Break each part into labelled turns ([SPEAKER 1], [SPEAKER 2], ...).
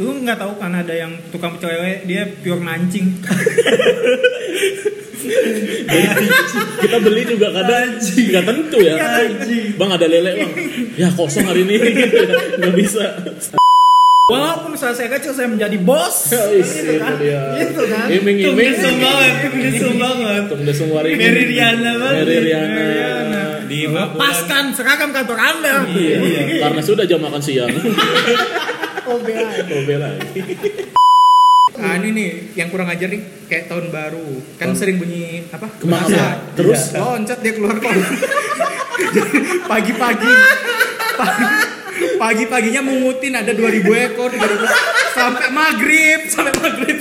[SPEAKER 1] Lu nggak tahu kan ada yang tukang pecelele dia pure mancing.
[SPEAKER 2] kita beli juga kadang nggak tentu ya
[SPEAKER 1] Anjing.
[SPEAKER 2] bang ada lele bang ya kosong hari ini gitu ya. nggak bisa
[SPEAKER 1] Walaupun usaha saya kecil saya menjadi bos.
[SPEAKER 2] Ya, is,
[SPEAKER 1] Gitu kan?
[SPEAKER 2] itu dia.
[SPEAKER 1] Gitu kan?
[SPEAKER 2] Iming,
[SPEAKER 1] Tuh,
[SPEAKER 2] iming.
[SPEAKER 1] gitu.
[SPEAKER 3] banget, kesel banget.
[SPEAKER 2] Tung desung waringin.
[SPEAKER 3] Mary Riana banget.
[SPEAKER 2] Mary Riana.
[SPEAKER 1] Mary Riana.
[SPEAKER 3] Di
[SPEAKER 1] Lepaskan seragam kantor Anda.
[SPEAKER 2] Iya, karena sudah jam makan siang. Oh, Obel lagi.
[SPEAKER 1] Nah, ini nih yang kurang ajar nih kayak tahun baru. Kan sering bunyi apa?
[SPEAKER 2] Kemana?
[SPEAKER 1] Bahasa.
[SPEAKER 2] Terus?
[SPEAKER 1] loncat dia keluar kok. Pagi-pagi. pagi- Pagi-paginya mengutin ada 2000 ekor 3000 sampai maghrib, sampai maghrib.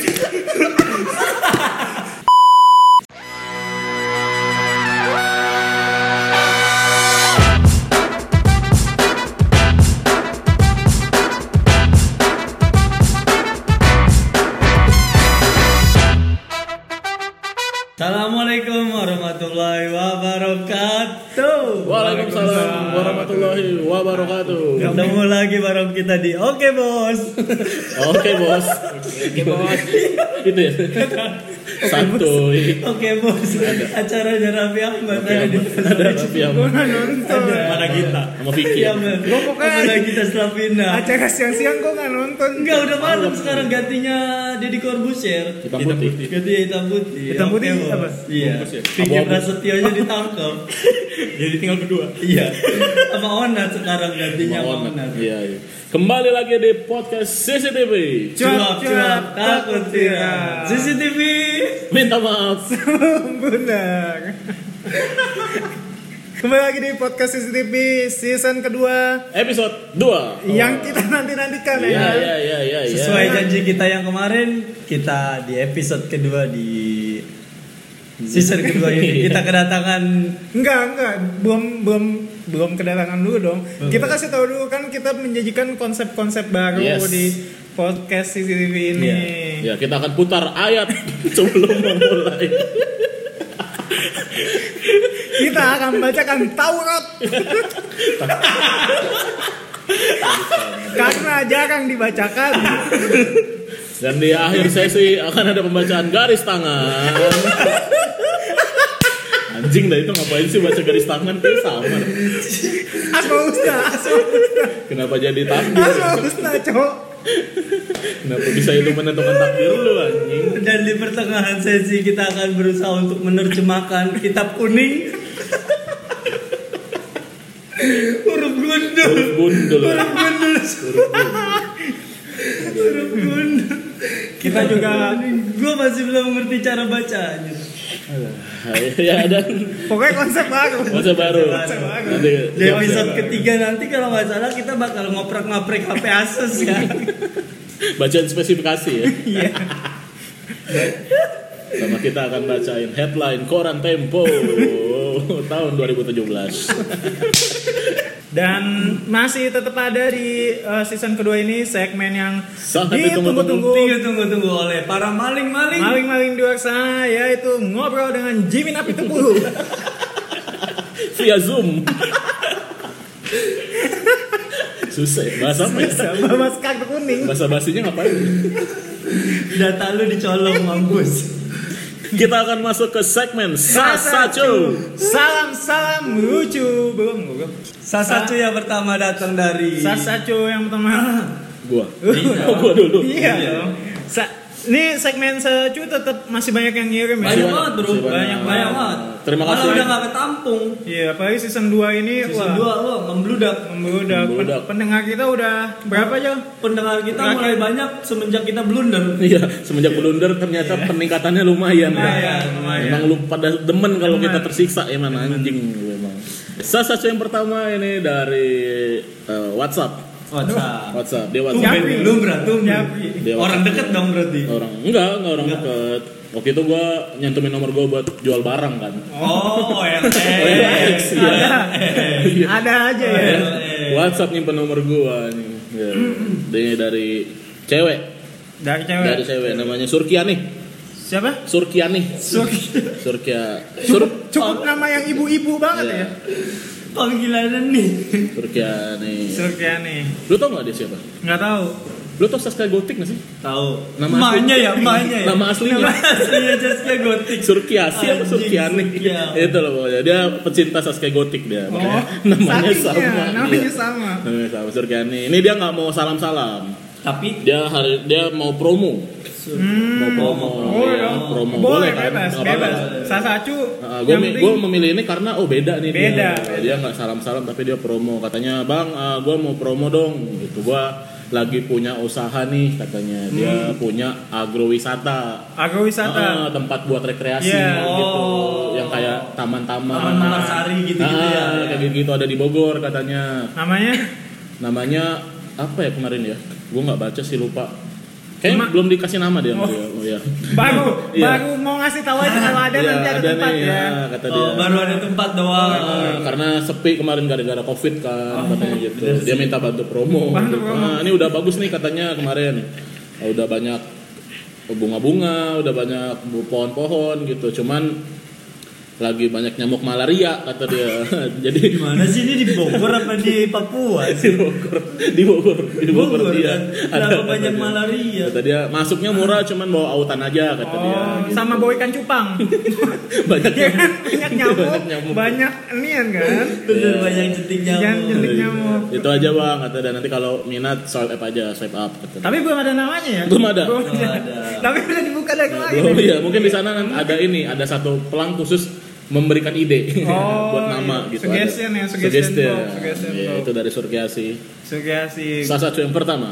[SPEAKER 3] Assalamualaikum warahmatullahi wabarakatuh.
[SPEAKER 2] Waalaikumsalam warahmatullahi wabarakatuh.
[SPEAKER 3] Ketemu lagi bareng kita di Oke Bos.
[SPEAKER 2] Oke bos. Oke bos. Itu ya. Santuy.
[SPEAKER 3] Oke Bos. Acaranya Raffi Ahmad ada di
[SPEAKER 2] Ada Raffi Ahmad
[SPEAKER 1] nonton.
[SPEAKER 3] mana kita?
[SPEAKER 2] sama Vicky.
[SPEAKER 3] Iya, Bang.
[SPEAKER 1] Gua pokoknya-
[SPEAKER 3] Mana kita Slavina.
[SPEAKER 1] Acara siang-siang kok nggak nonton.
[SPEAKER 3] Enggak udah malam sekarang gantinya Deddy Corbuzier.
[SPEAKER 2] Hitam putih.
[SPEAKER 3] Ganti hitam putih.
[SPEAKER 1] Hitam putih
[SPEAKER 3] Oke, Bos.
[SPEAKER 1] apa?
[SPEAKER 3] Iya.
[SPEAKER 2] Bungkus ya?
[SPEAKER 3] Pinjam
[SPEAKER 2] Abu-abu.
[SPEAKER 3] Prasetyonya ditangkap.
[SPEAKER 1] Jadi tinggal berdua.
[SPEAKER 3] Iya. Sama Onat sekarang gantinya sama
[SPEAKER 2] Mohon.
[SPEAKER 3] Onat.
[SPEAKER 2] Iya, iya. Kembali lagi di podcast CCTV.
[SPEAKER 3] Cuap cuap takut tidak. CCTV.
[SPEAKER 2] Minta maaf.
[SPEAKER 1] Benar. Kembali lagi di podcast CCTV season kedua
[SPEAKER 2] Episode 2.
[SPEAKER 1] yang kita nanti-nantikan ya.
[SPEAKER 2] Iya, iya, iya, iya. iya.
[SPEAKER 3] Sesuai janji kita yang kemarin, kita di episode kedua di season kedua ini kita kedatangan
[SPEAKER 1] Enggak, enggak. Belum belum belum kedatangan dulu dong. Kita kasih tahu dulu kan kita menyajikan konsep-konsep baru
[SPEAKER 2] Yes.
[SPEAKER 1] di podcast CCTV ini.
[SPEAKER 3] Iya.
[SPEAKER 2] Ya, kita akan putar ayat sebelum memulai.
[SPEAKER 1] Kita akan membacakan Taurat. Karena jarang dibacakan.
[SPEAKER 2] Dan di akhir sesi akan ada pembacaan garis tangan. Anjing dah itu ngapain sih baca garis tangan tuh sama.
[SPEAKER 1] Asma Husna, Asma Husna,
[SPEAKER 2] Kenapa jadi takdir?
[SPEAKER 1] Asma Husna, cowok.
[SPEAKER 2] Kenapa bisa itu menentukan takdir lu anjing?
[SPEAKER 3] dan di pertengahan sesi kita akan berusaha untuk menerjemahkan kitab kuning huruf gundul
[SPEAKER 2] Huruf gundul.
[SPEAKER 3] huruf gundul huruf gundul
[SPEAKER 1] Kita juga-
[SPEAKER 3] gue masih belum mengerti cara bacanya
[SPEAKER 2] Ya dan
[SPEAKER 1] Pokoknya konsep baru.
[SPEAKER 2] masa baru.
[SPEAKER 3] Masa
[SPEAKER 1] baru.
[SPEAKER 2] Nanti
[SPEAKER 3] di episode ketiga nanti kalau nggak salah kita bakal ngoprek-ngoprek HP Asus ya
[SPEAKER 2] bacaan spesifikasi ya.
[SPEAKER 1] Iya.
[SPEAKER 2] Sama kita akan bacain headline koran Tempo tahun 2017.
[SPEAKER 1] Dan masih tetap ada di eh, season kedua ini segmen yang
[SPEAKER 2] Sangat
[SPEAKER 3] tunggu
[SPEAKER 1] ditunggu-tunggu.
[SPEAKER 3] Iya, tunggu tunggu oleh para maling-maling
[SPEAKER 1] Maling-maling di luar sana yaitu ngobrol dengan Jimmy Napi Tepulu.
[SPEAKER 2] Via Zoom. Susah ya, bahasa apa ya?
[SPEAKER 1] Sama Mas Kartu Kuning.
[SPEAKER 2] Bahasa basinya ngapain?
[SPEAKER 3] data lu dicolong mampus
[SPEAKER 2] Kita akan masuk ke segmen Sasacu.
[SPEAKER 1] Salam-salam lucu. Belum, belum.
[SPEAKER 3] Sasacu yang pertama datang dari
[SPEAKER 1] Sasacu yang pertama.
[SPEAKER 2] Gua.
[SPEAKER 1] Iya.
[SPEAKER 2] Oh, gua dulu.
[SPEAKER 1] Iya dong. Sa- ini segmen Sasacu tetap masih banyak yang ngirim ya.
[SPEAKER 3] banyak banget bro
[SPEAKER 2] Masih banyak.
[SPEAKER 3] banyak banyak banget
[SPEAKER 2] Terima kasih.
[SPEAKER 3] malah udah gak ketampung
[SPEAKER 1] Iya, apalagi season 2 ini
[SPEAKER 3] season
[SPEAKER 1] wah.
[SPEAKER 3] 2 lo membludak
[SPEAKER 1] Membludak.
[SPEAKER 2] Membludak.
[SPEAKER 1] Pendengar kita udah berapa
[SPEAKER 2] Oh,
[SPEAKER 1] aja?
[SPEAKER 3] pendengar kita
[SPEAKER 1] Terakhir.
[SPEAKER 3] mulai banyak semenjak kita blunder
[SPEAKER 2] Iya, semenjak blunder ternyata peningkatannya lumayan.
[SPEAKER 3] Lumayan, lumayan.
[SPEAKER 2] Emang lu pada demen kalau
[SPEAKER 1] Demen.
[SPEAKER 2] kita tersiksa emang anjing lu emang. Sasacu yang pertama ini dari eh, WhatsApp.
[SPEAKER 3] WhatsApp
[SPEAKER 2] WhatsApp, dia WhatsApp.
[SPEAKER 1] Japri.
[SPEAKER 3] Tumben lu berarti
[SPEAKER 1] Japri.
[SPEAKER 2] Dia
[SPEAKER 3] orang deket dong berarti
[SPEAKER 2] Orang enggak, enggak orang
[SPEAKER 3] Enggak.
[SPEAKER 2] deket. Waktu itu gua nyantumin nomor gua buat jual barang kan.
[SPEAKER 3] oh
[SPEAKER 2] OLX,
[SPEAKER 3] OLX
[SPEAKER 2] iya. Iya.
[SPEAKER 1] Ada aja ya.
[SPEAKER 2] WhatsApp nyimpen nomor gua nih. Iya. Dia dari cewek,
[SPEAKER 1] Dari cewek.
[SPEAKER 2] dari cewek namanya Surkiani.
[SPEAKER 1] Siapa?
[SPEAKER 2] Surkiani.
[SPEAKER 1] Surki.
[SPEAKER 2] Surkia. Sur
[SPEAKER 1] Cukup, cukup nama yang ibu-ibu banget
[SPEAKER 2] Oh. Iya.
[SPEAKER 1] ya.
[SPEAKER 3] panggilan nih
[SPEAKER 2] Surkiani.
[SPEAKER 1] Surkiani.
[SPEAKER 2] Lu tau gak dia siapa?
[SPEAKER 1] Nggak tahu.
[SPEAKER 2] Lo tau Saskia Gotik gak sih?
[SPEAKER 3] Tahu.
[SPEAKER 2] Nama
[SPEAKER 3] Namanya
[SPEAKER 2] asli-
[SPEAKER 3] ya, namanya ya.
[SPEAKER 2] Nama aslinya.
[SPEAKER 3] Nama aslinya Saskia Gotik.
[SPEAKER 2] Surkiasi apa
[SPEAKER 3] Anjing,
[SPEAKER 2] Surkiani?
[SPEAKER 1] ya.
[SPEAKER 3] Surkiani.
[SPEAKER 2] Itu loh pokoknya. Dia pecinta Saskia Gotik dia. Makanya namanya
[SPEAKER 1] saking
[SPEAKER 2] sama.
[SPEAKER 1] Oh, ya, Namanya
[SPEAKER 2] Iya.
[SPEAKER 1] sama.
[SPEAKER 2] Namanya sama Surkiani. Ini dia nggak mau salam-salam.
[SPEAKER 3] Tapi
[SPEAKER 2] Dia hari dia mau promo. Mau promo.
[SPEAKER 1] Boleh
[SPEAKER 2] Iya,
[SPEAKER 1] dong.
[SPEAKER 2] promo.
[SPEAKER 1] Hmm. Oh, ya. Boleh,
[SPEAKER 2] kan?
[SPEAKER 1] bebas,
[SPEAKER 2] Nggak apa-apa. Ah,
[SPEAKER 1] bebas. Sasacu.
[SPEAKER 2] gue
[SPEAKER 1] yang penting-
[SPEAKER 2] memilih ini karena oh beda nih
[SPEAKER 1] Beda.
[SPEAKER 2] dia dia nggak salam salam tapi dia promo katanya bang gue mau promo dong gitu gue lagi punya usaha nih katanya dia
[SPEAKER 1] Hmm.
[SPEAKER 2] punya agrowisata
[SPEAKER 1] agrowisata.
[SPEAKER 2] Ah, tempat buat rekreasi
[SPEAKER 1] Iya.
[SPEAKER 2] gitu
[SPEAKER 3] Oh.
[SPEAKER 2] yang kayak taman-taman
[SPEAKER 3] Taman Malasari gitu-gitu ya.
[SPEAKER 2] Ah, kayak gitu, ada di Bogor katanya
[SPEAKER 1] Namanya
[SPEAKER 2] namanya apa ya kemarin ya gue nggak baca sih lupa kayaknya
[SPEAKER 1] Ma-
[SPEAKER 2] belum dikasih nama dia sama
[SPEAKER 1] Oh.
[SPEAKER 2] dia. Oh, iya.
[SPEAKER 1] baru
[SPEAKER 2] Iya.
[SPEAKER 1] baru mau ngasih tahu aja kalau ada
[SPEAKER 2] Iya,
[SPEAKER 1] nanti ada tempat
[SPEAKER 2] nih,
[SPEAKER 1] ya.
[SPEAKER 2] ah, kata dia
[SPEAKER 3] oh, baru ada tempat doang.
[SPEAKER 2] Ah, karena sepi kemarin gara-gara covid kan
[SPEAKER 1] Oh,
[SPEAKER 2] katanya
[SPEAKER 1] iya.
[SPEAKER 2] gitu
[SPEAKER 3] bener sih.
[SPEAKER 2] dia minta bantu promo,
[SPEAKER 1] Bantu
[SPEAKER 2] gitu.
[SPEAKER 1] promo.
[SPEAKER 2] Ah, ini udah bagus nih katanya kemarin Ah, udah banyak bunga-bunga udah banyak bu- pohon-pohon gitu cuman lagi banyak nyamuk malaria kata dia jadi
[SPEAKER 3] Di mana sih ini di Bogor apa di Papua?
[SPEAKER 2] di Bogor di Bogor di Bogor, dia
[SPEAKER 3] kan?
[SPEAKER 2] ada
[SPEAKER 3] Kenapa banyak
[SPEAKER 2] katanya.
[SPEAKER 3] malaria?
[SPEAKER 2] kata dia masuknya murah cuman bawa autan aja kata dia
[SPEAKER 1] Oh,
[SPEAKER 2] gitu.
[SPEAKER 1] sama bawa ikan cupang.
[SPEAKER 2] banyak
[SPEAKER 1] Iya kan?
[SPEAKER 2] nyamuk.
[SPEAKER 1] Banyak nyamuk,
[SPEAKER 2] Banyak nyamuk.
[SPEAKER 1] banyak enian kan.
[SPEAKER 3] Bener banyak jentik
[SPEAKER 1] Jangan
[SPEAKER 3] nyamuk.
[SPEAKER 1] jentik nyamuk.
[SPEAKER 2] Iya. itu aja bang kata dan nanti kalau minat swipe up aja swipe up kata dia.
[SPEAKER 1] Tapi belum ada namanya ya?
[SPEAKER 2] Belum ada.
[SPEAKER 3] Belum ada. Oh, iya,
[SPEAKER 1] Tapi Hmm. udah dibuka dari kemarin.
[SPEAKER 2] Belum ya, mungkin di sana nanti ada ini, ada satu pelang khusus memberikan ide
[SPEAKER 1] Oh,
[SPEAKER 2] buat nama
[SPEAKER 1] iya.
[SPEAKER 2] gitu.
[SPEAKER 1] Suggestion
[SPEAKER 2] ada.
[SPEAKER 1] ya, suggestion
[SPEAKER 2] Suggestion.
[SPEAKER 1] box, suggestion
[SPEAKER 2] Iya,
[SPEAKER 1] box.
[SPEAKER 2] itu dari Surkiasi.
[SPEAKER 1] Sugasi.
[SPEAKER 2] Salah satu yang pertama.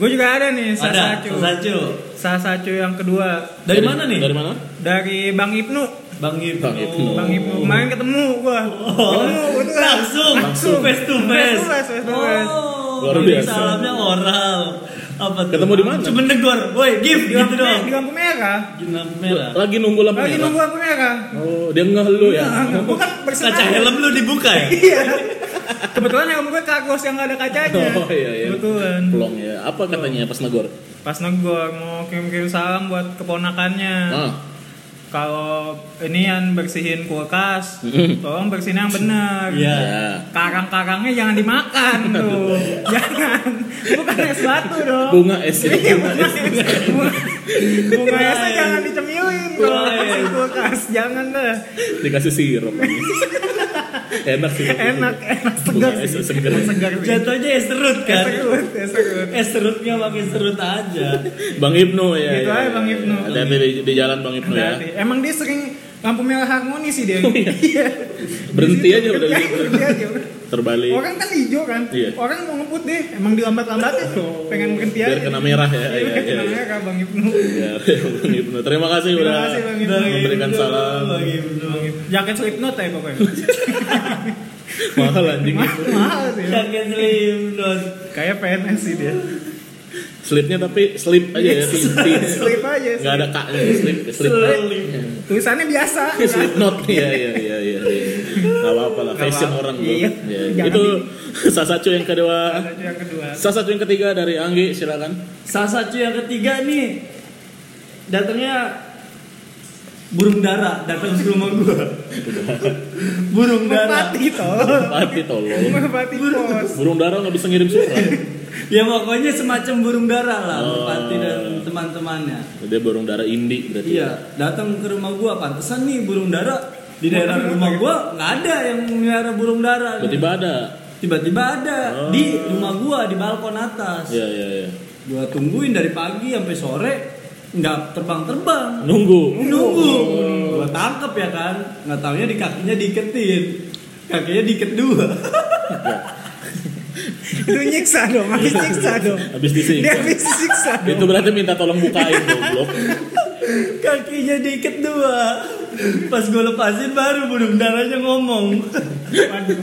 [SPEAKER 1] Gue juga ada nih
[SPEAKER 3] Ada,
[SPEAKER 1] Sasacu.
[SPEAKER 3] Sasacu.
[SPEAKER 1] Sasacu yang kedua
[SPEAKER 3] Dari Oh. mana nih?
[SPEAKER 2] Dari mana?
[SPEAKER 1] dari Bang Ibnu.
[SPEAKER 3] Bang Ibnu.
[SPEAKER 2] Bang Ibnu.
[SPEAKER 1] Bang Ibnu kemarin ketemu gua.
[SPEAKER 3] Oh,
[SPEAKER 1] Ketemu itu kan.
[SPEAKER 3] langsung,
[SPEAKER 1] Langsung.
[SPEAKER 3] face to
[SPEAKER 1] Face
[SPEAKER 3] face.
[SPEAKER 1] to face, face to face.
[SPEAKER 3] Oh,
[SPEAKER 2] Luar
[SPEAKER 3] ini
[SPEAKER 2] biasa.
[SPEAKER 3] Salamnya oral. Apa tuh?
[SPEAKER 2] Ketemu di mana?
[SPEAKER 3] Cuma negor, woi, give
[SPEAKER 1] Di
[SPEAKER 3] gitu
[SPEAKER 1] lampu,
[SPEAKER 3] dong.
[SPEAKER 1] di lampu merah.
[SPEAKER 3] Di lampu merah.
[SPEAKER 2] Lagi nunggu lampu
[SPEAKER 1] Lagi
[SPEAKER 2] merah.
[SPEAKER 1] nunggu lampu merah.
[SPEAKER 2] Oh, dia ngeh lu ya.
[SPEAKER 1] Gue kan
[SPEAKER 3] Kaca
[SPEAKER 1] bersenang.
[SPEAKER 3] helm lu dibuka ya?
[SPEAKER 1] Iya. Kebetulan helm gue kagos yang gak ada kacanya.
[SPEAKER 2] Oh iya iya.
[SPEAKER 1] Kebetulan.
[SPEAKER 2] Pelong ya. Apa katanya pas negor?
[SPEAKER 3] Iya.
[SPEAKER 1] Pas negor mau kirim-kirim salam buat keponakannya.
[SPEAKER 2] Ah,
[SPEAKER 1] Kalau ini yang bersihin kulkas,
[SPEAKER 2] Mm.
[SPEAKER 1] tolong bersihin yang benar.
[SPEAKER 3] Iya.
[SPEAKER 2] ya.
[SPEAKER 1] Karang-karangnya jangan dimakan tuh. jangan. Bukan es batu dong.
[SPEAKER 2] Bunga es ya.
[SPEAKER 1] Iya,
[SPEAKER 2] Bunga es.
[SPEAKER 1] bunga es. Bunga- Bunga esnya
[SPEAKER 3] es.
[SPEAKER 1] jangan dicemilin kalau
[SPEAKER 3] Bunga
[SPEAKER 1] kasih
[SPEAKER 3] es.
[SPEAKER 1] kulkas. Jangan deh.
[SPEAKER 2] Dikasih sirup. enak sih.
[SPEAKER 1] Enak, enak
[SPEAKER 2] Bunga
[SPEAKER 1] segar
[SPEAKER 2] es
[SPEAKER 1] sih.
[SPEAKER 2] segar. Oh,
[SPEAKER 1] Segar Ya, sih.
[SPEAKER 3] Jatuhnya es serut
[SPEAKER 1] Es
[SPEAKER 3] kan?
[SPEAKER 1] Eh, serut, es serut.
[SPEAKER 3] Es serutnya pakai serut aja.
[SPEAKER 2] Bang Ibnu ya.
[SPEAKER 1] Gitu
[SPEAKER 2] ya,
[SPEAKER 1] aja,
[SPEAKER 2] ya.
[SPEAKER 1] Bang Ibnu.
[SPEAKER 2] Hati-hati di, di jalan Bang Ibnu ya.
[SPEAKER 1] Hati-hati. Emang dia sering lampu merah harmoni sih dia.
[SPEAKER 2] iya.
[SPEAKER 1] Iya.
[SPEAKER 2] Berhenti aja udah
[SPEAKER 1] Iya,
[SPEAKER 2] gitu.
[SPEAKER 1] berhenti aja.
[SPEAKER 2] Terbalik.
[SPEAKER 1] Orang kan hijau kan,
[SPEAKER 2] Iya. Oh,
[SPEAKER 1] orang mau ngeput deh, emang dilambat-lambatin tuh, pengen berhenti aja.
[SPEAKER 2] Biar kena merah ya,
[SPEAKER 1] Iya, biar
[SPEAKER 2] iya, iya,
[SPEAKER 1] kena
[SPEAKER 2] iya.
[SPEAKER 1] merah Bang Ibnu.
[SPEAKER 2] Ya, Bang Ibnu. Terima kasih
[SPEAKER 1] Terima
[SPEAKER 2] udah
[SPEAKER 1] kasih, Bang Ibnu.
[SPEAKER 2] memberikan salam.
[SPEAKER 3] Bang Ibnu.
[SPEAKER 1] Jaket Slipknot ya pokoknya.
[SPEAKER 2] Mahal anjing.
[SPEAKER 1] Mahal, mahal sih.
[SPEAKER 3] Jaket Slim Don.
[SPEAKER 1] Kayak PNS sih dia.
[SPEAKER 2] Slipnya tapi slip aja ya.
[SPEAKER 1] Slip aja. slip.
[SPEAKER 2] Enggak ada kaknya, slip, slip.
[SPEAKER 1] Tulisannya biasa.
[SPEAKER 2] Slip not ya ya ya ya. Enggak apa-apa lah,
[SPEAKER 1] Nggak
[SPEAKER 2] fashion
[SPEAKER 1] apa-apa.
[SPEAKER 2] orang bro.
[SPEAKER 1] Iya.
[SPEAKER 2] Ya,
[SPEAKER 1] Jangan
[SPEAKER 2] Itu Sasacu yang kedua.
[SPEAKER 1] Ada yang kedua.
[SPEAKER 2] Sasacu yang ketiga dari Anggi, silakan.
[SPEAKER 3] Salah satu yang ketiga nih datangnya burung dara datang ke rumah gua. burung dara.
[SPEAKER 1] Merpati toh.
[SPEAKER 2] Pati tolong.
[SPEAKER 1] Merpati pos.
[SPEAKER 2] Burung dara nggak bisa ngirim surat.
[SPEAKER 3] Ya pokoknya semacam burung dara lah
[SPEAKER 2] Oh.
[SPEAKER 3] Merpati dan teman-temannya.
[SPEAKER 2] Dia burung dara indi berarti.
[SPEAKER 3] Iya, datang ke rumah gua pantesan nih burung dara di daerah rumah gua nggak ada yang melihara burung dara. nih.
[SPEAKER 2] Tiba-tiba ada.
[SPEAKER 3] Tiba-tiba ada
[SPEAKER 2] Oh.
[SPEAKER 3] di rumah gua di balkon atas.
[SPEAKER 2] Iya iya iya.
[SPEAKER 3] Gua tungguin dari pagi sampai sore nggak terbang-terbang.
[SPEAKER 2] Nunggu.
[SPEAKER 3] nunggu gua tangkep ya kan nggak taunya di kakinya diketin kakinya diket dua
[SPEAKER 1] Itu nyiksa dong, habis nyiksa dong.
[SPEAKER 2] Habis disingkat.
[SPEAKER 1] Dia habis siksa dong.
[SPEAKER 2] Itu berarti minta tolong bukain goblok.
[SPEAKER 3] kakinya diket dua pas gue lepasin baru burung darahnya ngomong
[SPEAKER 1] Waduh,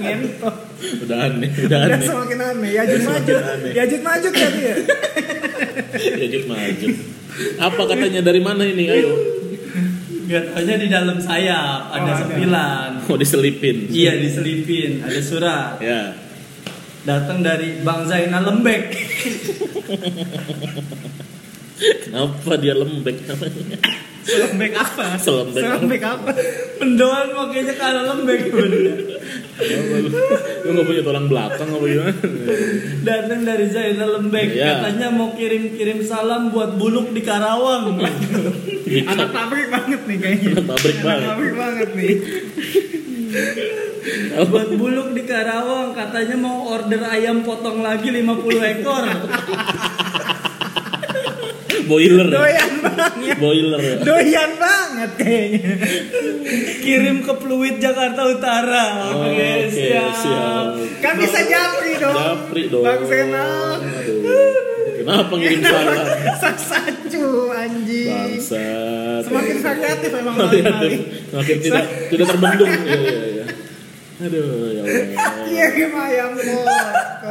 [SPEAKER 1] ngentot.
[SPEAKER 2] Udah aneh, udah
[SPEAKER 1] Udah
[SPEAKER 2] aneh.
[SPEAKER 1] semakin aneh. Yajud maju.
[SPEAKER 2] Semakin aneh.
[SPEAKER 1] Yajud maju tadi ya.
[SPEAKER 2] Ya Jun, maju. Apa katanya dari mana ini? Ayo.
[SPEAKER 3] nggak taunya di dalam sayap ada
[SPEAKER 1] Oh, ada.
[SPEAKER 3] sepilan
[SPEAKER 2] Mau diselipin.
[SPEAKER 3] iya diselipin ada surat
[SPEAKER 2] Ya.
[SPEAKER 3] datang dari bang Zainal lembek
[SPEAKER 2] Kenapa dia lembek?
[SPEAKER 1] Selembek apa?
[SPEAKER 2] Selembek.
[SPEAKER 1] apa?
[SPEAKER 3] mendoan makanya kalau lembek bener
[SPEAKER 2] Lu nggak punya tulang belakang apa gimana?
[SPEAKER 3] Datang dari Zainal Lembek
[SPEAKER 2] Iya.
[SPEAKER 3] katanya mau kirim-kirim salam buat buluk di Karawang.
[SPEAKER 1] Anak
[SPEAKER 2] Anak
[SPEAKER 1] pabrik banget nih kayaknya.
[SPEAKER 2] Anak pabrik banget.
[SPEAKER 1] Anak pabrik banget nih.
[SPEAKER 3] buat buluk di Karawang katanya mau order ayam potong lagi 50 ekor.
[SPEAKER 2] boiler, ya?
[SPEAKER 1] Doyan banget.
[SPEAKER 2] boiler. ya?
[SPEAKER 1] Doyan banget kayaknya.
[SPEAKER 3] Kirim ke Pluit Jakarta Utara. Oke,
[SPEAKER 2] Oh, Oke,
[SPEAKER 3] siap.
[SPEAKER 2] siap.
[SPEAKER 1] Kan bisa japri dong.
[SPEAKER 2] Japri dong.
[SPEAKER 1] Bang Senal.
[SPEAKER 2] Aduh. Kenapa ngirim salam?
[SPEAKER 1] Sasacu anjing.
[SPEAKER 2] Bangsat.
[SPEAKER 1] Semakin variatif emang
[SPEAKER 2] Aduh,
[SPEAKER 1] kali.
[SPEAKER 2] Makin tidak tidak terbendung. Iya, iya, iya. Aduh, ya Allah.
[SPEAKER 1] Iya gimana ayam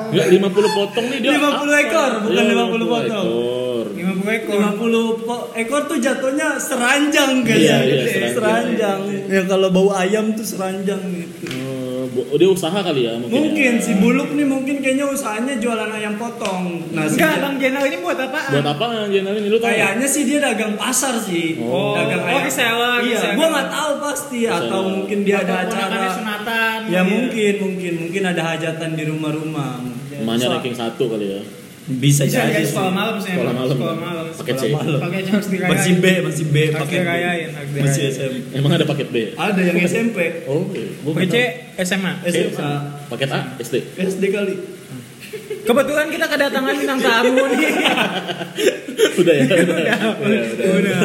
[SPEAKER 2] Enggak 50 potong nih dia.
[SPEAKER 3] 50 ekor, bukan
[SPEAKER 2] Iya,
[SPEAKER 3] 50 potong.
[SPEAKER 2] ekor.
[SPEAKER 1] Lima puluh ekor.
[SPEAKER 3] 50 po- ekor tuh jatuhnya seranjang guys.
[SPEAKER 2] Iya, iya,
[SPEAKER 3] seranjang.
[SPEAKER 2] seranjang.
[SPEAKER 3] Ya kalau bau ayam tuh seranjang gitu.
[SPEAKER 2] Eh, bu- dia usaha kali ya mungkin.
[SPEAKER 3] Mungkin
[SPEAKER 2] ya.
[SPEAKER 3] si Buluk nih mungkin kayaknya usahanya jualan ayam potong. Nah, si-
[SPEAKER 1] Enggak, Bang Jenal ini buat apaan?
[SPEAKER 2] Buat apa Jenal ini lu tahu?
[SPEAKER 3] Kayaknya sih dia dagang pasar sih.
[SPEAKER 2] Oh.
[SPEAKER 3] dagang
[SPEAKER 1] Oh, reseller, reseller.
[SPEAKER 3] Iya, gua nggak tahu pasti atau
[SPEAKER 2] Reseller.
[SPEAKER 3] mungkin dia ada
[SPEAKER 1] Ponakannya
[SPEAKER 3] acara.
[SPEAKER 1] sunatan.
[SPEAKER 3] Ya
[SPEAKER 1] gitu.
[SPEAKER 3] mungkin, mungkin, mungkin ada hajatan di rumah-rumah.
[SPEAKER 2] Emaknya
[SPEAKER 3] So-
[SPEAKER 2] ranking 1 kali ya.
[SPEAKER 3] Bisa
[SPEAKER 1] Bisa
[SPEAKER 3] jadi.
[SPEAKER 1] jadi
[SPEAKER 3] sih.
[SPEAKER 1] sekolah malam sih.
[SPEAKER 2] Sekolah
[SPEAKER 1] emang.
[SPEAKER 2] malam.
[SPEAKER 1] Sekolah malam.
[SPEAKER 2] Paket C.
[SPEAKER 3] Sekolah malam.
[SPEAKER 1] Paketnya harus dirayain.
[SPEAKER 3] Masih B, masih B,
[SPEAKER 1] Harus
[SPEAKER 3] pakai B.
[SPEAKER 1] dirayain, harus
[SPEAKER 3] Masih
[SPEAKER 1] dirayain.
[SPEAKER 3] SMP.
[SPEAKER 2] Emang ada paket B?
[SPEAKER 3] Ada yang SMP,
[SPEAKER 2] Oh, oke. Gua nggak
[SPEAKER 1] Paket C
[SPEAKER 2] tahu.
[SPEAKER 1] SMA.
[SPEAKER 3] SMA,
[SPEAKER 2] Paket A, SD.
[SPEAKER 3] SD kali.
[SPEAKER 1] Kebetulan kita kedatangan bintang tamu nih.
[SPEAKER 2] Udah ya. Udah. Udah. udah.
[SPEAKER 1] Udah.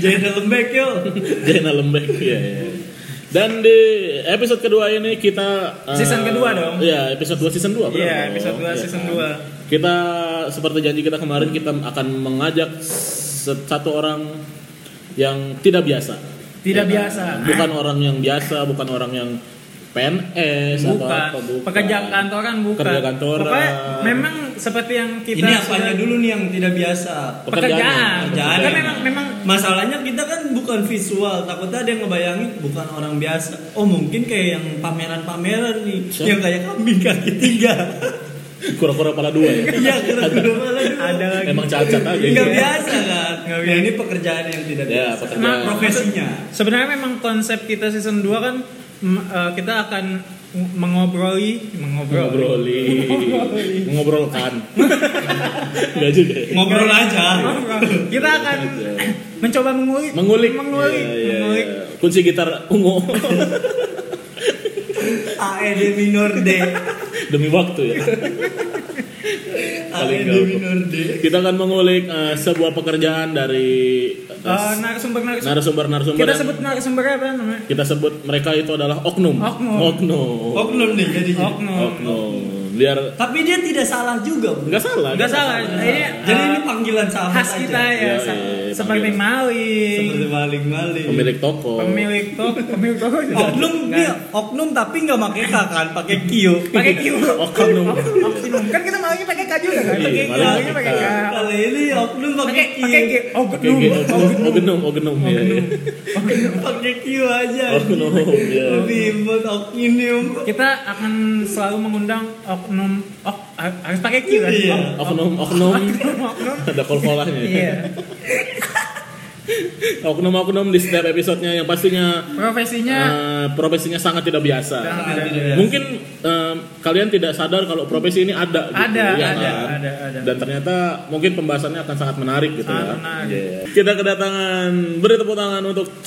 [SPEAKER 3] Jadi lembek yo.
[SPEAKER 2] Jenal lembek ya. ya. Dan di episode kedua ini kita eh,
[SPEAKER 1] Season kedua dong.
[SPEAKER 2] Iya, episode 2 season 2.
[SPEAKER 1] Iya, episode dua season dua.
[SPEAKER 2] Kita seperti janji kita kemarin kita akan mengajak se- satu orang yang tidak biasa.
[SPEAKER 1] Tidak
[SPEAKER 2] Ya kan?
[SPEAKER 1] biasa.
[SPEAKER 2] Bukan orang yang biasa, bukan orang yang PNS atau
[SPEAKER 1] Bukan.
[SPEAKER 2] apa, bukan.
[SPEAKER 1] Pekerjaan kantoran bukan.
[SPEAKER 2] Kerja kantoran.
[SPEAKER 1] Pokoknya memang seperti yang kita
[SPEAKER 3] Ini
[SPEAKER 1] sudah-
[SPEAKER 3] apanya dulu nih yang tidak biasa?
[SPEAKER 1] pekerjaan.
[SPEAKER 3] Pekerjaan.
[SPEAKER 1] Kan memang memang
[SPEAKER 3] Masalahnya kita kan bukan visual, takutnya ada yang ngebayangin bukan orang biasa. Oh mungkin kayak yang pameran-pameran nih,
[SPEAKER 2] Siap.
[SPEAKER 3] yang kayak kambing kaki tiga.
[SPEAKER 2] Kura-kura kepala dua ya.
[SPEAKER 3] Iya, kira-kira malah dulu.
[SPEAKER 1] ada lagi.
[SPEAKER 2] Emang cacat aja. gitu
[SPEAKER 3] Nggak biasa kan? Nah, ini pekerjaan yang tidak
[SPEAKER 2] Iya. Ya,
[SPEAKER 3] biasa.
[SPEAKER 2] pekerjaan.
[SPEAKER 3] Nah, Profesinya.
[SPEAKER 1] Sebenarnya memang konsep kita season 2 kan mm, eh, kita akan mengobroli mengobroli
[SPEAKER 2] Ngobroli. Ngobrolkan. Enggak juga. ya.
[SPEAKER 3] Ngobrol aja.
[SPEAKER 1] kita akan mencoba mengulik
[SPEAKER 2] Mengulik.
[SPEAKER 1] mengulik,
[SPEAKER 2] Iya, iya,
[SPEAKER 1] mengulik.
[SPEAKER 2] iya. Kunci gitar ungu
[SPEAKER 3] A E D minor D.
[SPEAKER 2] demi waktu ya.
[SPEAKER 3] A E
[SPEAKER 2] Paling
[SPEAKER 3] D
[SPEAKER 2] gampang.
[SPEAKER 3] minor D.
[SPEAKER 2] Kita akan mengulik eh, sebuah pekerjaan dari eh,
[SPEAKER 1] Eh, narasumber narasumber
[SPEAKER 2] narasumber-narasumber
[SPEAKER 1] kita
[SPEAKER 2] yang
[SPEAKER 1] sebut narasumber apa namanya
[SPEAKER 2] kita sebut mereka itu adalah oknum.
[SPEAKER 1] Oknum.
[SPEAKER 2] Oknum.
[SPEAKER 3] Oknum nih jadinya.
[SPEAKER 1] oknum
[SPEAKER 2] Oknum. Biar
[SPEAKER 3] Tapi dia tidak salah juga, Bro.
[SPEAKER 2] nggak salah.
[SPEAKER 1] nggak salah ini
[SPEAKER 3] Jadi
[SPEAKER 1] eh,
[SPEAKER 3] ini panggilan sahabat
[SPEAKER 1] khas
[SPEAKER 3] aja.
[SPEAKER 1] kita ya,
[SPEAKER 2] Iya,
[SPEAKER 1] se-
[SPEAKER 2] iya, iya,
[SPEAKER 1] seperti
[SPEAKER 2] panggil.
[SPEAKER 1] maling
[SPEAKER 3] Seperti maling-maling.
[SPEAKER 2] Pemilik toko.
[SPEAKER 1] pemilik toko pemilik toko juga.
[SPEAKER 3] Oknum
[SPEAKER 1] Kan?
[SPEAKER 3] dia, oknum tapi nggak pakai K kan, pakai Q.
[SPEAKER 1] pakai Q
[SPEAKER 2] Oknum.
[SPEAKER 1] oknum kan kita malingnya pakai K juga kan
[SPEAKER 2] Iya,
[SPEAKER 1] pakai Q
[SPEAKER 2] maling
[SPEAKER 1] malingnya pakai K
[SPEAKER 3] Kali ini oknum pakai
[SPEAKER 1] pakai
[SPEAKER 3] Q,
[SPEAKER 1] pakai Q oh
[SPEAKER 2] Oke, oke, oknum, oknum, oknum, ya, ya.
[SPEAKER 3] pakai Q aja.
[SPEAKER 2] Oknum, ya.
[SPEAKER 3] Ribet oknum.
[SPEAKER 1] kita akan selalu mengundang oknum ok harus pakai Q kan
[SPEAKER 3] Iya.
[SPEAKER 2] Oknum, oknum,
[SPEAKER 1] oknum oknum
[SPEAKER 2] ada kol-kolahnya.
[SPEAKER 1] iya
[SPEAKER 2] Oknum-oknum di setiap episodenya yang pastinya
[SPEAKER 1] profesinya
[SPEAKER 2] eh, profesinya sangat tidak biasa.
[SPEAKER 1] Sangat
[SPEAKER 3] Ah,
[SPEAKER 1] tidak
[SPEAKER 3] tidak
[SPEAKER 1] biasa.
[SPEAKER 3] biasa.
[SPEAKER 2] Mungkin eh, kalian tidak sadar kalau profesi ini ada. gitu,
[SPEAKER 1] Ada,
[SPEAKER 2] ya
[SPEAKER 1] ada,
[SPEAKER 2] kan?
[SPEAKER 1] ada, ada.
[SPEAKER 2] Dan ternyata mungkin pembahasannya akan sangat menarik gitu
[SPEAKER 1] Sangat
[SPEAKER 2] ya.
[SPEAKER 1] menarik.
[SPEAKER 2] Iya. Kita kedatangan beri tepuk tangan untuk Iya.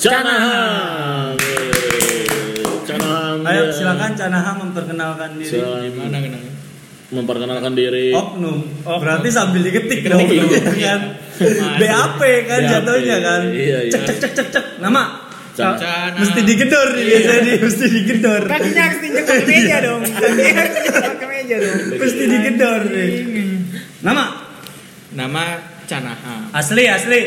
[SPEAKER 1] Canahang.
[SPEAKER 2] Canahang. Yeay. Canahang.
[SPEAKER 3] Ayo
[SPEAKER 2] ya.
[SPEAKER 3] silakan Canaha memperkenalkan diri.
[SPEAKER 2] Selain
[SPEAKER 1] Ah,
[SPEAKER 2] memperkenalkan diri.
[SPEAKER 1] Oh,
[SPEAKER 3] Oknum.
[SPEAKER 1] Oknum.
[SPEAKER 3] Berarti sambil diketik dong
[SPEAKER 2] Iya.
[SPEAKER 3] gitu kan. BAP kan
[SPEAKER 2] BAP.
[SPEAKER 3] jatuhnya kan.
[SPEAKER 2] Iya, iya.
[SPEAKER 3] Cek cek cek cek cek. Nama.
[SPEAKER 2] Can-
[SPEAKER 3] Mesti digedor
[SPEAKER 2] Iya.
[SPEAKER 3] nih biasanya nih, mesti digedor.
[SPEAKER 1] kakinya harus diinjak ke meja dong kakinya harus diinjak ke meja dong
[SPEAKER 3] Mesti digedor nih. Nama
[SPEAKER 4] Nama Canaha.
[SPEAKER 3] asli asli.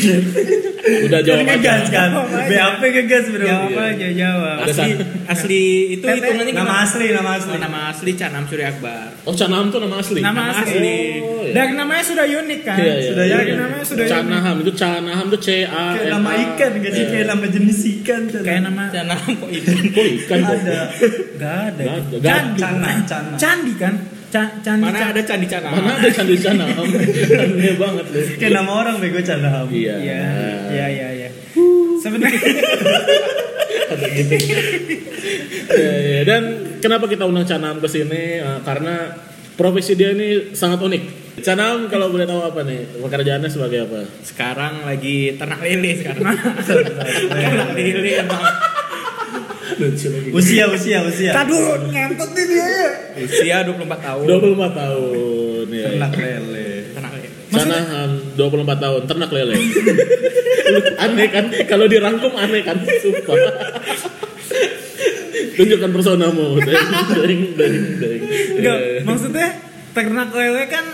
[SPEAKER 2] Udah ya. jawab aja. Iya.
[SPEAKER 3] ngegas kan.
[SPEAKER 1] Oh, iya.
[SPEAKER 3] BAP ngegas bro.
[SPEAKER 1] jawab aja jawab
[SPEAKER 2] Ada
[SPEAKER 4] Asli,
[SPEAKER 2] satu.
[SPEAKER 4] asli itu
[SPEAKER 1] Tete.
[SPEAKER 4] hitungannya
[SPEAKER 3] Nama
[SPEAKER 4] gimana?
[SPEAKER 3] asli, nama asli.
[SPEAKER 4] Oh, nama asli Canam Surya Akbar.
[SPEAKER 2] Oh, Canaham tuh nama asli.
[SPEAKER 1] nama
[SPEAKER 4] Nama
[SPEAKER 1] asli
[SPEAKER 2] Oh, iya.
[SPEAKER 1] dari namanya sudah unik kan
[SPEAKER 2] Iya, iya.
[SPEAKER 1] sudah
[SPEAKER 3] Iya,
[SPEAKER 1] dari
[SPEAKER 3] iya.
[SPEAKER 1] namanya sudah unik
[SPEAKER 2] Canaham itu Canaham itu C A
[SPEAKER 3] Kayak
[SPEAKER 2] N
[SPEAKER 3] nama
[SPEAKER 2] A.
[SPEAKER 3] ikan gak sih?
[SPEAKER 2] Iya.
[SPEAKER 3] Kayak nama jenis ikan. Chan.
[SPEAKER 1] kayak nama
[SPEAKER 4] Canam kok itu.
[SPEAKER 2] Kok ikan kok?
[SPEAKER 3] ada.
[SPEAKER 1] Gak ada.
[SPEAKER 2] Nggak ada.
[SPEAKER 1] Candi.
[SPEAKER 3] Cana, cana.
[SPEAKER 1] Candi kan? Ca- candi.
[SPEAKER 4] Mana
[SPEAKER 1] candi.
[SPEAKER 4] ada candi Canam?
[SPEAKER 2] Mana ada candi Canaham? Aneh banget Iya. lu.
[SPEAKER 3] Kayak nama orang bego Canaham.
[SPEAKER 2] Iya.
[SPEAKER 1] Iya. Iya, iya, iya. Sebenarnya
[SPEAKER 2] Ada gitu. Ya, ya. Dan kenapa kita undang Canam ke sini? Eh, karena profesi dia ini sangat unik. Canam kalau boleh tahu apa nih pekerjaannya sebagai apa?
[SPEAKER 4] Sekarang lagi ternak lele sekarang. ternak lele emang.
[SPEAKER 2] Lucu lagi.
[SPEAKER 3] usia usia usia
[SPEAKER 5] Aduh, ngantuk nih dia. ya.
[SPEAKER 4] Usia 24 tahun.
[SPEAKER 2] 24 tahun. Ya.
[SPEAKER 3] ternak lele
[SPEAKER 4] Ternak lele.
[SPEAKER 2] Canam 24 tahun ternak lele. aneh kan? Kalau dirangkum aneh kan? Sumpah. Tunjukkan personamu. Deng, deng, deng, deng.
[SPEAKER 1] Enggak,
[SPEAKER 2] Ya.
[SPEAKER 1] maksudnya ternak lele kan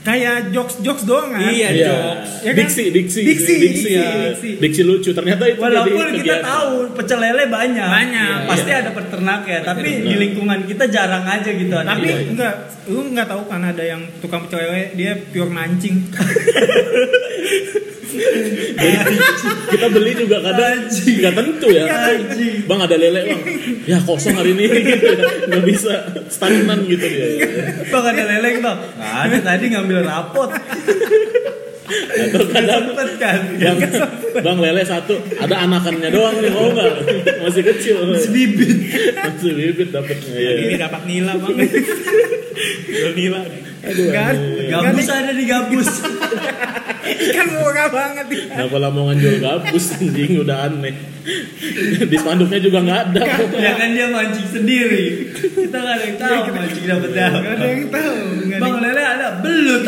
[SPEAKER 1] kayak jokes-jokes doang kan?
[SPEAKER 4] Iya,
[SPEAKER 2] Iya.
[SPEAKER 4] jokes.
[SPEAKER 1] Ya kan?
[SPEAKER 2] diksi, diksi,
[SPEAKER 1] Diksi,
[SPEAKER 2] diksi, ya.
[SPEAKER 1] diksi,
[SPEAKER 2] diksi, lucu. Ternyata itu
[SPEAKER 3] walaupun
[SPEAKER 2] jadi
[SPEAKER 3] kita
[SPEAKER 2] kegiatan.
[SPEAKER 3] tahu pecel lele banyak
[SPEAKER 1] Banyak. Iya.
[SPEAKER 3] pasti ada peternak ya tapi
[SPEAKER 2] Benar.
[SPEAKER 3] di lingkungan kita jarang aja gitu ada
[SPEAKER 1] Tapi
[SPEAKER 2] Iya, iya.
[SPEAKER 1] enggak, lu enggak tahu kan ada yang tukang pecel lele dia pure mancing.
[SPEAKER 2] kita beli juga kadang nggak tentu ya.
[SPEAKER 3] Anjing.
[SPEAKER 2] Bang ada lele bang, ya kosong hari ini gitu ya. nggak bisa stagnan gitu dia.
[SPEAKER 3] bang ada leleng bang nggak ada tadi ngambil rapot
[SPEAKER 2] Atau kadang
[SPEAKER 3] sempet kan
[SPEAKER 2] bang, bang lele satu, ada anakannya doang nih mau nggak? Masih kecil,
[SPEAKER 3] bibit
[SPEAKER 2] masih bibit dapetnya. Ya.
[SPEAKER 4] Ini dapat nila bang. Belum nila.
[SPEAKER 2] Aduh,
[SPEAKER 1] Nggak ada.
[SPEAKER 2] aduh.
[SPEAKER 3] gabus ada di gabus
[SPEAKER 1] Ikan murah banget ya.
[SPEAKER 2] Kenapa Lamongan jual gabus anjing udah aneh. Di spanduknya juga nggak ada.
[SPEAKER 3] ya kan dia mancing sendiri kita nggak ada yang tahu mancing dapat
[SPEAKER 1] Enggak ada
[SPEAKER 3] apa
[SPEAKER 1] yang tahu. nggak ada
[SPEAKER 3] bang
[SPEAKER 1] yang-
[SPEAKER 3] lele ada belut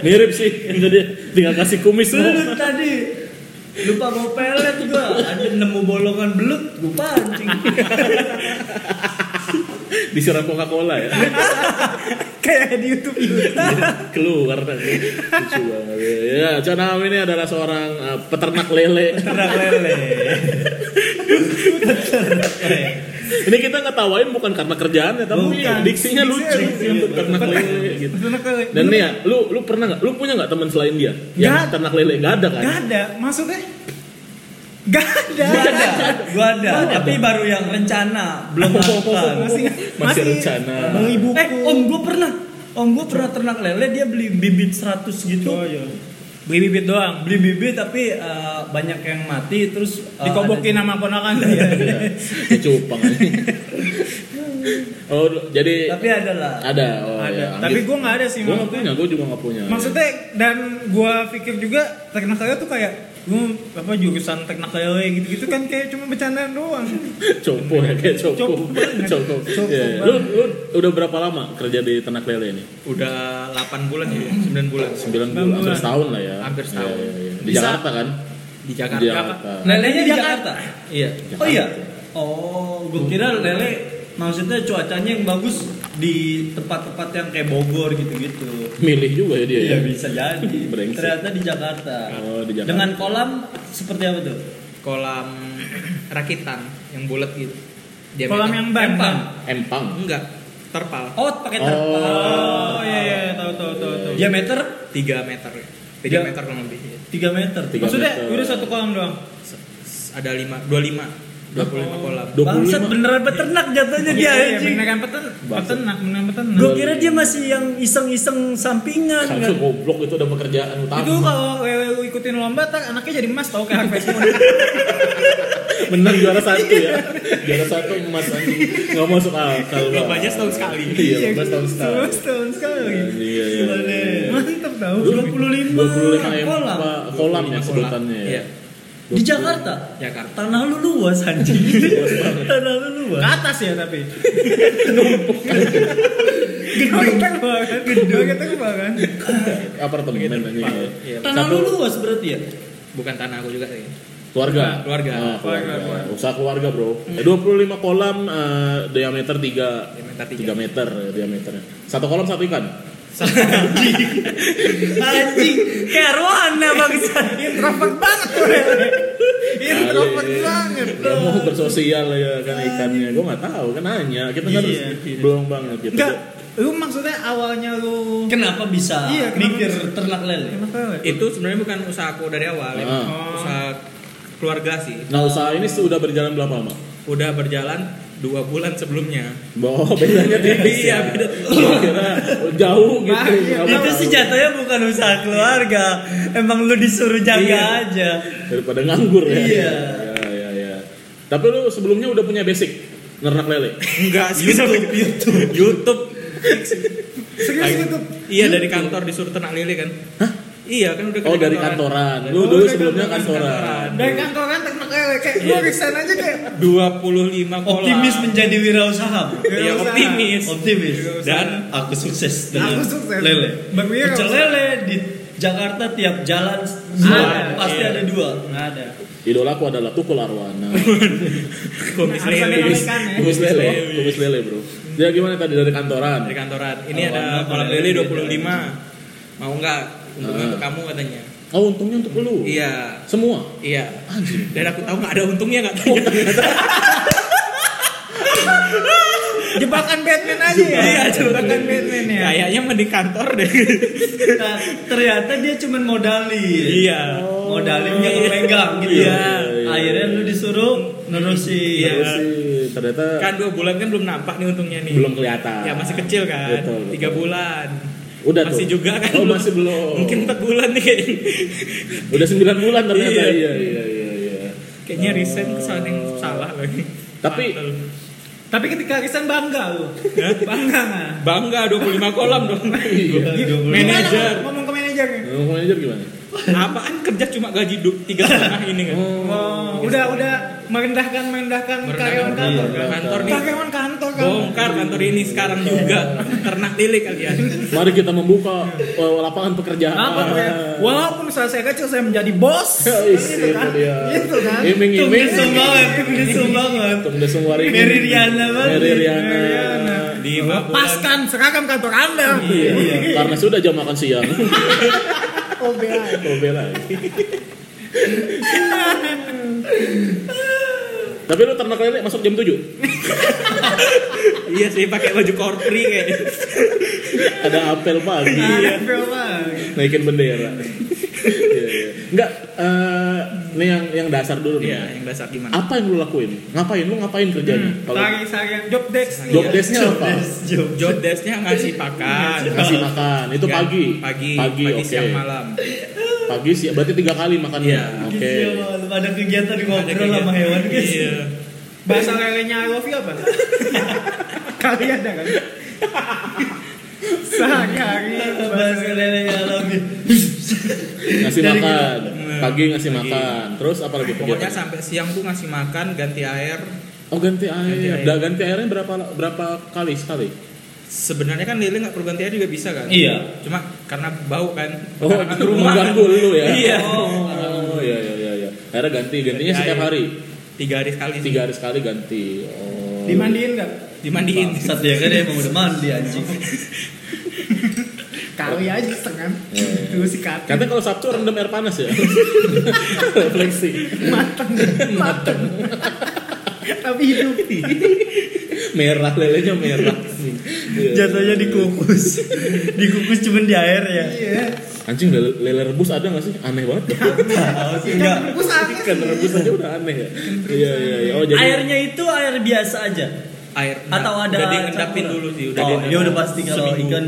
[SPEAKER 2] Mirip sih, itu dia. Tinggal kasih kumis
[SPEAKER 3] belut
[SPEAKER 2] doang.
[SPEAKER 3] tadi lupa bawa pelet gua ada nemu bolongan belut gua pancing
[SPEAKER 2] Disiram Coca-Cola ya.
[SPEAKER 1] kayak di YouTube itu.
[SPEAKER 2] keluar nanti lucu banget ya Canam ini adalah seorang eh, peternak lele
[SPEAKER 3] ternak lele
[SPEAKER 2] ini kita ngetawain bukan karena kerjaannya tapi
[SPEAKER 3] Bukan.
[SPEAKER 2] diksinya lucu Iya,
[SPEAKER 3] Diksinya
[SPEAKER 2] untuk peternak lele gitu
[SPEAKER 1] Peternak lele.
[SPEAKER 2] dan nih ya lu lu pernah nggak lu punya nggak teman selain dia
[SPEAKER 1] Nggak.
[SPEAKER 2] yang peternak lele nggak ada kan
[SPEAKER 1] Enggak ada, maksudnya enggak ada.
[SPEAKER 3] gua ada gua ada tapi baru yang rencana
[SPEAKER 1] Oh,
[SPEAKER 3] belum lakukan
[SPEAKER 1] Masih
[SPEAKER 2] Masih rencana.
[SPEAKER 1] Beli buku.
[SPEAKER 3] eh om gua pernah om gua pernah ternak lele dia beli bibit 100 gitu
[SPEAKER 2] Oh, iya.
[SPEAKER 1] Beli bibit doang.
[SPEAKER 3] beli bibit tapi eh, banyak yang mati terus
[SPEAKER 1] Oh,
[SPEAKER 3] eh,
[SPEAKER 1] Dikobokin
[SPEAKER 3] ada-
[SPEAKER 1] sama ponakan ya.
[SPEAKER 2] Iya. Ya, cupang aja. oh jadi
[SPEAKER 3] tapi ada lah
[SPEAKER 2] ada oh
[SPEAKER 1] Ada.
[SPEAKER 2] ya
[SPEAKER 1] Tapi gua enggak ada sih
[SPEAKER 2] gue nggak
[SPEAKER 1] maksudnya.
[SPEAKER 2] punya gue juga nggak punya
[SPEAKER 1] Maksudnya dan gua pikir juga teknik saya tuh kayak lu apa jurusan teknik lele gitu-gitu kan kayak cuma bercandaan doang.
[SPEAKER 2] copo ya kayak copo
[SPEAKER 1] Copo banget.
[SPEAKER 2] copo
[SPEAKER 1] Copo
[SPEAKER 2] Iya. lu lu udah berapa lama kerja di ternak lele ini
[SPEAKER 4] Udah 8 bulan ya, 9 bulan.
[SPEAKER 2] 9 bulan,
[SPEAKER 1] bulan.
[SPEAKER 2] hampir setahun lah ya.
[SPEAKER 4] Hampir setahun.
[SPEAKER 2] Iya, iya, iya. Di
[SPEAKER 4] Bisa.
[SPEAKER 2] Jakarta kan?
[SPEAKER 4] Di Jakarta.
[SPEAKER 2] Di
[SPEAKER 4] Pak.
[SPEAKER 2] Jakarta.
[SPEAKER 3] lelenya di Jakarta
[SPEAKER 4] Iya.
[SPEAKER 3] oh iya oh gua kira lele maksudnya cuacanya yang bagus di tempat-tempat yang kayak Bogor gitu-gitu
[SPEAKER 2] Milih juga ya dia.
[SPEAKER 3] Iya
[SPEAKER 2] ya?
[SPEAKER 3] bisa jadi.
[SPEAKER 2] Brengsek.
[SPEAKER 3] Ternyata di Jakarta.
[SPEAKER 2] Oh, di Jakarta.
[SPEAKER 3] Dengan kolam seperti apa tuh?
[SPEAKER 4] Kolam rakitan yang bulat gitu. Diameter.
[SPEAKER 1] Kolam yang
[SPEAKER 3] Empang.
[SPEAKER 1] bantang.
[SPEAKER 2] Empang.
[SPEAKER 4] enggak terpal.
[SPEAKER 3] Oh, pakai terpal.
[SPEAKER 1] Oh
[SPEAKER 2] Oh.
[SPEAKER 1] iya iya tahu tahu tahu tahu.
[SPEAKER 3] Diameter
[SPEAKER 4] 3 meter. 3
[SPEAKER 3] Tiga-
[SPEAKER 4] meter kurang lebih.
[SPEAKER 3] 3 meter.
[SPEAKER 2] Tiga.
[SPEAKER 1] Maksudnya
[SPEAKER 2] meter.
[SPEAKER 1] udah satu kolam doang.
[SPEAKER 4] Ada 5, 25. 25 kolam.
[SPEAKER 1] Iya,
[SPEAKER 2] 25.
[SPEAKER 3] Bangsat beneran peternak jatuhnya dia anjing.
[SPEAKER 1] beneran peten,
[SPEAKER 2] Bangsat.
[SPEAKER 1] peternak, beneran peternak.
[SPEAKER 3] Gue kira dia masih yang iseng-iseng sampingan.
[SPEAKER 2] Kacau
[SPEAKER 3] kan.
[SPEAKER 2] goblok itu udah pekerjaan utama.
[SPEAKER 1] Itu kalau lele lu ikutin lomba tak anaknya jadi emas tau kayak Harvest Moon.
[SPEAKER 2] Menang juara satu ya. juara satu emas anjing. Enggak masuk akal. Bang.
[SPEAKER 4] Lombanya setahun sekali.
[SPEAKER 2] Iya, lombanya setahun sekali.
[SPEAKER 1] Setahun setahun sekali.
[SPEAKER 2] Iya, iya. iya.
[SPEAKER 1] Mantap tau.
[SPEAKER 3] 25
[SPEAKER 2] 25 em-
[SPEAKER 3] kolam.
[SPEAKER 2] apa, kolam ya
[SPEAKER 4] Kolam.
[SPEAKER 2] sebutannya ya.
[SPEAKER 4] Iya. ya kan.
[SPEAKER 3] Di Jakarta.
[SPEAKER 4] Jakarta.
[SPEAKER 3] Tanah lu luas anjing.
[SPEAKER 1] Iya,
[SPEAKER 3] Tanah lu
[SPEAKER 1] Ke
[SPEAKER 3] luas.
[SPEAKER 1] atas ya tapi. Gedung kita kebangan. Gedung kita kebangan.
[SPEAKER 2] Apartemen anjing. ya.
[SPEAKER 4] Iya.
[SPEAKER 3] Tanah lu luas berarti ya?
[SPEAKER 4] Bukan tanah aku juga sih.
[SPEAKER 2] Keluarga.
[SPEAKER 4] Keluarga.
[SPEAKER 2] Ah, keluarga.
[SPEAKER 1] Keluarga.
[SPEAKER 2] Usaha keluarga, Bro. Eh, 25 kolam eh, diameter 3
[SPEAKER 4] Diameter
[SPEAKER 2] 3 meter ya, diameternya. Satu kolam satu ikan.
[SPEAKER 3] Anjing, kayak arwana bangsa.
[SPEAKER 1] Introvert banget tuh. lele.
[SPEAKER 2] Ah,
[SPEAKER 1] Introvert
[SPEAKER 2] Kali.
[SPEAKER 1] Iya, banget.
[SPEAKER 2] Gak iya, mau bersosial ya kan ikannya. Gue nggak tahu kan nanya. Kita
[SPEAKER 1] Iya,
[SPEAKER 2] kan harus belum banget gitu.
[SPEAKER 1] Enggak, lu maksudnya awalnya lu
[SPEAKER 3] Kenapa bisa
[SPEAKER 1] Iya, kenapa
[SPEAKER 3] mikir
[SPEAKER 1] bisa?
[SPEAKER 3] ternak lele?
[SPEAKER 1] Kenapa, Le?
[SPEAKER 4] Itu sebenarnya bukan usaha aku dari awal. ya.
[SPEAKER 2] Ah.
[SPEAKER 4] Usaha keluarga sih.
[SPEAKER 2] Nah usaha ini sudah berjalan berapa lama?
[SPEAKER 4] Udah berjalan 2 bulan sebelumnya.
[SPEAKER 2] Oh bedanya tipis
[SPEAKER 4] Iya,
[SPEAKER 2] ya.
[SPEAKER 4] beda.
[SPEAKER 2] Gua Kira jauh
[SPEAKER 1] Nah,
[SPEAKER 2] gitu.
[SPEAKER 1] iya.
[SPEAKER 2] Nggak
[SPEAKER 3] Itu
[SPEAKER 2] apa-apa.
[SPEAKER 3] sih jatuhnya bukan usaha keluarga. Emang lu disuruh jaga
[SPEAKER 4] Iya.
[SPEAKER 3] aja.
[SPEAKER 2] Daripada nganggur ya.
[SPEAKER 3] Iya.
[SPEAKER 2] Ya, ya, ya. Tapi lu sebelumnya udah punya basic nernak lele.
[SPEAKER 4] Enggak sih.
[SPEAKER 3] Gitu.
[SPEAKER 4] YouTube, YouTube. YouTube.
[SPEAKER 1] Serius gitu.
[SPEAKER 4] Iya dari kantor disuruh ternak lele kan. Hah? Iya kan udah
[SPEAKER 2] Oh dari
[SPEAKER 4] kantoran.
[SPEAKER 2] kantoran. Lu
[SPEAKER 1] Oh,
[SPEAKER 2] dulu
[SPEAKER 1] dari
[SPEAKER 2] sebelumnya
[SPEAKER 1] kantoran.
[SPEAKER 2] kantoran.
[SPEAKER 1] Dari kantor kan ternak lele kayak gua resign aja kayak
[SPEAKER 4] 25 kolam.
[SPEAKER 3] Optimis menjadi wirausaha.
[SPEAKER 4] Iya
[SPEAKER 1] Wirausaha.
[SPEAKER 4] optimis.
[SPEAKER 3] Optimis.
[SPEAKER 1] Wirausaha.
[SPEAKER 3] Dan aku sukses dengan
[SPEAKER 1] Aku sukses.
[SPEAKER 3] lele.
[SPEAKER 1] Bang Wira.
[SPEAKER 3] Pecel lele di Jakarta tiap jalan
[SPEAKER 1] Ada.
[SPEAKER 3] pasti
[SPEAKER 4] Iya.
[SPEAKER 3] ada dua.
[SPEAKER 1] Enggak ada.
[SPEAKER 2] Idolaku adalah Tukul Arwana.
[SPEAKER 4] Komis
[SPEAKER 1] Harus ada
[SPEAKER 4] lele.
[SPEAKER 1] ikan ya.
[SPEAKER 2] Kumis lele,
[SPEAKER 4] Iya.
[SPEAKER 2] kumis lele bro. Ya gimana tadi dari kantoran?
[SPEAKER 4] Dari kantoran. Ini
[SPEAKER 3] Oh,
[SPEAKER 4] ada
[SPEAKER 3] warna
[SPEAKER 4] kolam
[SPEAKER 3] lele
[SPEAKER 4] lele
[SPEAKER 3] beda.
[SPEAKER 4] 25. Mau nggak? Untungnya
[SPEAKER 2] Ah.
[SPEAKER 4] untuk kamu katanya.
[SPEAKER 2] Oh untungnya untuk lu.
[SPEAKER 4] Iya.
[SPEAKER 2] Semua.
[SPEAKER 4] Iya. Dan aku tahu nggak ada untungnya nggak
[SPEAKER 2] Oh,
[SPEAKER 4] tanya.
[SPEAKER 1] Jebakan Batman aja ya.
[SPEAKER 4] Iya,
[SPEAKER 2] Oh.
[SPEAKER 1] jebakan Batman ya.
[SPEAKER 4] Kayaknya mah di kantor deh.
[SPEAKER 3] Nah, ternyata dia cuman modalin.
[SPEAKER 4] Iya.
[SPEAKER 3] Modalin yang lu pegang gitu.
[SPEAKER 2] Iya.
[SPEAKER 3] Akhirnya lu disuruh nerusin.
[SPEAKER 4] Iya.
[SPEAKER 2] Terus sih ternyata
[SPEAKER 4] Kan dua bulan kan belum nampak nih untungnya nih.
[SPEAKER 2] belum kelihatan.
[SPEAKER 4] Ya masih kecil kan.
[SPEAKER 2] Betul, betul.
[SPEAKER 4] Tiga bulan.
[SPEAKER 2] Udah
[SPEAKER 4] masih
[SPEAKER 2] tuh.
[SPEAKER 4] juga kan.
[SPEAKER 2] Oh
[SPEAKER 4] belum-
[SPEAKER 2] masih belum.
[SPEAKER 4] Mungkin empat bulan nih kayaknya.
[SPEAKER 2] Udah 9 bulan ternyata.
[SPEAKER 4] Iya.
[SPEAKER 2] Iya iya iya. iya.
[SPEAKER 4] Kayaknya
[SPEAKER 2] Oh.
[SPEAKER 4] resign kesalahan yang salah lagi.
[SPEAKER 2] Tapi-
[SPEAKER 4] Fatal.
[SPEAKER 1] Tapi ketika resign bangga lu. bangga nggak?
[SPEAKER 4] bangga 25 kolam dong.
[SPEAKER 2] Iya.
[SPEAKER 4] Manajer.
[SPEAKER 1] Gimana, Ngomong ke manajernya.
[SPEAKER 2] Ngomong manajer gimana?
[SPEAKER 4] Apaan kerja cuma gaji du- tiga setengah ini kan.
[SPEAKER 1] Oh, udah udah merendahkan merendahkan karyawan kantor.
[SPEAKER 4] Merendahkan Iya. kantor nih.
[SPEAKER 1] Karyawan kantor kan.
[SPEAKER 4] Bongkar kantor ini sekarang juga ternak lele kalian.
[SPEAKER 2] Mari kita membuka eh, lapangan pekerjaan.
[SPEAKER 1] Apa tuh ya? Walaupun usaha saya kecil saya menjadi bos.
[SPEAKER 3] Iya,
[SPEAKER 2] Ya,
[SPEAKER 1] Kan
[SPEAKER 2] is,
[SPEAKER 1] gitu
[SPEAKER 2] itu
[SPEAKER 1] kan.
[SPEAKER 2] dia.
[SPEAKER 1] Gitu kan.
[SPEAKER 2] Iming-iming.
[SPEAKER 3] Tumben banget, tumben banget.
[SPEAKER 2] Tumben semua hari ini.
[SPEAKER 3] Mary Riana banget.
[SPEAKER 2] Mary Riana.
[SPEAKER 1] Mary Riana.
[SPEAKER 4] Lima bulan.
[SPEAKER 1] Lepaskan seragam kantor Anda.
[SPEAKER 2] Iya, Karena sudah jam makan siang. Oh,
[SPEAKER 1] OBA.
[SPEAKER 2] Tobel lagi. Tapi lu ternak lele masuk jam 7
[SPEAKER 4] Iya sih pakai baju korpri kayaknya.
[SPEAKER 2] Ada apel pagi
[SPEAKER 1] Ada film.
[SPEAKER 2] Naikin bendera Iya, iya. Enggak eh, Ini yang, yang dasar dulu nih
[SPEAKER 4] Iya, yang dasar gimana?
[SPEAKER 2] Apa yang lu lakuin? Ngapain? Lu ngapain kerjanya? Kalau
[SPEAKER 1] Hmm. Lagi seharian job desk nih.
[SPEAKER 2] job desk-nya apa?
[SPEAKER 3] Job.
[SPEAKER 4] Job desk-nya ngasih pakan.
[SPEAKER 2] Kasih makan, itu
[SPEAKER 4] Nggak,
[SPEAKER 2] pagi?
[SPEAKER 4] Pagi,
[SPEAKER 2] Pagi, oke
[SPEAKER 4] siang malam.
[SPEAKER 2] Pagi siang, berarti tiga kali makan
[SPEAKER 4] Iya.
[SPEAKER 2] Oke
[SPEAKER 3] Gila, Ada kegiatan
[SPEAKER 4] Ada
[SPEAKER 3] ngobrol
[SPEAKER 4] kegiatan.
[SPEAKER 3] sama hewan guys.
[SPEAKER 4] Iya.
[SPEAKER 1] Bahasa lelenya I love you apa? Kali ada kan? Sehari-hari bahasa
[SPEAKER 3] Bahasa lele yang alami.
[SPEAKER 2] Ngasih
[SPEAKER 3] Dari
[SPEAKER 2] makan
[SPEAKER 4] gitu.
[SPEAKER 2] Pagi ngasih
[SPEAKER 4] Pagi.
[SPEAKER 2] makan Terus apa lagi
[SPEAKER 4] Pokoknya
[SPEAKER 2] kegiatannya?
[SPEAKER 4] sampai siang tuh ngasih makan, ganti air.
[SPEAKER 2] Oh ganti air.
[SPEAKER 4] Ganti
[SPEAKER 2] Ganti
[SPEAKER 4] air.
[SPEAKER 2] ganti airnya berapa berapa kali sekali?
[SPEAKER 4] Sebenarnya kan lele nggak perlu ganti air juga bisa kan?
[SPEAKER 3] Iya.
[SPEAKER 4] Cuma karena bau kan.
[SPEAKER 2] Oh,
[SPEAKER 4] karangan
[SPEAKER 2] itu mengganggu lu ya?
[SPEAKER 4] Iya.
[SPEAKER 2] Oh iya iya iya. iya. Akhirnya ganti gantinya
[SPEAKER 4] Ganti
[SPEAKER 2] setiap
[SPEAKER 4] air.
[SPEAKER 2] hari.
[SPEAKER 4] Tiga hari sekali. sih.
[SPEAKER 2] Tiga hari sekali ganti. Oh.
[SPEAKER 1] dimandiin nggak?
[SPEAKER 4] Dimandiin.
[SPEAKER 3] Saat dia kan emang udah mandi anjing.
[SPEAKER 1] Kali aja setengah.
[SPEAKER 2] Iya, iya.
[SPEAKER 1] Dulu sikat.
[SPEAKER 2] Katanya kalau Sabtu rendam air panas ya. Refleksi.
[SPEAKER 1] Mateng, mateng. Tapi hidup.
[SPEAKER 3] Iya.
[SPEAKER 2] Merah lelenya merah. Iya.
[SPEAKER 3] Jatuhnya dikukus. Dikukus cuman di air ya.
[SPEAKER 1] Iya.
[SPEAKER 2] Anjing lele, lele rebus ada nggak sih? Aneh banget.
[SPEAKER 3] Tahu sih enggak.
[SPEAKER 1] Kan rebus aneh
[SPEAKER 2] Ikan
[SPEAKER 1] sih.
[SPEAKER 2] rebus aja udah aneh ya. Iya iya iya. Oh jadi
[SPEAKER 3] Airnya itu air biasa aja
[SPEAKER 4] Air.
[SPEAKER 3] atau ada
[SPEAKER 4] Udah diendapin
[SPEAKER 3] campuran?
[SPEAKER 4] dulu sih.
[SPEAKER 3] oh,
[SPEAKER 4] diendapin.
[SPEAKER 3] ya udah pasti kalau
[SPEAKER 4] Seminggu.
[SPEAKER 3] ikan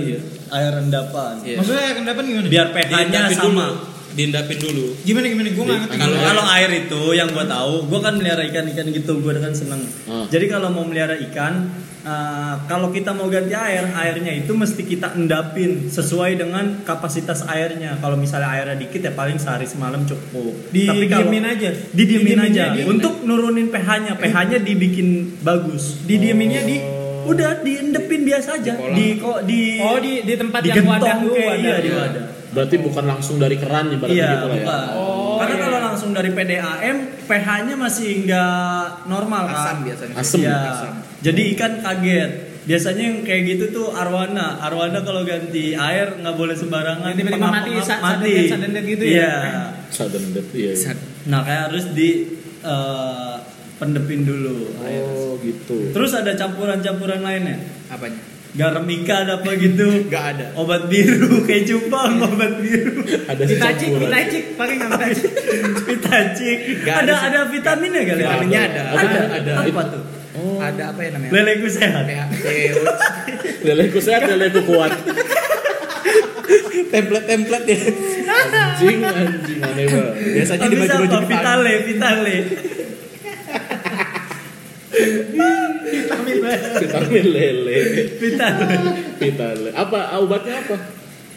[SPEAKER 3] air endapan.
[SPEAKER 4] Iya.
[SPEAKER 1] Maksudnya kendapan gimana?
[SPEAKER 3] Biar pH-nya
[SPEAKER 4] Diendapin dulu.
[SPEAKER 3] sama.
[SPEAKER 4] Diendapin dulu.
[SPEAKER 1] Gimana gimana gue nggak ngerti.
[SPEAKER 2] Iya.
[SPEAKER 4] Kalau-
[SPEAKER 3] Kalau air itu yang gua tahu, gua kan melihara ikan-ikan gitu, gua kan seneng.
[SPEAKER 2] Hmm.
[SPEAKER 3] Jadi kalau mau melihara ikan, eh, kalau kita mau ganti air, airnya itu mesti kita endapin sesuai dengan kapasitas airnya. Kalau misalnya airnya dikit ya paling sehari semalam cukup. Tapi kalau
[SPEAKER 1] Didiemin aja.
[SPEAKER 3] didiemin aja
[SPEAKER 1] aja.
[SPEAKER 3] untuk nurunin pH-nya. pH-nya dibikin bagus.
[SPEAKER 1] Didieminnya di
[SPEAKER 3] Udah diendepin biasa aja.
[SPEAKER 4] kolam.
[SPEAKER 3] Di kok di
[SPEAKER 1] Oh di di tempat yang
[SPEAKER 3] digentong
[SPEAKER 1] wadah lu
[SPEAKER 3] kayak- iya, di
[SPEAKER 1] wadah.
[SPEAKER 3] wadah.
[SPEAKER 2] berarti bukan langsung dari keran ibaratnya
[SPEAKER 3] Iya,
[SPEAKER 2] gitu lah ya.
[SPEAKER 3] bukan. Karena kalau langsung dari PDAM, pH-nya masih nggak normal kan?
[SPEAKER 4] Asam biasanya.
[SPEAKER 2] Asam.
[SPEAKER 3] Iya.
[SPEAKER 4] Asam.
[SPEAKER 3] Jadi ikan kaget. Biasanya yang kayak gitu tuh arwana. Arwana kalau ganti air nggak boleh sembarangan.
[SPEAKER 1] Yang tiba-tiba
[SPEAKER 3] Pengap-
[SPEAKER 1] mati,
[SPEAKER 3] pengap-
[SPEAKER 1] sa-
[SPEAKER 3] mati.
[SPEAKER 1] sadendet- sadendet gitu ya?
[SPEAKER 3] Iya.
[SPEAKER 2] Sudden death iya. iya.
[SPEAKER 3] Nah, kayak harus di eh, pendepin dulu air.
[SPEAKER 2] Oh gitu.
[SPEAKER 3] Terus ada campuran-campuran lainnya.
[SPEAKER 4] Apanya?
[SPEAKER 3] Garam ikan apa gitu.
[SPEAKER 4] Gak ada.
[SPEAKER 3] Obat biru, keju bang, obat biru.
[SPEAKER 2] Ada sih
[SPEAKER 1] Ditacik,
[SPEAKER 2] campuran.
[SPEAKER 1] ditacik, pakai nggak ditacik.
[SPEAKER 3] Vitacik.
[SPEAKER 4] Gak
[SPEAKER 3] Ada
[SPEAKER 4] ada
[SPEAKER 3] ada vitaminnya kali. ya?
[SPEAKER 4] Vitaminnya ada.
[SPEAKER 2] Ada,
[SPEAKER 4] Ada.
[SPEAKER 2] ada.
[SPEAKER 3] Apa tuh?
[SPEAKER 2] Oh,
[SPEAKER 4] Ada apa ya namanya?
[SPEAKER 3] Leleku sehat.
[SPEAKER 4] PHP.
[SPEAKER 2] Leleku sehat, leleku kuat.
[SPEAKER 4] Template-template ya.
[SPEAKER 2] Anjing, anjing aneh banget.
[SPEAKER 4] Biasanya di
[SPEAKER 3] Tapi
[SPEAKER 4] baju-baju
[SPEAKER 3] apa?
[SPEAKER 4] depan.
[SPEAKER 3] Vitale, Vitale. vitamin lele
[SPEAKER 2] Vitamin lele.
[SPEAKER 3] vitamin
[SPEAKER 2] Vitamin lele. Apa obatnya apa?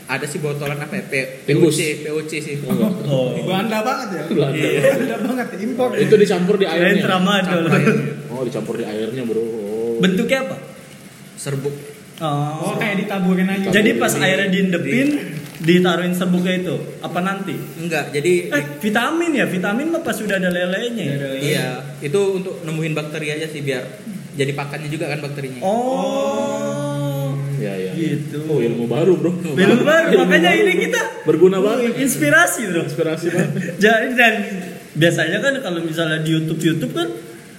[SPEAKER 4] Ada sih botolan apa ya? P-
[SPEAKER 2] Timbus.
[SPEAKER 4] POC, POC sih.
[SPEAKER 2] Enggak.
[SPEAKER 3] oh
[SPEAKER 1] Belanda banget ya.
[SPEAKER 2] Belanda.
[SPEAKER 3] Iya.
[SPEAKER 1] Belanda banget ya, impor.
[SPEAKER 2] Itu dicampur di
[SPEAKER 3] lain
[SPEAKER 2] airnya.
[SPEAKER 3] tramadol
[SPEAKER 2] Oh, dicampur di airnya, Bro. Oh.
[SPEAKER 3] bentuknya apa
[SPEAKER 4] Serbuk.
[SPEAKER 3] oh,
[SPEAKER 1] Oh, kayak ditaburin aja.
[SPEAKER 3] jadi pas airnya diendepin ditaruhin serbuknya itu apa nanti
[SPEAKER 4] Enggak, jadi
[SPEAKER 3] eh vitamin ya vitamin mah pas sudah ada lelenya ya?
[SPEAKER 4] iya, itu untuk nemuin bakteri aja sih biar jadi pakannya juga kan bakterinya.
[SPEAKER 3] oh
[SPEAKER 2] Ya, ya.
[SPEAKER 3] Gitu.
[SPEAKER 2] Oh, ilmu baru, Bro.
[SPEAKER 3] belum baru makanya ini kita
[SPEAKER 2] berguna banget.
[SPEAKER 3] inspirasi terus
[SPEAKER 2] Inspirasi banget.
[SPEAKER 3] jadi dan biasanya kan kalau misalnya di YouTube YouTube kan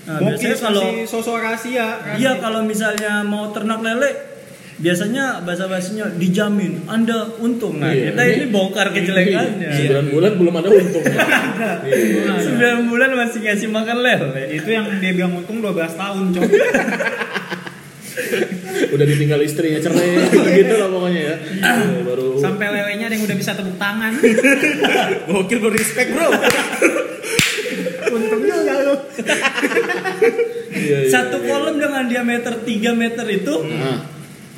[SPEAKER 3] nah, biasanya kalau
[SPEAKER 1] sosok rahasia.
[SPEAKER 3] iya kalau misalnya mau ternak lele biasanya bahasa bahasanya dijamin anda untung nah
[SPEAKER 2] Iya.
[SPEAKER 3] kita ini bongkar kejelekannya
[SPEAKER 2] Sembilan bulan belum ada untungnya. Iya.
[SPEAKER 3] Nah, sembilan bulan masih ngasih makan lele
[SPEAKER 1] Itu yang dia bilang untung 12 tahun, Cok.
[SPEAKER 2] Udah ditinggal istrinya cerai gitu lah pokoknya ya. Iya, Baru
[SPEAKER 1] Sampai lelenya ada yang udah bisa tepuk tangan.
[SPEAKER 4] Gokil bro, respect bro.
[SPEAKER 1] Untung juga lu.
[SPEAKER 2] Iya, iya,
[SPEAKER 3] satu
[SPEAKER 2] iya.
[SPEAKER 3] kolam dengan diameter 3 meter itu
[SPEAKER 2] Nah,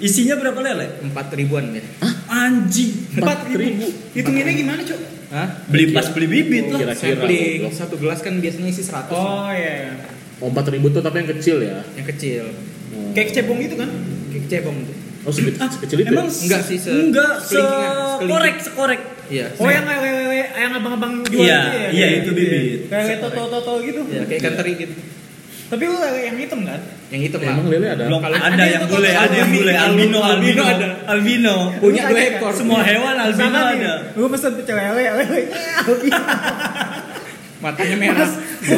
[SPEAKER 3] isinya berapa lele
[SPEAKER 4] Empat ribuan ya.
[SPEAKER 3] anjing
[SPEAKER 2] empat ribu.
[SPEAKER 1] Hitunginnya gimana, Cok?
[SPEAKER 4] Hah?
[SPEAKER 3] beli pas beli bibit lah
[SPEAKER 2] Kira-kira.
[SPEAKER 4] Sampling
[SPEAKER 2] goblok.
[SPEAKER 4] satu gelas kan biasanya isi 100
[SPEAKER 1] Oh iya.
[SPEAKER 2] Oh, empat ribu tuh tapi yang kecil ya.
[SPEAKER 4] yang kecil.
[SPEAKER 2] Oh.
[SPEAKER 1] Kayak cebong gitu kan?
[SPEAKER 4] Kayak cebong tuh.
[SPEAKER 2] Oh, segitu-
[SPEAKER 3] Ah,
[SPEAKER 2] sekecil itu. ya?
[SPEAKER 3] emang
[SPEAKER 4] Enggak sih, se-
[SPEAKER 3] enggak
[SPEAKER 4] sekelingkingan,
[SPEAKER 3] sekorek sekorek
[SPEAKER 4] Iya.
[SPEAKER 1] Oh yang lele yang abang-abang jual
[SPEAKER 3] Iya,
[SPEAKER 1] gitu ya?
[SPEAKER 3] iya, itu Iya, bibit.
[SPEAKER 1] Lele toto-toto gitu.
[SPEAKER 4] Ya, kayak ikan teri gitu.
[SPEAKER 1] Tapi lu lele yang hitam kan?
[SPEAKER 4] Yang hitam lah.
[SPEAKER 2] Iya, Emang lele ada?
[SPEAKER 3] Blok,
[SPEAKER 1] Kalau-
[SPEAKER 3] ada,
[SPEAKER 1] ada
[SPEAKER 3] yang
[SPEAKER 1] yang
[SPEAKER 3] bule,
[SPEAKER 1] toto-
[SPEAKER 3] ada yang bule, albino,
[SPEAKER 1] albino, albino
[SPEAKER 3] albino, ada, albino.
[SPEAKER 4] Punya
[SPEAKER 1] Lu
[SPEAKER 4] dua
[SPEAKER 1] sakit
[SPEAKER 4] ekor.
[SPEAKER 3] Semua hewan albino
[SPEAKER 1] Misalkan
[SPEAKER 3] ada.
[SPEAKER 1] nih, Lu pesen pecel lele, lele. albino.
[SPEAKER 4] Matanya merah.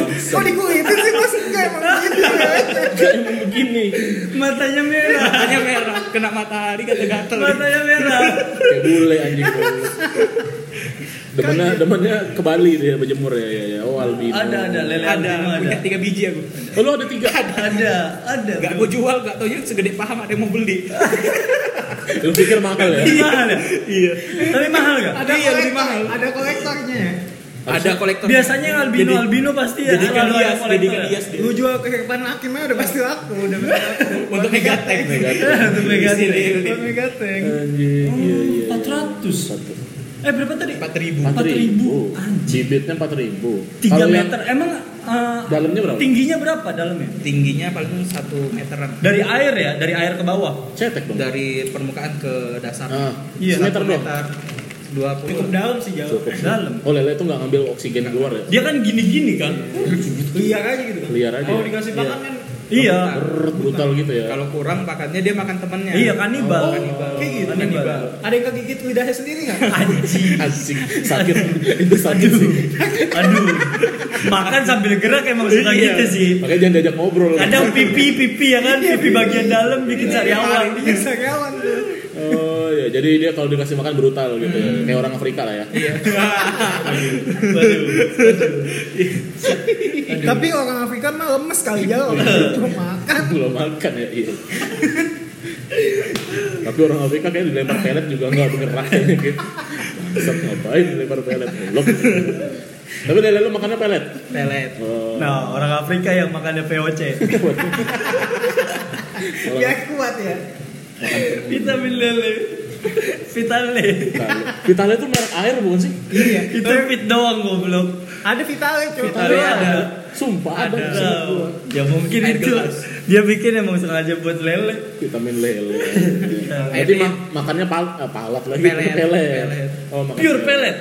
[SPEAKER 1] Kok dikulitin sih, Mas? Enggak emang gitu.
[SPEAKER 3] Iya,
[SPEAKER 2] emang begini.
[SPEAKER 3] Matanya merah,
[SPEAKER 4] Matanya merah. Kena matahari gatel-gatel.
[SPEAKER 3] matanya merah.
[SPEAKER 2] Kayak bule anjing. bule. Demennya, demennya ke Bali dia berjemur ya, ya, ya. Oh, albino.
[SPEAKER 3] Ada, ada, lele
[SPEAKER 4] Ada,
[SPEAKER 3] albino ada.
[SPEAKER 4] punya tiga biji aku.
[SPEAKER 2] Oh, lu ada tiga.
[SPEAKER 3] Ada, ada.
[SPEAKER 4] Gak gue jual, gak taunya segede paham ada yang mau beli.
[SPEAKER 2] Lu pikir mahal ya?
[SPEAKER 3] Iya, ada. Iya. Tapi mahal gak?
[SPEAKER 1] Ada
[SPEAKER 4] Iya, lebih
[SPEAKER 1] kolektor-
[SPEAKER 4] mahal.
[SPEAKER 1] Ada kolektornya ya.
[SPEAKER 4] Ada kolektor.
[SPEAKER 3] Biasanya yang albino,
[SPEAKER 4] Jadi-
[SPEAKER 3] albino pasti ya.
[SPEAKER 4] jadi
[SPEAKER 3] ada- ada
[SPEAKER 4] kadias, jadi
[SPEAKER 3] kolektor ya.
[SPEAKER 4] kadias dia.
[SPEAKER 1] Lu jual ke depan hakimnya udah pasti laku, udah pasti laku.
[SPEAKER 4] Untuk megateng.
[SPEAKER 3] Untuk megateng.
[SPEAKER 1] Buat megateng.
[SPEAKER 2] Anjing, iya, iya.
[SPEAKER 3] Empat ratus. Eh berapa tadi?
[SPEAKER 4] 4000.
[SPEAKER 2] Empat ribu.
[SPEAKER 3] Anjing.
[SPEAKER 2] Bibitnya empat ribu.
[SPEAKER 3] 3 meter. Emang eh,
[SPEAKER 2] Dalamnya berapa?
[SPEAKER 3] Tingginya berapa dalamnya?
[SPEAKER 4] Tingginya paling satu meteran.
[SPEAKER 3] Dari air ya, dari air ke bawah.
[SPEAKER 2] Cetek dong.
[SPEAKER 4] Dari permukaan ke dasar.
[SPEAKER 2] Ah,
[SPEAKER 3] Iya,
[SPEAKER 4] Satu
[SPEAKER 2] semeter dong.
[SPEAKER 4] meter. Dua
[SPEAKER 1] Cukup
[SPEAKER 4] puluh.
[SPEAKER 1] dalam sih jauh.
[SPEAKER 2] Cukup.
[SPEAKER 3] Dalam.
[SPEAKER 2] Oh lele itu nggak ngambil oksigen keluar ya?
[SPEAKER 3] Dia kan gini-gini kan?
[SPEAKER 1] Liar aja gitu kan.
[SPEAKER 2] Liar aja.
[SPEAKER 1] Kalau
[SPEAKER 2] ya?
[SPEAKER 1] dikasih
[SPEAKER 2] Iya.
[SPEAKER 1] makan kan
[SPEAKER 3] Iya.
[SPEAKER 2] Brrrt, brutal gitu ya.
[SPEAKER 4] Kalau kurang pakannya dia makan temennya.
[SPEAKER 3] Iya kanibal.
[SPEAKER 1] Oh,
[SPEAKER 4] kanibal.
[SPEAKER 1] kayak gitu.
[SPEAKER 3] Kanibal.
[SPEAKER 1] Ada yang kegigit lidahnya sendiri nggak?
[SPEAKER 3] Anjing.
[SPEAKER 2] Asik, sakit. itu sakit sih.
[SPEAKER 3] Aduh. Makan sambil gerak emang suka
[SPEAKER 2] Iya.
[SPEAKER 3] gitu sih.
[SPEAKER 2] Makanya jangan diajak ngobrol.
[SPEAKER 3] Kadang pipi pipi ya kan, pipi bagian dalam bikin sariawan.
[SPEAKER 1] Iya, sariawan tuh.
[SPEAKER 2] Oh ya, jadi dia kalau dikasih makan brutal gitu ya.
[SPEAKER 3] Hmm.
[SPEAKER 2] Kayak orang Afrika lah ya.
[SPEAKER 3] Iya. Waduh.
[SPEAKER 1] Tapi orang Afrika mah lemes kali ya, orang
[SPEAKER 3] Iya.
[SPEAKER 1] itu makan.
[SPEAKER 2] Belum makan ya, iya. Tapi orang Afrika kayak dilempar pelet juga nggak bergerak gitu. Set ngapain dilempar pelet? Belum. Tapi lele lu makannya pelet.
[SPEAKER 4] Pelet.
[SPEAKER 2] Oh.
[SPEAKER 3] Nah, orang Afrika yang makannya VOC.
[SPEAKER 2] Orang
[SPEAKER 1] Biar kuat ya.
[SPEAKER 3] Vitamin lele. Vitamin lele.
[SPEAKER 2] Vitale. Vitale itu merek air bukan sih?
[SPEAKER 1] Iya.
[SPEAKER 3] Itu fit doang goblok.
[SPEAKER 1] Ada Vitale coba.
[SPEAKER 3] Vitale ada.
[SPEAKER 2] Sumpah ada.
[SPEAKER 3] Ada.
[SPEAKER 2] Sumpah gua.
[SPEAKER 3] Ya mungkin
[SPEAKER 4] Air
[SPEAKER 3] itu.
[SPEAKER 4] gelas.
[SPEAKER 3] Dia bikin emang sengaja buat lele.
[SPEAKER 2] Vitamin lele.
[SPEAKER 3] Vitamin.
[SPEAKER 2] Jadi ma- makannya pal eh, palak lagi
[SPEAKER 4] Pelet.
[SPEAKER 2] pelet.
[SPEAKER 4] Pelet.
[SPEAKER 2] Oh, makan
[SPEAKER 3] Pure pelet.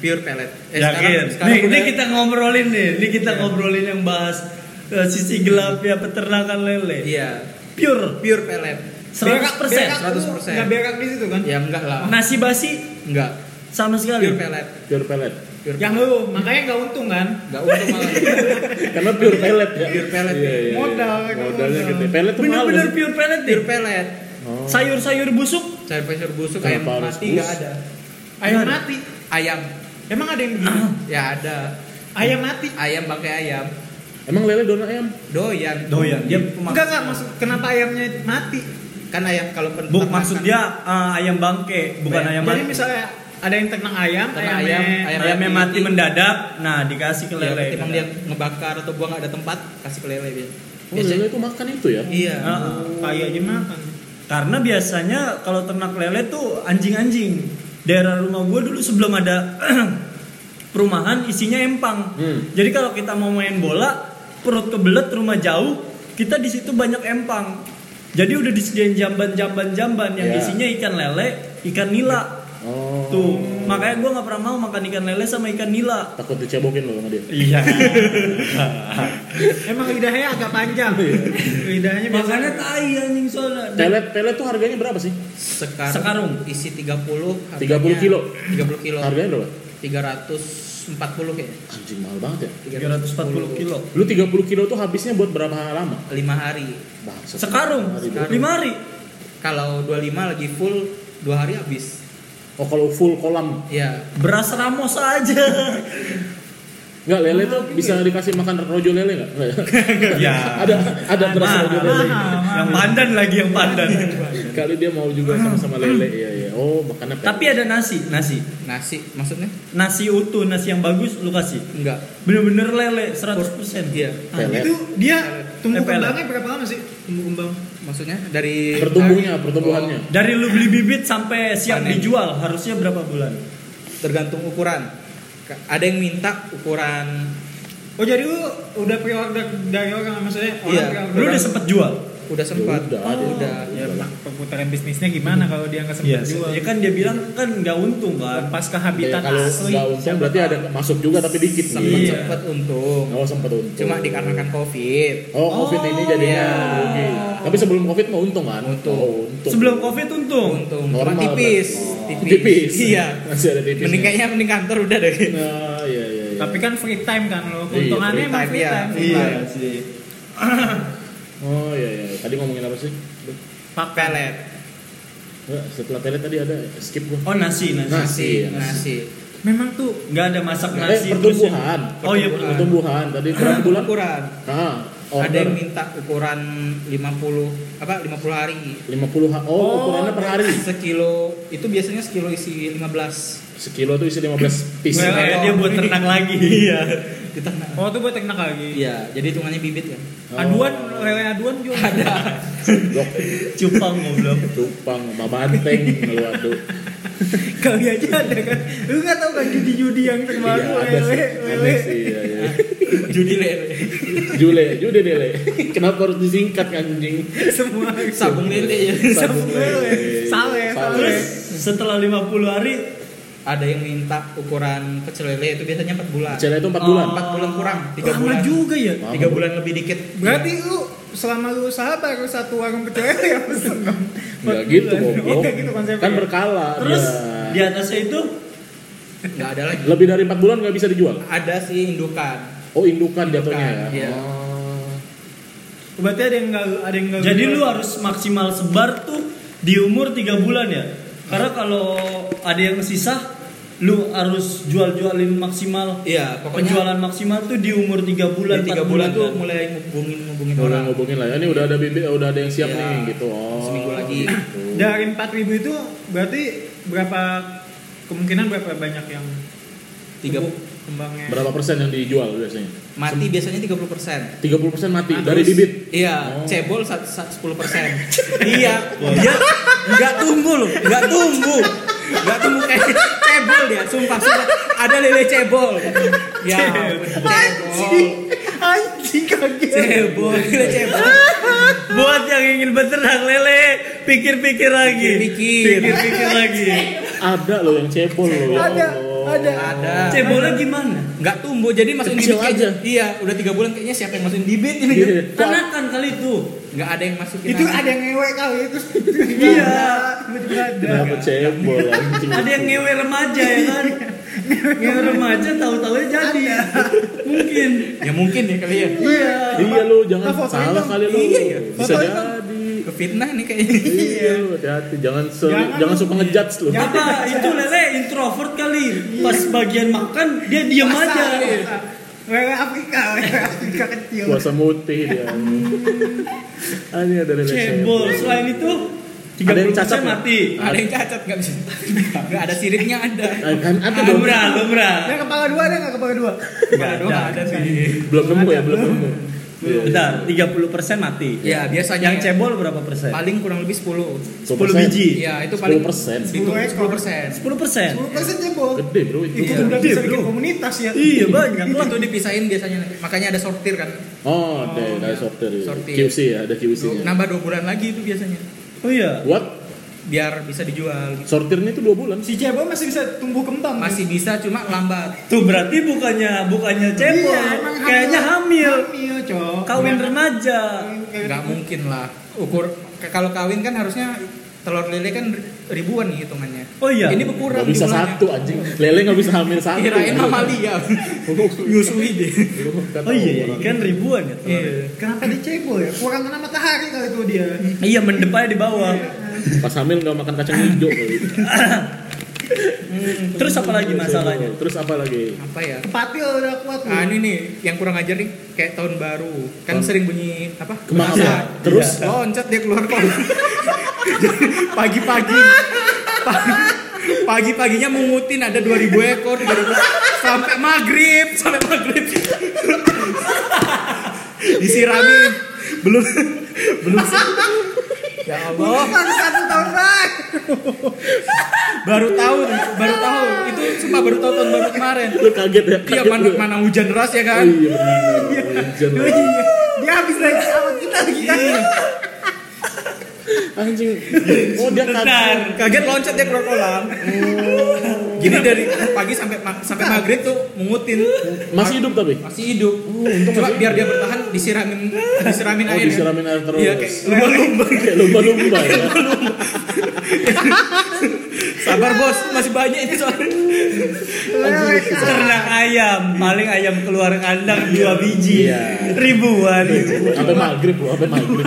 [SPEAKER 4] Pure pelet. Eh,
[SPEAKER 3] Yakin.
[SPEAKER 4] sekarang, sekarang
[SPEAKER 3] nih,
[SPEAKER 4] udah Iya.
[SPEAKER 3] nih kita ngobrolin nih. Ini kita ngobrolin yang bahas eh, sisi gelap ya peternakan lele.
[SPEAKER 4] Iya.
[SPEAKER 3] Pure.
[SPEAKER 4] Pure pelet.
[SPEAKER 3] 100%.
[SPEAKER 1] Berak lu
[SPEAKER 4] 100%.
[SPEAKER 1] Nggak berak di situ kan?
[SPEAKER 3] Iya.
[SPEAKER 4] Ya enggak lah.
[SPEAKER 3] Nasi basi
[SPEAKER 4] Enggak.
[SPEAKER 3] sama
[SPEAKER 4] Pure
[SPEAKER 3] sekali.
[SPEAKER 4] pelet.
[SPEAKER 2] Pure pelet.
[SPEAKER 4] Pure
[SPEAKER 1] Yang lu makanya Ya, nggak untung kan?
[SPEAKER 4] Enggak untung malah. ya.
[SPEAKER 2] Karena pure pelet ya.
[SPEAKER 4] Pure pellet.
[SPEAKER 2] Iya, iya, iya.
[SPEAKER 1] Modal,
[SPEAKER 2] Modalnya
[SPEAKER 1] modal.
[SPEAKER 2] gede. Pelet tuh mahal.
[SPEAKER 3] Bener-bener
[SPEAKER 2] nggak sih?
[SPEAKER 3] pure pelet deh.
[SPEAKER 4] Pure pelet.
[SPEAKER 2] Oh.
[SPEAKER 3] Sayur-sayur busuk.
[SPEAKER 4] Sayur pasir busuk ayam
[SPEAKER 2] Kenapa harus
[SPEAKER 4] mati enggak
[SPEAKER 2] busuk?
[SPEAKER 4] ada.
[SPEAKER 1] Ayam
[SPEAKER 3] Nggak ada.
[SPEAKER 1] mati.
[SPEAKER 4] Ayam.
[SPEAKER 1] Emang ada yang begini?
[SPEAKER 4] Ya ada.
[SPEAKER 1] Ayam mati.
[SPEAKER 4] Ayam pakai ayam.
[SPEAKER 2] Emang lele donat ayam? Oh,
[SPEAKER 4] Doyan.
[SPEAKER 3] Doyan. Iya. Dia pemak-
[SPEAKER 1] Enggak enggak maksud kenapa ayamnya mati?
[SPEAKER 4] Kan ayam kalau pen-
[SPEAKER 3] Buk
[SPEAKER 4] peternakan.
[SPEAKER 3] maksud dia eh, ayam bangke, bukan ayam
[SPEAKER 1] Jadi
[SPEAKER 3] mati.
[SPEAKER 1] misalnya ada yang ternak ayam,
[SPEAKER 4] Ternak
[SPEAKER 1] ayamnya
[SPEAKER 4] ayam, ayam.
[SPEAKER 3] ayamnya mati mendadak, nah dikasih ke
[SPEAKER 4] Ya,
[SPEAKER 3] lele.
[SPEAKER 4] ketimbang dia ngebakar atau gua nggak ada tempat kasih ke lele dia.
[SPEAKER 2] Oh, lele itu makan itu ya?
[SPEAKER 1] Iya.
[SPEAKER 3] Heeh.
[SPEAKER 1] Kayak aja makan.
[SPEAKER 3] Karena biasanya kalau ternak lele tuh anjing-anjing. Daerah rumah gue dulu sebelum ada perumahan isinya empang.
[SPEAKER 2] Hmm.
[SPEAKER 3] Jadi kalau kita mau main bola, perut kebelet rumah jauh, kita di situ banyak empang. Jadi udah disediain jamban-jamban-jamban yang
[SPEAKER 2] Ya.
[SPEAKER 3] isinya ikan lele, ikan nila.
[SPEAKER 2] Oh.
[SPEAKER 3] Tuh, makanya gue nggak pernah mau makan ikan lele sama ikan nila.
[SPEAKER 2] Takut dicebokin loh sama dia.
[SPEAKER 3] Iya.
[SPEAKER 1] Emang lidahnya agak panjang. lidahnya
[SPEAKER 3] Iya. Makanya
[SPEAKER 1] biasanya
[SPEAKER 3] tai anjing soalnya.
[SPEAKER 2] Tele tele tuh harganya berapa sih?
[SPEAKER 4] Sekarung,
[SPEAKER 3] Sekarung.
[SPEAKER 4] isi 30 harganya-
[SPEAKER 2] 30 kilo.
[SPEAKER 4] 30 kilo.
[SPEAKER 2] Harganya berapa?
[SPEAKER 4] 340 ya.
[SPEAKER 2] Anjing mahal banget ya.
[SPEAKER 3] 340 kilo.
[SPEAKER 2] Lu 30 kilo tuh habisnya buat berapa lama?
[SPEAKER 4] 5 hari.
[SPEAKER 2] Bangsat.
[SPEAKER 3] Sekarung, lima hari.
[SPEAKER 4] Kalau 25 lagi full 2 hari habis.
[SPEAKER 2] Oh kalau full kolam.
[SPEAKER 4] Ya,
[SPEAKER 3] Beras Ramos aja.
[SPEAKER 2] Enggak, lele tuh bisa dikasih makan rojo lele enggak?
[SPEAKER 3] ya.
[SPEAKER 2] ada ada beras
[SPEAKER 3] Mahal,
[SPEAKER 2] rojo lele.
[SPEAKER 3] mahal, mahal. nah, Yang pandan lagi yang pandan.
[SPEAKER 2] Kali dia mau juga sama-sama lele. Iya, iya. Oh, makannya pele.
[SPEAKER 3] Tapi ada nasi, nasi.
[SPEAKER 4] nasi maksudnya?
[SPEAKER 3] Nasi utuh, nasi yang bagus lu kasih.
[SPEAKER 4] Enggak.
[SPEAKER 3] Bener-bener lele 100%.
[SPEAKER 4] Iya.
[SPEAKER 2] Pele.
[SPEAKER 1] itu dia tumbuh
[SPEAKER 3] Eh, pelek.
[SPEAKER 1] kembangnya berapa lama sih? Tumbuh kembang.
[SPEAKER 4] Maksudnya dari
[SPEAKER 2] Pertumbuhnya, pertumbuhannya.
[SPEAKER 4] Oh,
[SPEAKER 3] Dari lu beli bibit sampai siap
[SPEAKER 4] Panen.
[SPEAKER 3] dijual harusnya berapa bulan?
[SPEAKER 4] tergantung ukuran. Ka- Ada yang minta ukuran
[SPEAKER 1] Oh jadi lu udah pre-order dari orang maksudnya orang
[SPEAKER 4] Iya.
[SPEAKER 1] pre-order.
[SPEAKER 3] Lu udah sempet jual.
[SPEAKER 4] udah sempat. Oh,
[SPEAKER 2] udah, ada.
[SPEAKER 4] udah.
[SPEAKER 2] Iya,
[SPEAKER 1] ya, perputaran bisnisnya gimana kalau dia nggak sempat
[SPEAKER 3] Iya.
[SPEAKER 1] jual?
[SPEAKER 3] Ya kan dia bilang kan nggak untung kan.
[SPEAKER 1] Lepas ke
[SPEAKER 2] Ya,
[SPEAKER 4] Oh,
[SPEAKER 1] habitat
[SPEAKER 2] kalau
[SPEAKER 1] asli.
[SPEAKER 2] nggak untung berarti ada masuk juga tapi dikit
[SPEAKER 4] Sempat
[SPEAKER 2] nih.
[SPEAKER 1] Iya.
[SPEAKER 4] sempat untung.
[SPEAKER 2] Oh, sempat untung.
[SPEAKER 4] Cuma dikarenakan covid.
[SPEAKER 2] Oh, Covid ini jadinya
[SPEAKER 4] iya.
[SPEAKER 2] rugi. Tapi sebelum Covid mau untung kan?
[SPEAKER 4] Untung.
[SPEAKER 2] Oh, untung.
[SPEAKER 3] Sebelum Covid untung.
[SPEAKER 4] Untung. Cuma
[SPEAKER 2] Normal,
[SPEAKER 4] tipis.
[SPEAKER 2] berarti. Oh.
[SPEAKER 4] tipis.
[SPEAKER 2] Tipis.
[SPEAKER 4] Iya.
[SPEAKER 2] Masih ada tipis. ya?
[SPEAKER 4] Mending kayaknya mending kantor udah deh.
[SPEAKER 2] Nah, iya, iya, iya.
[SPEAKER 1] Tapi kan free time kan lo.
[SPEAKER 2] Iya,
[SPEAKER 1] Keuntungannya
[SPEAKER 4] free
[SPEAKER 1] emang
[SPEAKER 4] time,
[SPEAKER 1] free
[SPEAKER 4] iya.
[SPEAKER 1] time.
[SPEAKER 3] Iya sih.
[SPEAKER 2] Oh, iya, iya. Tadi ngomongin apa sih?
[SPEAKER 4] Pak
[SPEAKER 1] kan
[SPEAKER 4] pelet.
[SPEAKER 2] Nggak, setelah tele tadi ada skip gua.
[SPEAKER 3] Oh nasi, nasi.
[SPEAKER 2] Nah.
[SPEAKER 4] Nasi,
[SPEAKER 2] Nasi.
[SPEAKER 4] nasi.
[SPEAKER 1] Memang tuh
[SPEAKER 3] Nggak ada masak
[SPEAKER 2] Eh,
[SPEAKER 3] nasi. terus yang-
[SPEAKER 2] pertumbuhan.
[SPEAKER 3] Oh iya,
[SPEAKER 2] pertumbuhan. Pertumbuhan. Tadi berapa bulan?
[SPEAKER 4] Ukuran.
[SPEAKER 2] Ah, order.
[SPEAKER 4] Ada yang minta ukuran 50 apa 50 hari.
[SPEAKER 2] 50 ha- oh, ukurannya per hari.
[SPEAKER 4] iya. Sekilo itu biasanya sekilo isi 15
[SPEAKER 2] Sekilo tuh isi 15
[SPEAKER 4] Iya,
[SPEAKER 2] piece.
[SPEAKER 1] Well,
[SPEAKER 3] Kayak dia buat ternak lagi. Iya.
[SPEAKER 4] di tanah.
[SPEAKER 1] Oh tuh buat teknik lagi.
[SPEAKER 4] Iya, jadi hitungannya bibit kan.
[SPEAKER 2] Oh.
[SPEAKER 1] Aduan, lele aduan juga. Ada.
[SPEAKER 2] Goblok,
[SPEAKER 3] ya. Cupang goblok.
[SPEAKER 2] cupang, sama banteng lu aduh.
[SPEAKER 1] Kali aja ada kan. Lu nggak tahu kan judi-judi yang terbaru
[SPEAKER 2] Iya, ada
[SPEAKER 1] lele,
[SPEAKER 2] sih. Ada
[SPEAKER 1] lele.
[SPEAKER 2] sih, iya, iya.
[SPEAKER 4] Judi lele.
[SPEAKER 2] Jule, Jude Dele. Kenapa harus disingkat anjing?
[SPEAKER 1] Semua.
[SPEAKER 2] Iya.
[SPEAKER 4] Sabung lele ya.
[SPEAKER 2] Sabung lele.
[SPEAKER 1] Sale, sale.
[SPEAKER 3] Terus setelah 50 hari
[SPEAKER 4] Ada yang minta ukuran pecel lele itu biasanya 4 bulan.
[SPEAKER 2] Pecel itu 4 bulan.
[SPEAKER 4] 4 bulan kurang, 3
[SPEAKER 1] Lama
[SPEAKER 4] bulan.
[SPEAKER 1] juga ya.
[SPEAKER 4] 3 Oh, bulan lebih dikit.
[SPEAKER 1] Berarti lu selama lu usaha baru satu warung pecel lele ya pesen dong.
[SPEAKER 2] Enggak gitu,
[SPEAKER 1] Oh,
[SPEAKER 2] goblok.
[SPEAKER 1] nggak gitu konsepnya.
[SPEAKER 2] Kan berkala. iya.
[SPEAKER 3] terus di
[SPEAKER 2] dia.
[SPEAKER 3] atasnya itu
[SPEAKER 4] Enggak ada lagi.
[SPEAKER 2] Lebih dari 4 bulan nggak bisa dijual.
[SPEAKER 4] Ada sih indukan.
[SPEAKER 2] Oh, indukan jatuhnya ya.
[SPEAKER 4] Iya.
[SPEAKER 2] Oh.
[SPEAKER 1] Berarti ada yang nggak ada yang nggak.
[SPEAKER 3] jadi lu harus maksimal sebar tuh di umur 3 bulan ya. Karena kalau ada yang sisa lu harus jual-jualin maksimal.
[SPEAKER 4] Iya, pokoknya
[SPEAKER 3] Penjualan maksimal tuh di umur 3 bulan,
[SPEAKER 4] bulan 3
[SPEAKER 3] 4
[SPEAKER 4] bulan tuh
[SPEAKER 3] kan.
[SPEAKER 4] mulai ngubungin ngubungin
[SPEAKER 2] Udah
[SPEAKER 4] orang.
[SPEAKER 2] ngubungin lah ya, ini udah ada bibit, udah ada yang siap
[SPEAKER 4] Iya.
[SPEAKER 2] nih gitu. Oh.
[SPEAKER 4] Seminggu lagi.
[SPEAKER 2] gitu.
[SPEAKER 1] Dari 4000 itu berarti berapa kemungkinan berapa banyak yang
[SPEAKER 4] Tiga
[SPEAKER 1] tumbuh kembangnya?
[SPEAKER 2] Berapa persen yang dijual biasanya?
[SPEAKER 4] mati biasanya 30%.
[SPEAKER 2] 30 persen mati
[SPEAKER 1] Terus-
[SPEAKER 2] dari bibit.
[SPEAKER 4] Iya,
[SPEAKER 2] Oh.
[SPEAKER 4] cebol sat- sat- 10%. iya, dia nggak tumbuh loh, nggak tumbuh. Nggak tumbuh kayak cebol dia, sumpah, sumpah. Ada lele cebol. Ya, cebol.
[SPEAKER 1] Anjing kaget.
[SPEAKER 4] Cebol, lele cebol.
[SPEAKER 3] Buat yang ingin beternak lele, pikir-pikir lagi.
[SPEAKER 4] Pikir-pikir.
[SPEAKER 3] Pikir-pikir lagi.
[SPEAKER 2] Ada loh yang cebol loh. ya
[SPEAKER 1] Ada,
[SPEAKER 2] Allah.
[SPEAKER 1] ada.
[SPEAKER 4] Ada.
[SPEAKER 3] Cebolnya gimana?
[SPEAKER 4] Nggak tumbuh, jadi masukin
[SPEAKER 2] Kecil
[SPEAKER 4] bibit
[SPEAKER 2] aja.
[SPEAKER 4] Iya, udah tiga bulan kayaknya siapa yang masukin bibit ini?
[SPEAKER 2] Iya.
[SPEAKER 3] Tanakan kali itu.
[SPEAKER 4] Nggak ada yang masukin.
[SPEAKER 1] Itu
[SPEAKER 4] anak.
[SPEAKER 1] ada yang ngewe kali itu.
[SPEAKER 3] Iya.
[SPEAKER 1] Betul ada.
[SPEAKER 2] Kenapa cebol anjing?
[SPEAKER 3] Ada yang ngewe remaja ya kan? ngewe remaja tahu-tahu jadi. Mungkin.
[SPEAKER 4] Ya mungkin ya kali ya.
[SPEAKER 1] Iya.
[SPEAKER 2] Iya lo jangan
[SPEAKER 1] Nah, fotoin
[SPEAKER 2] salah
[SPEAKER 1] dong.
[SPEAKER 2] kali lo.
[SPEAKER 4] Iya, iya.
[SPEAKER 2] Bisa
[SPEAKER 1] Fotoin dong.
[SPEAKER 2] jadi.
[SPEAKER 4] Kefitnah nih kayaknya.
[SPEAKER 2] Iya, lu hati-hati jangan se- jangan,
[SPEAKER 1] Jangan lu.
[SPEAKER 2] suka ngejudge lo.
[SPEAKER 1] Jangan.
[SPEAKER 3] Apa itu lele introvert kali? Pas bagian makan dia diam aja.
[SPEAKER 1] Wewe Afrika, wewe Afrika kecil.
[SPEAKER 2] Puasa mutih dia. Ah, Ini ada lele
[SPEAKER 3] Cebol.
[SPEAKER 2] cebol.
[SPEAKER 3] Selain itu
[SPEAKER 2] Ada yang
[SPEAKER 3] 30%
[SPEAKER 2] cacat nggak?
[SPEAKER 3] mati.
[SPEAKER 4] Ada yang cacat nggak bisa. Nggak ada siripnya ada.
[SPEAKER 2] Ah, Kan ada dong.
[SPEAKER 3] Lumrah, lumrah.
[SPEAKER 1] Yang kepala dua ada nggak kepala dua?
[SPEAKER 4] Nggak ada, nggak ada sih.
[SPEAKER 2] Belum nemu ya, belum nemu.
[SPEAKER 3] Bentar, 30% mati.
[SPEAKER 4] Ya, biasanya
[SPEAKER 3] Yang cebol berapa persen?
[SPEAKER 4] paling kurang lebih 10.
[SPEAKER 3] 10 biji.
[SPEAKER 4] Iya, itu paling
[SPEAKER 2] 10%.
[SPEAKER 4] Itu 10%.
[SPEAKER 3] 10 persen.
[SPEAKER 1] 10% jebol.
[SPEAKER 2] Gede bro itu.
[SPEAKER 1] Itu
[SPEAKER 4] Iya.
[SPEAKER 1] udah bisa bikin komunitas ya.
[SPEAKER 3] Iya banyak lah.
[SPEAKER 4] Itu dipisahin biasanya. Makanya ada sortir kan.
[SPEAKER 2] Oh, ada ada sortir. ya.
[SPEAKER 4] Iya. Sortir.
[SPEAKER 2] QC ya, ada
[SPEAKER 3] Iya.
[SPEAKER 2] QC-nya.
[SPEAKER 4] Nambah 2 bulan lagi itu biasanya.
[SPEAKER 3] Oh iya.
[SPEAKER 2] What?
[SPEAKER 4] Biar bisa dijual. gitu.
[SPEAKER 2] Sortirnya itu 2 bulan.
[SPEAKER 1] Si cebol masih bisa tumbuh kembang.
[SPEAKER 4] Masih bisa cuma lambat.
[SPEAKER 3] Tuh berarti bukannya bukannya cebol,
[SPEAKER 1] Iya, emang
[SPEAKER 3] kayaknya hamil.
[SPEAKER 1] Hamil, cok.
[SPEAKER 3] Kawin
[SPEAKER 1] Kawin-
[SPEAKER 3] remaja.
[SPEAKER 1] kawin-
[SPEAKER 4] Nggak mungkin lah. Ukur ke- kalau kawin kan harusnya telur lele kan ribuan nih hitungannya.
[SPEAKER 3] Oh iya.
[SPEAKER 4] Ini berkurang.
[SPEAKER 2] Gak bisa
[SPEAKER 4] jumlahnya.
[SPEAKER 2] satu anjing. Lele gak bisa hamil satu.
[SPEAKER 4] Kirain mamalia. Nyusui deh.
[SPEAKER 3] Oh iya, ya, ikan ribuan ya. telur.
[SPEAKER 4] Iya.
[SPEAKER 1] Kenapa dia cebol ya? Kurang kena matahari kali itu dia.
[SPEAKER 3] Iya, mendepanya di bawah.
[SPEAKER 2] Pas hamil gak makan kacang hijau kali.
[SPEAKER 3] Terus apa lagi masalahnya?
[SPEAKER 2] Terus apa lagi?
[SPEAKER 4] Apa ya?
[SPEAKER 1] Kepatil udah kuat
[SPEAKER 4] Nah
[SPEAKER 5] Ah,
[SPEAKER 1] loh.
[SPEAKER 4] ini nih yang kurang ajar nih kayak tahun baru kan
[SPEAKER 2] Tahun-
[SPEAKER 4] sering bunyi apa?
[SPEAKER 2] Kemana?
[SPEAKER 4] Jenazah.
[SPEAKER 2] Terus?
[SPEAKER 4] Iya. loncat dia keluar kol. Pagi-pagi pagi paginya mengutin ada 2000 ekor gara-gara sampai maghrib sampai maghrib disirami belum belum ya Allah
[SPEAKER 1] satu tahun lagi.
[SPEAKER 4] baru tahu baru tahu itu cuma baru tahu tahun baru kemarin
[SPEAKER 2] Lu kaget ya?
[SPEAKER 4] iya
[SPEAKER 2] Kaget
[SPEAKER 4] mana
[SPEAKER 2] lu.
[SPEAKER 4] mana hujan deras ya
[SPEAKER 2] Oh
[SPEAKER 4] kan
[SPEAKER 2] iya bener. Hujan.
[SPEAKER 4] Iya.
[SPEAKER 1] Iya, Dia habis lagi sama kita lagi.
[SPEAKER 2] Anjing. Oh dia kaget.
[SPEAKER 4] Bentar, kaget loncat dia keluar kolam.
[SPEAKER 2] Hmm.
[SPEAKER 4] Gini dari pagi sampai ma- sampai maghrib tuh mengutin
[SPEAKER 2] Masih hidup tapi?
[SPEAKER 4] masih hidup.
[SPEAKER 2] Uh,
[SPEAKER 4] Cuma biar dia bertahan disiramin disiramin
[SPEAKER 2] Oh
[SPEAKER 4] air. ya.
[SPEAKER 2] disiramin air terus.
[SPEAKER 4] Iya kayak lumba-lumba.
[SPEAKER 2] Kayak lumba-lumba ya.
[SPEAKER 4] Sabar bos, masih banyak ini soalnya.
[SPEAKER 1] Iya,
[SPEAKER 3] Ternak ayam, paling ayam keluar kandang dua biji,
[SPEAKER 2] Iya.
[SPEAKER 3] ribuan.
[SPEAKER 2] Sampai maghrib loh, sampai maghrib.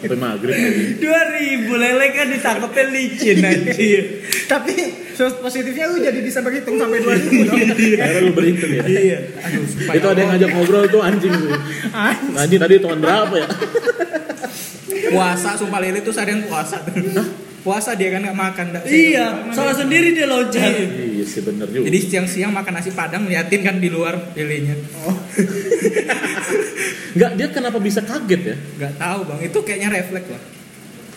[SPEAKER 2] Sampai maghrib.
[SPEAKER 3] Dua ribu lele kan ditangkapnya licin
[SPEAKER 4] Iya,
[SPEAKER 3] anjir.
[SPEAKER 1] Tapi sos positifnya lu jadi bisa berhitung sampai 2000 dong.
[SPEAKER 2] Akhirnya lu berhitung ya.
[SPEAKER 4] Iya. Aduh, sumpah
[SPEAKER 2] Itu
[SPEAKER 4] ya
[SPEAKER 2] ada yang
[SPEAKER 4] Allah.
[SPEAKER 2] ngajak ngobrol tuh anjing. Anjing tadi tahun berapa ya?
[SPEAKER 4] puasa sumpah lele tuh seharian puasa. puasa dia kan nggak makan nggak
[SPEAKER 3] Iya, salah sendiri dia loncat.
[SPEAKER 2] Iya sih bener juga.
[SPEAKER 4] Jadi siang-siang makan nasi padang liatin kan di luar lelenya.
[SPEAKER 2] Enggak, dia kenapa bisa kaget ya?
[SPEAKER 4] Nggak tahu bang, itu kayaknya refleks lah.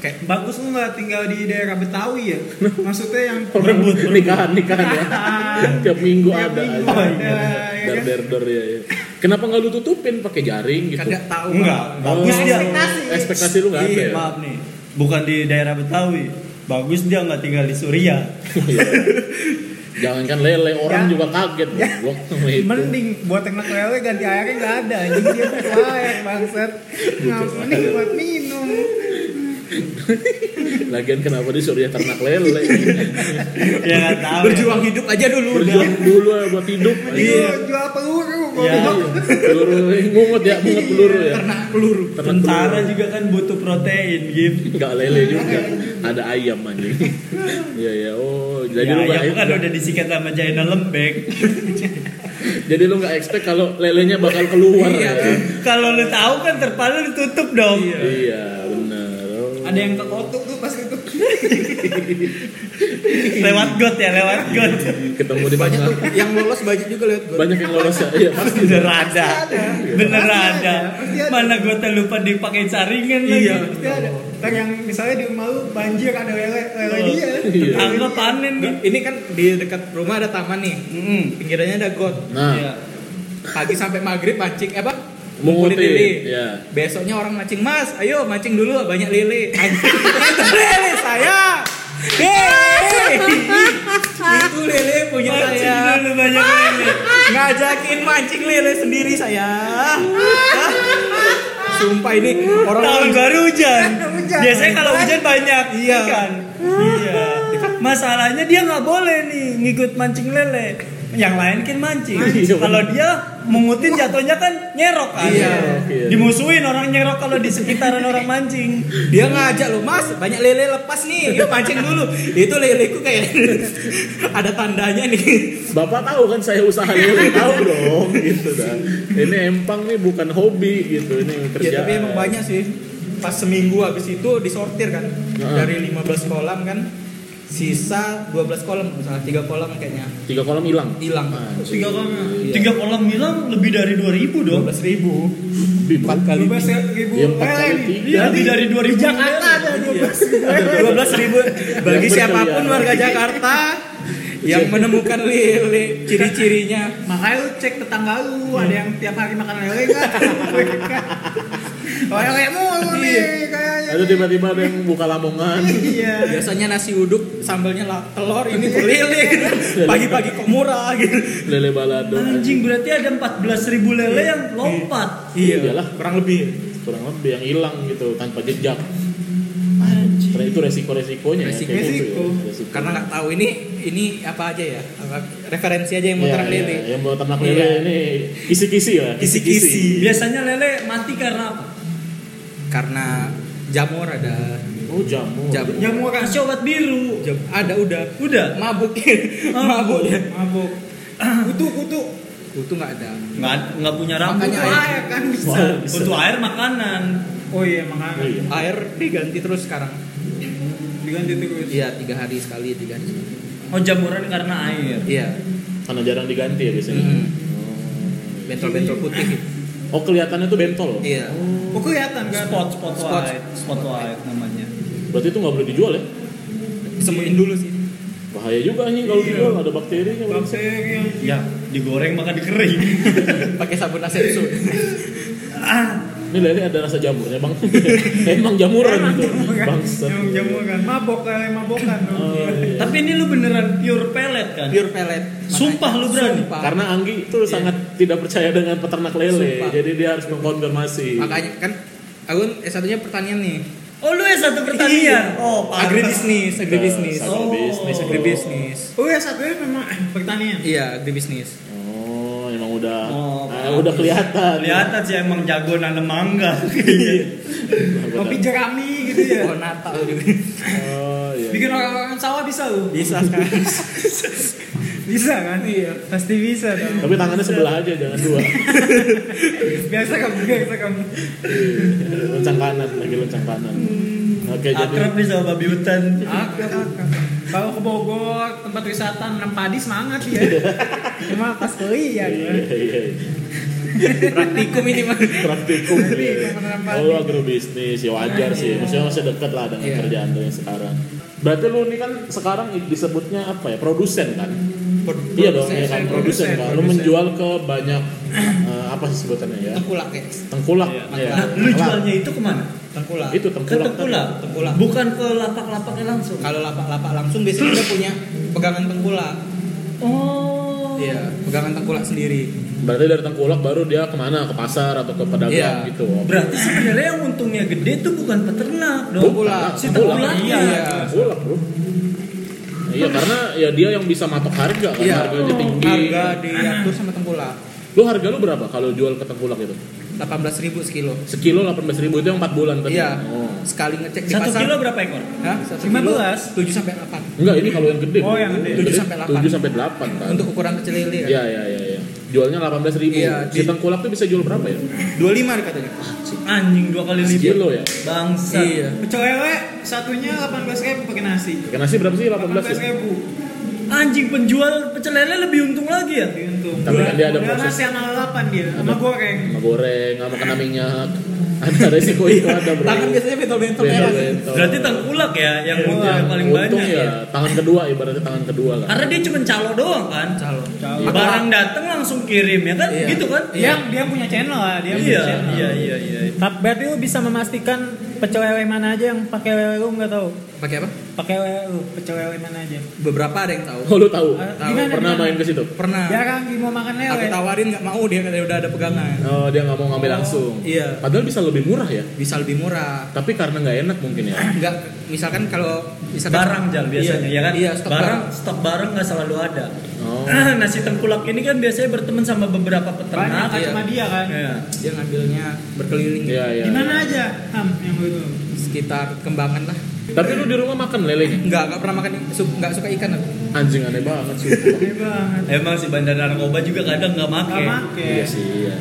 [SPEAKER 4] Kayak
[SPEAKER 1] Bagus lu nggak tinggal di daerah Betawi ya? Maksudnya yang
[SPEAKER 2] nikahan nikahan ya tiap minggu
[SPEAKER 1] Tiap
[SPEAKER 2] ada
[SPEAKER 1] minggu
[SPEAKER 2] aja.
[SPEAKER 1] ada, ya
[SPEAKER 2] der
[SPEAKER 1] kan?
[SPEAKER 2] der der ya, ya. kenapa nggak lu tutupin pakai jaring gitu
[SPEAKER 4] kagak tahu.
[SPEAKER 3] Enggak,
[SPEAKER 4] Bang.
[SPEAKER 3] bagus
[SPEAKER 1] Nggak
[SPEAKER 3] dia.
[SPEAKER 1] ekspektasi.
[SPEAKER 2] ekspektasi lu nggak ada
[SPEAKER 3] Iya,
[SPEAKER 2] ya?
[SPEAKER 3] maaf nih. Bukan di daerah Betawi. Bagus dia nggak tinggal di Suriah.
[SPEAKER 2] Iya. jangankan lele orang
[SPEAKER 1] Ya.
[SPEAKER 2] juga kaget goblok sama itu.
[SPEAKER 1] Mending buat teknik lele ganti airnya nggak ada Anjing dia butuh air bangsat Nah, Mending buat minum
[SPEAKER 2] lagian kenapa di Suriah ternak lele
[SPEAKER 3] ya nggak tahu. ya.
[SPEAKER 4] Berjuang hidup aja dulu.
[SPEAKER 2] berjuang dulu ya buat hidup
[SPEAKER 1] Iya Jual peluru
[SPEAKER 3] Iya.
[SPEAKER 1] goblok
[SPEAKER 2] peluru ngungut ya ngungut peluru ya
[SPEAKER 4] Ternak peluru.
[SPEAKER 2] ternak
[SPEAKER 3] Tentara
[SPEAKER 2] peluru
[SPEAKER 3] juga kan butuh protein, Gim.
[SPEAKER 2] nggak lele juga ada ayam anjing iya ya oh jadi
[SPEAKER 3] Ya,
[SPEAKER 2] lu nggak
[SPEAKER 3] ayam kan udah disikat sama Jaina lembek.
[SPEAKER 2] jadi lu nggak expect kalau lelenya bakal keluar
[SPEAKER 4] Iya.
[SPEAKER 2] ya.
[SPEAKER 3] Kalau lu tahu kan terpadu ditutup dong.
[SPEAKER 2] Iya, benar. Oh.
[SPEAKER 1] Ada yang kekotuk tuh pas itu
[SPEAKER 3] Lewat got ya, lewat got.
[SPEAKER 2] ketemu di
[SPEAKER 4] Banyak
[SPEAKER 2] banyak
[SPEAKER 4] tuh yang lolos banyak juga lihat gue.
[SPEAKER 2] banyak yang lolos ya. Iya, pasti.
[SPEAKER 3] Bener ada. Bener
[SPEAKER 1] Pasti
[SPEAKER 3] ada.
[SPEAKER 1] ada, pasti ada.
[SPEAKER 3] Mana gotnya lupa dipakai saringan
[SPEAKER 1] Iya
[SPEAKER 3] lagi.
[SPEAKER 1] Pasti ada Ntar yang misalnya di rumah lu banjir ada lele lele
[SPEAKER 3] Oh.
[SPEAKER 1] dia
[SPEAKER 2] Iya.
[SPEAKER 3] Tetangga panen nih.
[SPEAKER 4] Ini kan di dekat rumah ada taman nih.
[SPEAKER 3] Mm-mm.
[SPEAKER 4] Pinggirannya ada got.
[SPEAKER 2] Nah,
[SPEAKER 3] Iya.
[SPEAKER 4] Pagi sampai maghrib mancing eh, apa?
[SPEAKER 2] Mengutin,
[SPEAKER 4] Ngumpulin lele.
[SPEAKER 2] iya.
[SPEAKER 4] Besoknya orang mancing mas, ayo mancing dulu banyak lele. Anjing, Itu lele saya. Yeay. Itu lele punya
[SPEAKER 3] Mancing
[SPEAKER 4] saya.
[SPEAKER 3] dulu banyak lele.
[SPEAKER 4] Ngajakin mancing lele sendiri saya. Hah? Sumpah ini
[SPEAKER 3] Tahun
[SPEAKER 4] orang
[SPEAKER 3] baru hujan.
[SPEAKER 1] Hujan.
[SPEAKER 3] Biasanya kalau hujan banyak
[SPEAKER 4] Iya.
[SPEAKER 3] ikan. Iya. Masalahnya dia nggak boleh nih ngikut mancing lele. Yang lain kan mancing.
[SPEAKER 2] Mancing.
[SPEAKER 3] Kalau dia mengutin jatuhnya kan nyerok kan.
[SPEAKER 4] Iya.
[SPEAKER 2] Iya.
[SPEAKER 3] Dimusuhin orang nyerok kalau di sekitaran orang mancing.
[SPEAKER 4] dia ngajak lo mas banyak lele lepas nih yuk pancing dulu itu leleku kayak ada tandanya nih
[SPEAKER 2] Bapak tahu kan saya usaha lele, tahu dong gitu dah. Ini empang nih bukan hobi gitu, ini kerjaan.
[SPEAKER 4] ya tapi emang banyak sih pas seminggu habis itu disortir kan
[SPEAKER 2] Heeh.
[SPEAKER 4] dari 15 kolam kan sisa 12 kolam misalnya tiga kolam kayaknya
[SPEAKER 2] Tiga kolam hilang.
[SPEAKER 4] hilang Iya.
[SPEAKER 1] ya?
[SPEAKER 2] Anjing.
[SPEAKER 3] Tiga kolam, tiga kolam hilang lebih dari 2000 dong.
[SPEAKER 4] 12 ribu
[SPEAKER 2] Empat kali.
[SPEAKER 1] 12 ribu
[SPEAKER 2] Iya, empat
[SPEAKER 1] lele
[SPEAKER 2] kali
[SPEAKER 1] nih.
[SPEAKER 2] tiga.
[SPEAKER 3] Jadi dari 2000 Jakarta Iya. ada
[SPEAKER 4] dua belas ribu bagi
[SPEAKER 2] Yang
[SPEAKER 4] siapapun
[SPEAKER 2] berkeliaran.
[SPEAKER 4] warga Jakarta yang menemukan lele ciri-cirinya
[SPEAKER 1] Makanya lu cek tetangga lu, ada yang tiap hari makan lele nggak? Oh lele mulu
[SPEAKER 3] Iya.
[SPEAKER 1] nih kayaknya.
[SPEAKER 2] Ada tiba-tiba ada yang buka lamongan.
[SPEAKER 1] Iya.
[SPEAKER 4] biasanya nasi uduk sambalnya la- telur ini tuh lele gitu.
[SPEAKER 3] Iya.
[SPEAKER 4] pagi-pagi kok murah gitu
[SPEAKER 2] Lele balado.
[SPEAKER 3] Anjing berarti ada 14.000 lele yang lompat. Iya.
[SPEAKER 2] Iyalah.
[SPEAKER 5] kurang lebih
[SPEAKER 2] Ya kurang lebih yang hilang gitu tanpa jejak. Karena itu resiko-resikonya ya. kayak gitu
[SPEAKER 1] Resiko.
[SPEAKER 2] ya, resiko.
[SPEAKER 4] karena nggak tahu ini ini apa aja ya apa- referensi aja yang mau
[SPEAKER 2] Iya,
[SPEAKER 4] terang
[SPEAKER 2] iya,
[SPEAKER 4] lele
[SPEAKER 2] Yang mau ternak lele
[SPEAKER 4] Iya.
[SPEAKER 2] ini kisi-kisi lah.
[SPEAKER 4] kisi-kisi
[SPEAKER 3] Biasanya lele mati karena apa?
[SPEAKER 4] karena jamur ada
[SPEAKER 2] Oh jamu.
[SPEAKER 4] Jamu.
[SPEAKER 1] Jamu kan.
[SPEAKER 3] Kasih obat biru.
[SPEAKER 4] jam- ada udah
[SPEAKER 3] Udah.
[SPEAKER 4] mabuk
[SPEAKER 2] Oh,
[SPEAKER 4] mabuk dia
[SPEAKER 1] Mabuk. Kutu kutu.
[SPEAKER 4] kutu nggak ada
[SPEAKER 3] Nggak nggak punya rambut.
[SPEAKER 4] Makanya
[SPEAKER 1] Air
[SPEAKER 4] air.
[SPEAKER 1] air kan bisa.
[SPEAKER 2] Wah, bisa.
[SPEAKER 3] Untuk air makanan.
[SPEAKER 1] Oh iya
[SPEAKER 2] Oh,
[SPEAKER 1] makanya
[SPEAKER 2] iya.
[SPEAKER 4] air diganti terus sekarang
[SPEAKER 1] diganti terus.
[SPEAKER 4] iya tiga hari sekali diganti
[SPEAKER 3] Oh jamuran karena air.
[SPEAKER 4] iya
[SPEAKER 2] Karena jarang diganti ya biasanya.
[SPEAKER 4] Mm. bentol-bentol putih gitu.
[SPEAKER 2] Oh kelihatannya tuh bentol.
[SPEAKER 4] iya
[SPEAKER 1] Oh kelihatan kan?
[SPEAKER 3] Spot spot
[SPEAKER 4] Spot.
[SPEAKER 3] white, spot white namanya.
[SPEAKER 2] Berarti itu nggak boleh dijual ya?
[SPEAKER 4] semuin dulu sih
[SPEAKER 2] Bahaya juga anjing
[SPEAKER 4] Iya.
[SPEAKER 2] kalau dijual ada bakterinya. Bang.
[SPEAKER 1] Bakteri yang
[SPEAKER 3] Ya, digoreng maka dikering.
[SPEAKER 4] pakai sabun asensu
[SPEAKER 2] Ini lele ada rasa jamurnya bang. Emang gitu. jamuran itu. Bangsa.
[SPEAKER 1] gitu, yang jamu kan. Mabok lele mabokan.
[SPEAKER 2] Oh, iya.
[SPEAKER 3] Tapi ini lu beneran pure pellet kan?
[SPEAKER 4] pure pellet Makanya-
[SPEAKER 3] Sumpah lu berani?
[SPEAKER 4] Sumpah.
[SPEAKER 2] Karena Anggi itu sangat tidak percaya dengan peternak lele,
[SPEAKER 4] Sumpah.
[SPEAKER 2] jadi dia harus mengkonfirmasi.
[SPEAKER 4] makanya kan aku S1 nya pertanian nih
[SPEAKER 3] Oh lu S1 pertanian. Oh, pantes.
[SPEAKER 4] Iya. agribisnis agribisnis
[SPEAKER 2] Nah, Agribisnis,
[SPEAKER 3] Oh.
[SPEAKER 4] agribisnis
[SPEAKER 1] Oh ya satunya memang eh, pertanian.
[SPEAKER 4] iya agribisnis
[SPEAKER 2] Oh, emang udah
[SPEAKER 3] Oh,
[SPEAKER 2] ah, udah kelihatan.
[SPEAKER 3] Kelihatan sih emang jago nanam mangga. Iya.
[SPEAKER 1] Kopi jerami gitu ya.
[SPEAKER 4] oh natal juga
[SPEAKER 2] Oh, iya.
[SPEAKER 1] Bikin orang-orang sawah bisa lu.
[SPEAKER 4] bisa sekarang
[SPEAKER 1] Bisa kan? Iya. Pasti bisa dong.
[SPEAKER 2] Tapi tangannya sebelah aja, jangan dua.
[SPEAKER 1] Biasa kamu, biasa kamu.
[SPEAKER 2] Iya, loncang kanan, lagi loncang kanan. Oke, jadi
[SPEAKER 3] Akrab nih sama babi hutan.
[SPEAKER 1] Akrab, akrab. Kalau ke Bogor, tempat wisata nanam padi semangat ya. Cuma pas kuliah
[SPEAKER 2] iya,
[SPEAKER 1] ya.
[SPEAKER 2] iya,
[SPEAKER 4] praktikum ini mah
[SPEAKER 2] praktikum ya.
[SPEAKER 1] kenapa-kenapa.
[SPEAKER 2] Oh, lu agrobisnis, ya wajar sih. Maksudnya masih dekat lah dengan
[SPEAKER 4] Iya.
[SPEAKER 2] kerjaan lu yang sekarang. Berarti lu ini kan sekarang disebutnya apa ya? Produsen kan? iya dong, iya kan produsen
[SPEAKER 1] produsen,
[SPEAKER 2] kan. Lu menjual ke banyak eh, apa sih sebutannya ya?
[SPEAKER 4] tengkulak ya
[SPEAKER 2] Tengkulak.
[SPEAKER 3] Iya.
[SPEAKER 2] Iya.
[SPEAKER 3] Nah, lu jualnya itu kemana?
[SPEAKER 4] tengkulak
[SPEAKER 2] itu
[SPEAKER 3] Ke
[SPEAKER 2] tengkulak.
[SPEAKER 3] tengkulak.
[SPEAKER 4] Tengkulak.
[SPEAKER 3] Bukan ke lapak-lapaknya langsung.
[SPEAKER 4] kalau lapak-lapak langsung biasanya udah punya pegangan tengkulak
[SPEAKER 3] Oh.
[SPEAKER 4] iya pegangan tengkulak sendiri
[SPEAKER 2] Berarti dari tengkulak baru dia kemana? Ke pasar atau ke pedagang
[SPEAKER 4] Iya.
[SPEAKER 2] gitu? Oh,
[SPEAKER 3] Berarti sebenarnya yang untungnya gede tuh bukan peternak dong.
[SPEAKER 4] Tengkulak.
[SPEAKER 3] Si tengkulak.
[SPEAKER 4] Iya.
[SPEAKER 2] Tengkulak bro. Nah, Iya karena ya dia yang bisa matok harga kan
[SPEAKER 4] Iya.
[SPEAKER 2] harganya tinggi.
[SPEAKER 4] harga diatur sama tengkulak
[SPEAKER 2] Lu harga lu berapa kalau jual ke tengkulak itu?
[SPEAKER 4] 18.000 sekilo
[SPEAKER 2] Sekilo 18.000 itu yang 4 bulan tadi.
[SPEAKER 4] iya
[SPEAKER 2] Oh.
[SPEAKER 4] sekali ngecek di
[SPEAKER 3] Satu
[SPEAKER 4] pasar
[SPEAKER 3] kilo berapa ekor?
[SPEAKER 4] Hah? Satu
[SPEAKER 1] 15?
[SPEAKER 4] kilo, 7 sampai 8
[SPEAKER 2] Enggak, ini kalau yang gede.
[SPEAKER 1] Oh, yang gede.
[SPEAKER 2] 7
[SPEAKER 4] 7
[SPEAKER 2] sampai
[SPEAKER 4] sampai
[SPEAKER 2] 8. 7 sampai 8 kan.
[SPEAKER 4] untuk ukuran kecil lele kan?
[SPEAKER 2] Iya, iya, iya, iya. Jualnya 18.000.
[SPEAKER 4] Iya,
[SPEAKER 2] si
[SPEAKER 4] di-
[SPEAKER 2] tengkulak tuh bisa jual berapa ya?
[SPEAKER 4] 25 katanya
[SPEAKER 3] Anjing dua kali lipat.
[SPEAKER 2] Sekilo ya.
[SPEAKER 3] Bangsa.
[SPEAKER 4] iya
[SPEAKER 1] Pecel lele satunya 18 ribu pakai nasi.
[SPEAKER 2] Ikan nasi berapa sih
[SPEAKER 1] 18
[SPEAKER 2] 18 ya?
[SPEAKER 1] ribu.
[SPEAKER 3] Anjing penjual pecel lele lebih untung lagi ya.
[SPEAKER 1] Diuntung.
[SPEAKER 2] Tapi kan dia ada
[SPEAKER 1] Udah
[SPEAKER 2] proses.
[SPEAKER 1] nasi sama lalapan dia, sama goreng.
[SPEAKER 2] Sama goreng, sama kena minyak. Ada resiko itu ada, Bro.
[SPEAKER 4] Iya. tangan biasanya ya, bentol-bentol merah
[SPEAKER 2] Bentol-bentol.
[SPEAKER 3] Berarti tengkulak ya yang untung
[SPEAKER 2] Untung,
[SPEAKER 3] yang paling
[SPEAKER 2] untung
[SPEAKER 3] banyak.
[SPEAKER 2] ya, tangan kedua ibaratnya tangan kedua lah.
[SPEAKER 3] Karena dia cuma calo doang kan. Calo.
[SPEAKER 2] Iya.
[SPEAKER 3] Barang datang langsung kirim ya kan?
[SPEAKER 4] Iya.
[SPEAKER 3] Gitu kan?
[SPEAKER 1] Dia dia punya channel lah, dia punya
[SPEAKER 3] Iya,
[SPEAKER 1] channel.
[SPEAKER 3] iya, iya, iya.
[SPEAKER 6] Tapi berarti lu bisa memastikan pecel lele mana aja yang pakai lele lu nggak tahu.
[SPEAKER 4] pakai apa?
[SPEAKER 6] Pakai lele lu, pecel lele mana aja.
[SPEAKER 4] beberapa ada yang tahu
[SPEAKER 2] Oh lu tahu?
[SPEAKER 1] Ah,
[SPEAKER 2] Tahu.
[SPEAKER 1] gimana,
[SPEAKER 2] Pernah
[SPEAKER 1] gimana?
[SPEAKER 2] main ke situ?
[SPEAKER 4] pernah
[SPEAKER 3] Ya,
[SPEAKER 1] Jarang dia
[SPEAKER 3] kan,
[SPEAKER 1] Ya kan, mau makan lele.
[SPEAKER 4] aku tawarin nggak mau dia katanya udah ada pegangan
[SPEAKER 2] Oh dia nggak mau ngambil langsung.
[SPEAKER 4] iya.
[SPEAKER 2] Padahal bisa lebih murah ya.
[SPEAKER 4] bisa lebih murah
[SPEAKER 2] Tapi karena nggak enak mungkin ya.
[SPEAKER 4] nggak misalkan kalau misalkan
[SPEAKER 3] Barang jal biasanya ya
[SPEAKER 4] Iya,
[SPEAKER 3] kan?
[SPEAKER 4] iya stok
[SPEAKER 3] barang,
[SPEAKER 4] barang
[SPEAKER 3] stok barang nggak selalu ada.
[SPEAKER 2] Oh.
[SPEAKER 3] Nasi tengkulak ini kan biasanya berteman sama beberapa
[SPEAKER 1] Banyak
[SPEAKER 3] peternak.
[SPEAKER 1] kan
[SPEAKER 4] Iya.
[SPEAKER 1] cuma dia kan.
[SPEAKER 3] Iya.
[SPEAKER 4] dia ngambilnya berkeliling
[SPEAKER 2] Iya iya.
[SPEAKER 1] Di mana aja? Ham yang itu.
[SPEAKER 4] sekitar kembangan lah
[SPEAKER 2] Tapi lu di rumah makan lelenya?
[SPEAKER 4] nggak nggak pernah makan su- nggak suka ikan aku
[SPEAKER 2] Anjing aneh banget sih.
[SPEAKER 1] Gede banget.
[SPEAKER 3] Emang si bandar narkoba juga kadang nggak make.
[SPEAKER 1] Gak make.
[SPEAKER 2] iya sih iya.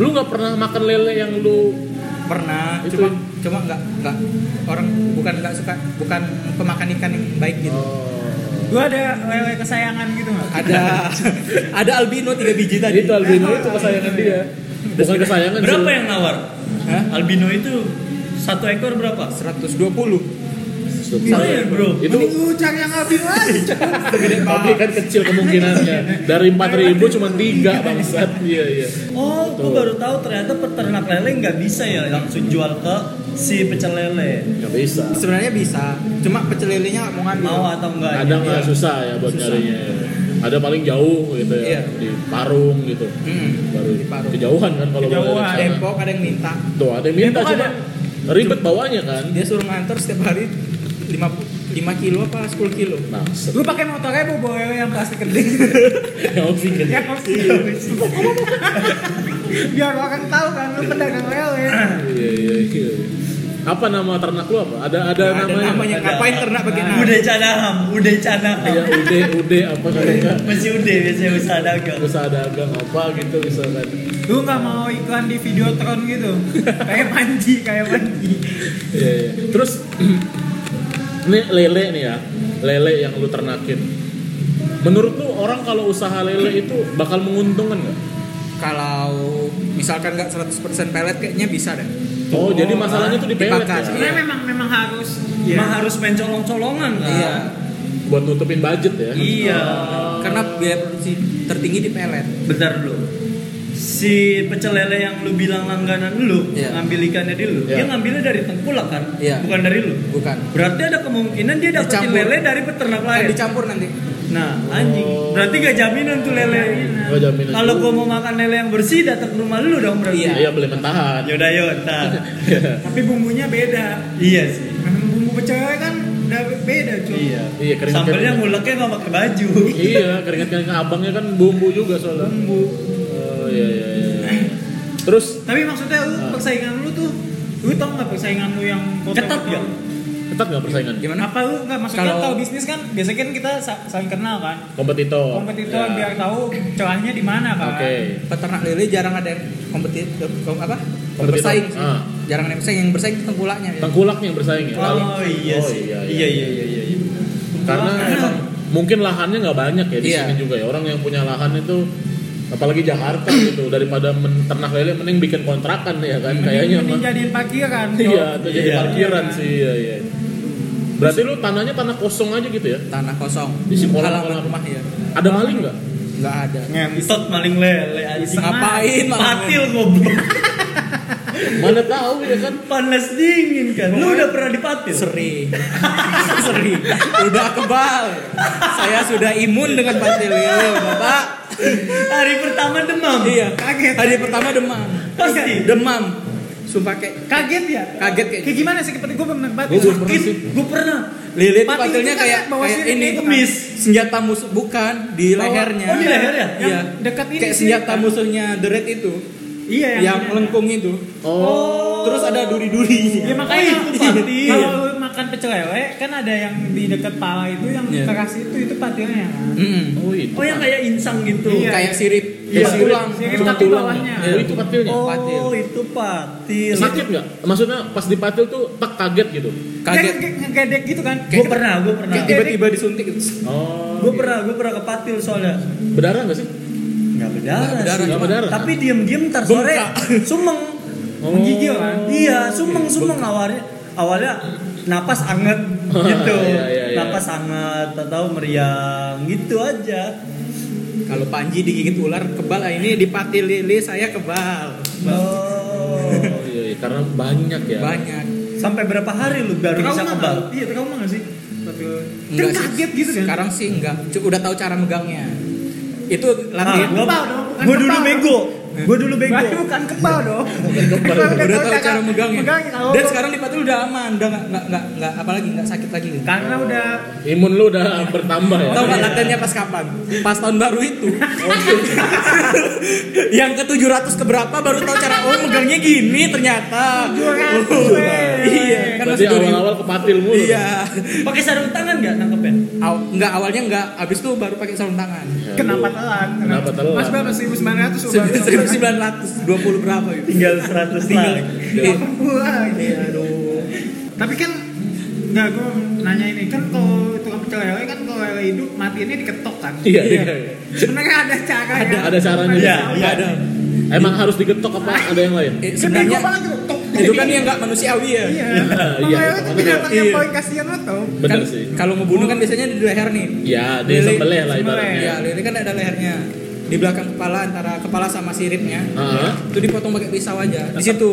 [SPEAKER 2] Lu nggak pernah makan lele yang lu
[SPEAKER 4] pernah
[SPEAKER 2] Itu-
[SPEAKER 4] cuma cuma nggak nggak orang bukan nggak suka bukan pemakan ikan yang baik gitu
[SPEAKER 1] Lu ada lele kesayangan gitu nggak?
[SPEAKER 4] ada ada albino tiga biji tadi
[SPEAKER 2] Itu albino itu kesayangan dia. Bukan kesayangan sih.
[SPEAKER 3] Berapa ya? yang nawar? Albino itu satu ekor berapa?
[SPEAKER 7] 120.
[SPEAKER 2] Iya,
[SPEAKER 3] Lumayan bro.
[SPEAKER 2] Itu
[SPEAKER 4] Lu cari yang habis aja.
[SPEAKER 2] tapi kan kecil kemungkinannya. Dari 4000 cuma 3 bangsat. Iya iya.
[SPEAKER 3] Oh, gue baru tahu ternyata peternak lele nggak bisa ya langsung jual ke si pecel lele.
[SPEAKER 2] Nggak bisa.
[SPEAKER 4] Sebenarnya bisa, cuma pecel lelenya nggak mau ngambil.
[SPEAKER 3] Mau atau gitu enggak?
[SPEAKER 2] Ada nggak susah ya buat nyarinya. Ada paling jauh gitu
[SPEAKER 4] Iya.
[SPEAKER 2] ya di Parung gitu.
[SPEAKER 4] Hmm.
[SPEAKER 2] Baru
[SPEAKER 4] Di Parung.
[SPEAKER 2] kejauhan kan kalau
[SPEAKER 8] Kejauhan.
[SPEAKER 2] boleh dari sana.
[SPEAKER 4] Depok ada yang minta.
[SPEAKER 2] Tuh ada yang minta
[SPEAKER 8] Depok
[SPEAKER 2] cuma
[SPEAKER 8] ada.
[SPEAKER 2] ribet bawanya kan.
[SPEAKER 4] Dia suruh ngantor setiap hari 5 5 kilo apa 10 kilo.
[SPEAKER 2] Bangsat.
[SPEAKER 1] Lu pakai motornya bu bawa yang plastik gede.
[SPEAKER 2] Ya, oke.
[SPEAKER 1] Biar orang tahu kan lu pedagang lele.
[SPEAKER 2] Iya iya iya. Apa nama ternak lu apa? Ada ada
[SPEAKER 4] Ada
[SPEAKER 2] namanya.
[SPEAKER 4] namanya ngapain ternak bagian nama?
[SPEAKER 3] Nah. Udah canaham, udah canaham.
[SPEAKER 2] Ya ude ude apa kan? namanya?
[SPEAKER 3] Masih udah biasanya usaha dagang.
[SPEAKER 2] Usaha dagang apa gitu misalkan.
[SPEAKER 1] Lu nggak mau iklan di Videotron gitu. Kayak mandi, kayak mandi.
[SPEAKER 2] Iya, iya. Terus ini lele nih ya, lele yang lu ternakin. Menurut lu orang kalau usaha lele itu bakal menguntungkan nggak?
[SPEAKER 4] Kalau misalkan nggak 100% pelet kayaknya bisa deh.
[SPEAKER 2] Oh, jadi masalahnya tuh di pelet
[SPEAKER 4] dibakar.
[SPEAKER 2] ya?
[SPEAKER 1] Sebenarnya memang memang harus
[SPEAKER 2] Iya.
[SPEAKER 3] Mah harus main colong-colongan kan?
[SPEAKER 4] Iya.
[SPEAKER 2] Buat nutupin budget ya?
[SPEAKER 3] Iya.
[SPEAKER 4] Karena biaya produksi tertinggi di pelet.
[SPEAKER 3] Bentar dulu. Si pecel lele yang lu bilang langganan lu,
[SPEAKER 4] Iya.
[SPEAKER 3] ngambil ikannya di lu,
[SPEAKER 2] Iya.
[SPEAKER 3] dia ngambilnya dari tengkulak kan?
[SPEAKER 4] Iya.
[SPEAKER 3] Bukan dari lu.
[SPEAKER 4] Bukan.
[SPEAKER 3] Berarti ada kemungkinan dia dapetin
[SPEAKER 4] Dicampur.
[SPEAKER 3] lele dari peternak
[SPEAKER 4] Kan
[SPEAKER 3] lain.
[SPEAKER 4] dicampur nanti.
[SPEAKER 3] Nah, anjing.
[SPEAKER 2] Oh.
[SPEAKER 3] Berarti gak jaminan tuh lele.
[SPEAKER 2] Gak Oh, jaminan.
[SPEAKER 3] Kalau gua mau makan lele yang bersih datang ke rumah lu dong berarti.
[SPEAKER 2] Iya, beli mentahan.
[SPEAKER 3] Yaudah yuk, ntar.
[SPEAKER 1] tapi bumbunya beda.
[SPEAKER 3] iya sih.
[SPEAKER 1] Memang Bumbu pecelnya kan udah beda cuy.
[SPEAKER 3] Iya.
[SPEAKER 2] Iya, keringat-
[SPEAKER 3] Sambelnya nguleknya gak pakai baju.
[SPEAKER 2] iya, keringat-keringat abangnya kan bumbu juga soalnya. Bumbu. Oh iya iya iya. Terus
[SPEAKER 1] Tapi maksudnya lu persaingan lu tuh lu tau nggak persaingan lu yang kotor-
[SPEAKER 3] Ketat ya?
[SPEAKER 2] ketat nggak persaingan?
[SPEAKER 4] Gimana?
[SPEAKER 1] apa lu nggak maksudnya
[SPEAKER 4] Kalau-
[SPEAKER 1] kalau bisnis kan biasanya kan kita sa- saling kenal kan
[SPEAKER 2] Kompetitor.
[SPEAKER 1] kompetitor
[SPEAKER 2] Ya.
[SPEAKER 1] biar tahu celahnya di mana kan
[SPEAKER 2] Oke.
[SPEAKER 4] Peternak lele jarang ada yang kompetit kom, apa?
[SPEAKER 2] Kompetitor.
[SPEAKER 4] Bersaing sih.
[SPEAKER 2] Ah.
[SPEAKER 4] Jarang ada yang bersaing, yang bersaing itu tengkulaknya. ya.
[SPEAKER 2] Tengkulak yang bersaing ya?
[SPEAKER 3] Oh iya
[SPEAKER 2] Oh,
[SPEAKER 3] sih.
[SPEAKER 2] iya,
[SPEAKER 3] Iya iya iya iya. iya.
[SPEAKER 2] karena emang mungkin lahannya nggak banyak ya di
[SPEAKER 4] Iya.
[SPEAKER 2] sini juga ya orang yang punya lahan itu apalagi Jakarta gitu daripada menternak lele mending bikin kontrakan ya kan kayaknya
[SPEAKER 1] ini
[SPEAKER 2] mah
[SPEAKER 1] jadiin kan. parkiran
[SPEAKER 2] iya itu jadi
[SPEAKER 3] Iya.
[SPEAKER 2] parkiran sih iya iya berarti lu tanahnya tanah kosong aja gitu ya
[SPEAKER 4] Tanah kosong.
[SPEAKER 2] Isi kolam-
[SPEAKER 4] halaman
[SPEAKER 2] kolam.
[SPEAKER 4] rumah ya.
[SPEAKER 2] ada maling nggak
[SPEAKER 4] Nggak ada.
[SPEAKER 3] Ngentot maling lele anjing.
[SPEAKER 4] Ngapain maling?
[SPEAKER 3] Patil goblok.
[SPEAKER 2] mana tahu ya kan
[SPEAKER 3] Panas dingin kan. Lu udah pernah dipatil?
[SPEAKER 4] Sering. Sering. Udah kebal. Saya sudah imun dengan patil lele, Bapak.
[SPEAKER 3] Hari pertama demam.
[SPEAKER 4] Iya, kaget. Hari pertama demam.
[SPEAKER 3] Pasti.
[SPEAKER 4] Demam. Sumpah kayak
[SPEAKER 1] kaget ya
[SPEAKER 4] kaget kayak gitu.
[SPEAKER 1] kayak gimana sih seperti gue pernah
[SPEAKER 2] gue
[SPEAKER 1] batin
[SPEAKER 2] belum pernah sih
[SPEAKER 3] Gue pernah.
[SPEAKER 4] Lele itu
[SPEAKER 1] Mati
[SPEAKER 4] patilnya
[SPEAKER 1] itu kan
[SPEAKER 4] kayak
[SPEAKER 1] yang bawah
[SPEAKER 4] kayak
[SPEAKER 1] sini,
[SPEAKER 4] ini
[SPEAKER 1] kayak kemis.
[SPEAKER 4] senjata musuh bukan di lehernya.
[SPEAKER 3] Oh, di leher ya?
[SPEAKER 4] Iya.
[SPEAKER 1] Yang dekat ini
[SPEAKER 4] Kayak
[SPEAKER 1] sih,
[SPEAKER 4] senjata
[SPEAKER 1] kan?
[SPEAKER 4] musuhnya The Red itu
[SPEAKER 1] iya
[SPEAKER 4] yang,
[SPEAKER 1] yang,
[SPEAKER 4] melengkung itu.
[SPEAKER 2] oh
[SPEAKER 4] Terus ada duri-duri. iya.
[SPEAKER 1] Ya makanya
[SPEAKER 3] Oh, itu patil.
[SPEAKER 1] kalau lu makan pecel lele kan ada yang di dekat pala itu yang
[SPEAKER 4] Iya.
[SPEAKER 1] keras itu itu patilnya.
[SPEAKER 4] Mm-mm.
[SPEAKER 2] oh itu
[SPEAKER 3] Oh yang kayak insang gitu.
[SPEAKER 1] Iya.
[SPEAKER 4] Kayak sirip,
[SPEAKER 2] Iya,
[SPEAKER 4] kayak
[SPEAKER 2] sirip.
[SPEAKER 4] tulang.
[SPEAKER 1] Sirip
[SPEAKER 2] Cuma
[SPEAKER 1] tapi
[SPEAKER 2] tulang
[SPEAKER 1] bawahnya.
[SPEAKER 2] ya? oh itu patilnya
[SPEAKER 3] Oh iya,
[SPEAKER 4] Patil.
[SPEAKER 3] itu patil.
[SPEAKER 2] sakit nggak maksudnya pas dipatil tuh tak kaget gitu
[SPEAKER 4] Kaget.
[SPEAKER 1] Kan ngegedek gitu kan.
[SPEAKER 3] Gue pernah, gue pernah.
[SPEAKER 4] Kayak tiba-tiba disuntik.
[SPEAKER 2] oh
[SPEAKER 3] Gue pernah, gue pernah ke patil soalnya.
[SPEAKER 2] berdarah nggak sih
[SPEAKER 3] Nggak berdarah,
[SPEAKER 4] Nggak berdarah,
[SPEAKER 3] sih.
[SPEAKER 2] nggak berdarah.
[SPEAKER 3] Tapi diem-diem ntar sore sumeng.
[SPEAKER 2] oh.
[SPEAKER 1] Menggigil kan.
[SPEAKER 3] Iya, sumeng-sumeng awalnya. Awalnya napas anget gitu.
[SPEAKER 2] Iya, iya, iya.
[SPEAKER 3] Napas anget, tahu meriang gitu aja.
[SPEAKER 4] Kalau Panji digigit ular kebal, ah, ini di patil lele saya kebal.
[SPEAKER 3] Oh.
[SPEAKER 2] Oh, iya, iya, karena banyak ya
[SPEAKER 4] Banyak.
[SPEAKER 3] Sampai berapa hari lu baru bisa
[SPEAKER 1] Trauma
[SPEAKER 3] kebal?
[SPEAKER 1] nggak? Iya trauma nggak sih? Patil lele? Kan
[SPEAKER 4] Enggak Hmm. sih.
[SPEAKER 1] kaget gitu kan.
[SPEAKER 4] Sekarang sih enggak. Cu- Udah tahu cara megangnya. Itu
[SPEAKER 3] Nah,
[SPEAKER 4] latihan.
[SPEAKER 1] Bukan kebal dong, bukan
[SPEAKER 3] gue dulu
[SPEAKER 1] kebal.
[SPEAKER 3] bego. Gue dulu bego.
[SPEAKER 1] Baru bukan kebal dong.
[SPEAKER 4] udah tahu cara megangnya. Dan
[SPEAKER 1] Dan
[SPEAKER 4] sekarang di patil udah aman, udah nggak nggak nggak nggak apa lagi nggak sakit lagi.
[SPEAKER 1] karena udah
[SPEAKER 2] imun lu udah bertambah ya
[SPEAKER 4] Tahu nggak latihannya pas kapan? Pas tahun baru itu. Yang ke 700 keberapa baru tahu cara oh megangnya gini ternyata.
[SPEAKER 1] 700,
[SPEAKER 4] Oh,
[SPEAKER 1] weh.
[SPEAKER 4] Iya, kan
[SPEAKER 2] Berarti
[SPEAKER 4] masih
[SPEAKER 2] awal-awal kepatil mulu.
[SPEAKER 4] Iya.
[SPEAKER 3] Pakai sarung tangan nggak nangkepnya?
[SPEAKER 4] Aw, enggak awalnya enggak, habis itu baru pakai sarung tangan.
[SPEAKER 2] Ya,
[SPEAKER 1] kenapa
[SPEAKER 2] lu-
[SPEAKER 1] telan?
[SPEAKER 2] Kenapa telan?
[SPEAKER 1] Mas berapa 1900 lu baru
[SPEAKER 4] 1920 berapa itu?
[SPEAKER 3] Tinggal 100 lagi.
[SPEAKER 4] Iya.
[SPEAKER 1] 80 lagi. Aduh. Tapi kan Enggak, gue nanya ini kan kalau tukang pecel lele kan kalau lele hidup matiannya diketok kan?
[SPEAKER 2] Iya, iya.
[SPEAKER 1] Sebenarnya ada cara
[SPEAKER 2] Ada- ada caranya.
[SPEAKER 3] Iya,
[SPEAKER 1] Iya,
[SPEAKER 3] iya.
[SPEAKER 1] ada.
[SPEAKER 2] Emang harus digetok apa ada yang lain?
[SPEAKER 4] Eh,
[SPEAKER 6] Bego
[SPEAKER 4] sebenarnya
[SPEAKER 6] banget tuh. Tok.
[SPEAKER 4] itu kan yang nggak manusiawi ya.
[SPEAKER 6] Iya.
[SPEAKER 2] Iya,
[SPEAKER 6] Makanya
[SPEAKER 1] kan
[SPEAKER 6] itu
[SPEAKER 2] makanya.
[SPEAKER 6] binatang yang
[SPEAKER 4] Iya.
[SPEAKER 6] paling kasihan lo tau.
[SPEAKER 2] Bener
[SPEAKER 4] Kan
[SPEAKER 2] sih.
[SPEAKER 4] Kalau ngebunuh kan biasanya di leher nih.
[SPEAKER 2] Ya, di sembelih lah ibaratnya.
[SPEAKER 4] Iya, lele kan ada lehernya. Di belakang kepala antara kepala sama siripnya.
[SPEAKER 2] Heeh.
[SPEAKER 4] Itu dipotong pakai pisau aja. Di situ.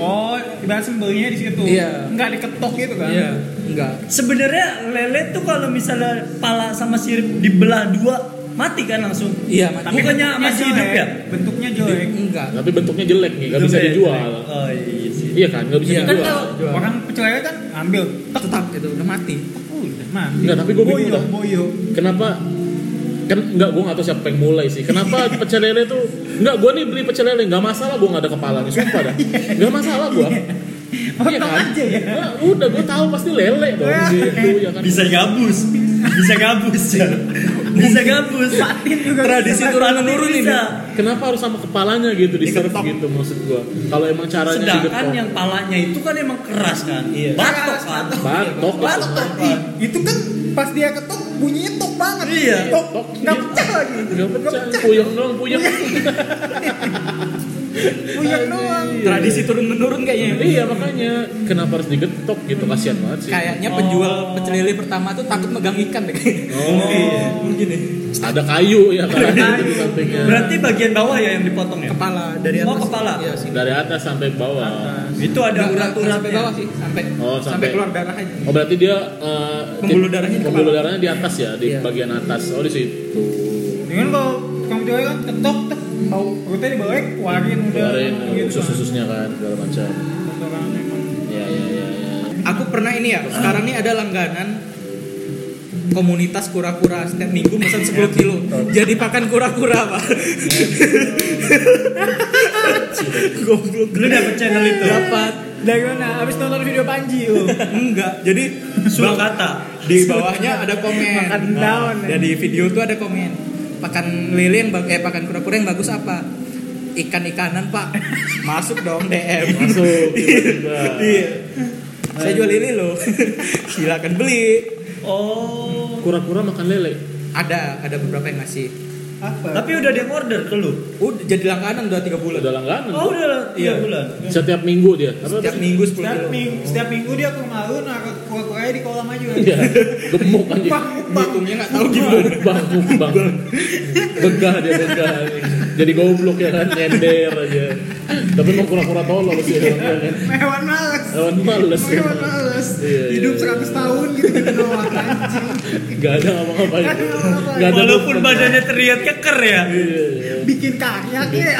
[SPEAKER 6] Oh, ibarat sembelihnya di situ.
[SPEAKER 4] Iya.
[SPEAKER 6] Enggak diketok gitu kan.
[SPEAKER 4] Iya, enggak.
[SPEAKER 3] Sebenarnya lele tuh kalau misalnya pala sama sirip dibelah dua mati kan langsung.
[SPEAKER 4] Iya, mati.
[SPEAKER 3] Bukannya
[SPEAKER 6] bentuknya
[SPEAKER 3] masih hidup
[SPEAKER 6] jelek.
[SPEAKER 3] ya?
[SPEAKER 6] Bentuknya jelek.
[SPEAKER 4] Enggak.
[SPEAKER 2] Tapi bentuknya jelek nih, nggak bisa
[SPEAKER 3] Hidup ya?
[SPEAKER 2] dijual.
[SPEAKER 3] Oh iya sih.
[SPEAKER 2] Iya kan, nggak bisa
[SPEAKER 4] Iya.
[SPEAKER 6] Kan
[SPEAKER 2] dijual.
[SPEAKER 6] kalau orang pecel lele kan ambil. Uh,
[SPEAKER 4] Tetap itu udah mati.
[SPEAKER 6] Udah mah.
[SPEAKER 2] Enggak, tapi gue bingung
[SPEAKER 6] Boyo,
[SPEAKER 2] lah.
[SPEAKER 6] boyo.
[SPEAKER 2] Kenapa? Kan enggak gue nggak tahu siapa yang mulai sih. Kenapa pecel lele tuh? Enggak, gue nih beli pecel lele nggak masalah gue nggak ada kepalanya, sumpah dah. Nggak masalah gue. Iya
[SPEAKER 6] Potong
[SPEAKER 2] kan?
[SPEAKER 6] aja ya.
[SPEAKER 2] Nah, udah gue tahu pasti lele dong
[SPEAKER 6] Wah.
[SPEAKER 2] gitu ya kan.
[SPEAKER 3] Bisa gabus. Bisa gabus
[SPEAKER 2] Iya.
[SPEAKER 3] ya. Bisa gabus.
[SPEAKER 6] Patin juga.
[SPEAKER 4] Tradisi
[SPEAKER 6] bisa.
[SPEAKER 4] turun menurun ini.
[SPEAKER 3] Bisa.
[SPEAKER 2] Kenapa harus sama kepalanya gitu di serve
[SPEAKER 4] Digetok.
[SPEAKER 2] gitu maksud gue? Kalau emang caranya
[SPEAKER 3] Sedangkan
[SPEAKER 2] digetok.
[SPEAKER 3] yang palanya itu kan emang keras kan.
[SPEAKER 4] Iya.
[SPEAKER 3] Batok kan.
[SPEAKER 2] batok lah.
[SPEAKER 6] Batok. Ih, Itu kan pas dia ketok bunyinya tok banget.
[SPEAKER 3] Iya.
[SPEAKER 6] Tok.
[SPEAKER 2] Tok.
[SPEAKER 6] Enggak pecah lagi.
[SPEAKER 2] Nggak pecah, puyeng doang, puyeng.
[SPEAKER 4] Iya.
[SPEAKER 6] Puyeng doang.
[SPEAKER 4] Tradisi turun menurun kayaknya.
[SPEAKER 2] Iya makanya kenapa harus digetok gitu kasihan banget sih.
[SPEAKER 4] Kayaknya penjual pecel lele pertama tuh takut megang ikan deh.
[SPEAKER 2] Oh,
[SPEAKER 4] Mungkin nih.
[SPEAKER 2] ada kayu ya kan di sampingnya.
[SPEAKER 3] Berarti bagian bawah ya yang dipotong ya?
[SPEAKER 4] Kepala dari atas.
[SPEAKER 3] Oh, kepala.
[SPEAKER 4] Iya, sini.
[SPEAKER 2] dari atas sampai bawah.
[SPEAKER 3] Itu ada
[SPEAKER 4] Nggak, nggak
[SPEAKER 3] urat-urat
[SPEAKER 4] sampai bawah sih, sampai
[SPEAKER 2] Oh, sampai.
[SPEAKER 4] keluar darah aja.
[SPEAKER 2] Oh berarti dia eh,
[SPEAKER 4] Pembuluh
[SPEAKER 2] di-
[SPEAKER 4] darahnya di
[SPEAKER 2] pembuluh
[SPEAKER 4] kepala.
[SPEAKER 2] darahnya di atas ya di
[SPEAKER 4] Iya.
[SPEAKER 2] bagian atas. Oh di situ.
[SPEAKER 6] Dengan kalau kamu coba kan ketok tek bau perutnya dibalik keluarin udah
[SPEAKER 2] Keluarin
[SPEAKER 4] Iya.
[SPEAKER 6] gitu
[SPEAKER 2] usus
[SPEAKER 6] kan.
[SPEAKER 2] ususnya kan segala macam.
[SPEAKER 6] Kotoran emang.
[SPEAKER 2] Ya ya ya. ya.
[SPEAKER 4] Aku pernah ini ya, sekarang nih ada langganan komunitas kura-kura setiap minggu pesan 10 kilo. Jadi pakan kura-kura, Pak. Goblok.
[SPEAKER 3] Lu dapet channel itu?
[SPEAKER 4] Dapat.
[SPEAKER 6] Dari mana? Abis nonton video Panji yuk.
[SPEAKER 4] Enggak. Jadi
[SPEAKER 3] Surat kata.
[SPEAKER 4] di bawahnya ada komen.
[SPEAKER 6] Makan daun, ya.
[SPEAKER 4] Jadi video tuh ada komen. Pakan lele yang bag- eh pakan kura-kura yang bagus apa? Ikan-ikanan, Pak. Masuk dong DM.
[SPEAKER 2] Masuk tiba-tiba.
[SPEAKER 4] Iya. Saya jual lele loh. Silakan beli.
[SPEAKER 3] Oh.
[SPEAKER 2] Kura-kura makan lele.
[SPEAKER 4] Ada ada beberapa yang ngasih.
[SPEAKER 6] Apa?
[SPEAKER 3] Tapi udah dia order ke lu?
[SPEAKER 4] Udah jadi langganan udah 3 bulan.
[SPEAKER 2] Udah langganan.
[SPEAKER 3] Oh udah
[SPEAKER 4] Iya.
[SPEAKER 3] tiga bulan.
[SPEAKER 2] Setiap minggu dia. Apa Iya.
[SPEAKER 4] Setiap minggu 10
[SPEAKER 6] setiap
[SPEAKER 4] kilo.
[SPEAKER 6] minggu, setiap minggu dia ke rumah lu naruh kue-kue di kolam aja.
[SPEAKER 2] Iya. Gemuk anjing.
[SPEAKER 6] Bang, bang.
[SPEAKER 4] Hitungnya nggak tahu gimana.
[SPEAKER 2] Mukbang, mukbang. Begah dia begah. Jadi goblok ya kan, nyender aja. Tapi emang kura-kura tolol sih orangnya kan.
[SPEAKER 6] Hewan males.
[SPEAKER 2] Hewan males.
[SPEAKER 6] Hewan males.
[SPEAKER 2] Iya, iya,
[SPEAKER 6] Hidup
[SPEAKER 2] iya.
[SPEAKER 6] 100 tahun gitu, gitu-gitu doang anjing.
[SPEAKER 2] Gak ada ngomong-ngapain. Gak ada
[SPEAKER 3] Walaupun
[SPEAKER 2] movement.
[SPEAKER 3] badannya terlihat keker ya.
[SPEAKER 2] Iya, iya.
[SPEAKER 6] Bikin karya kayak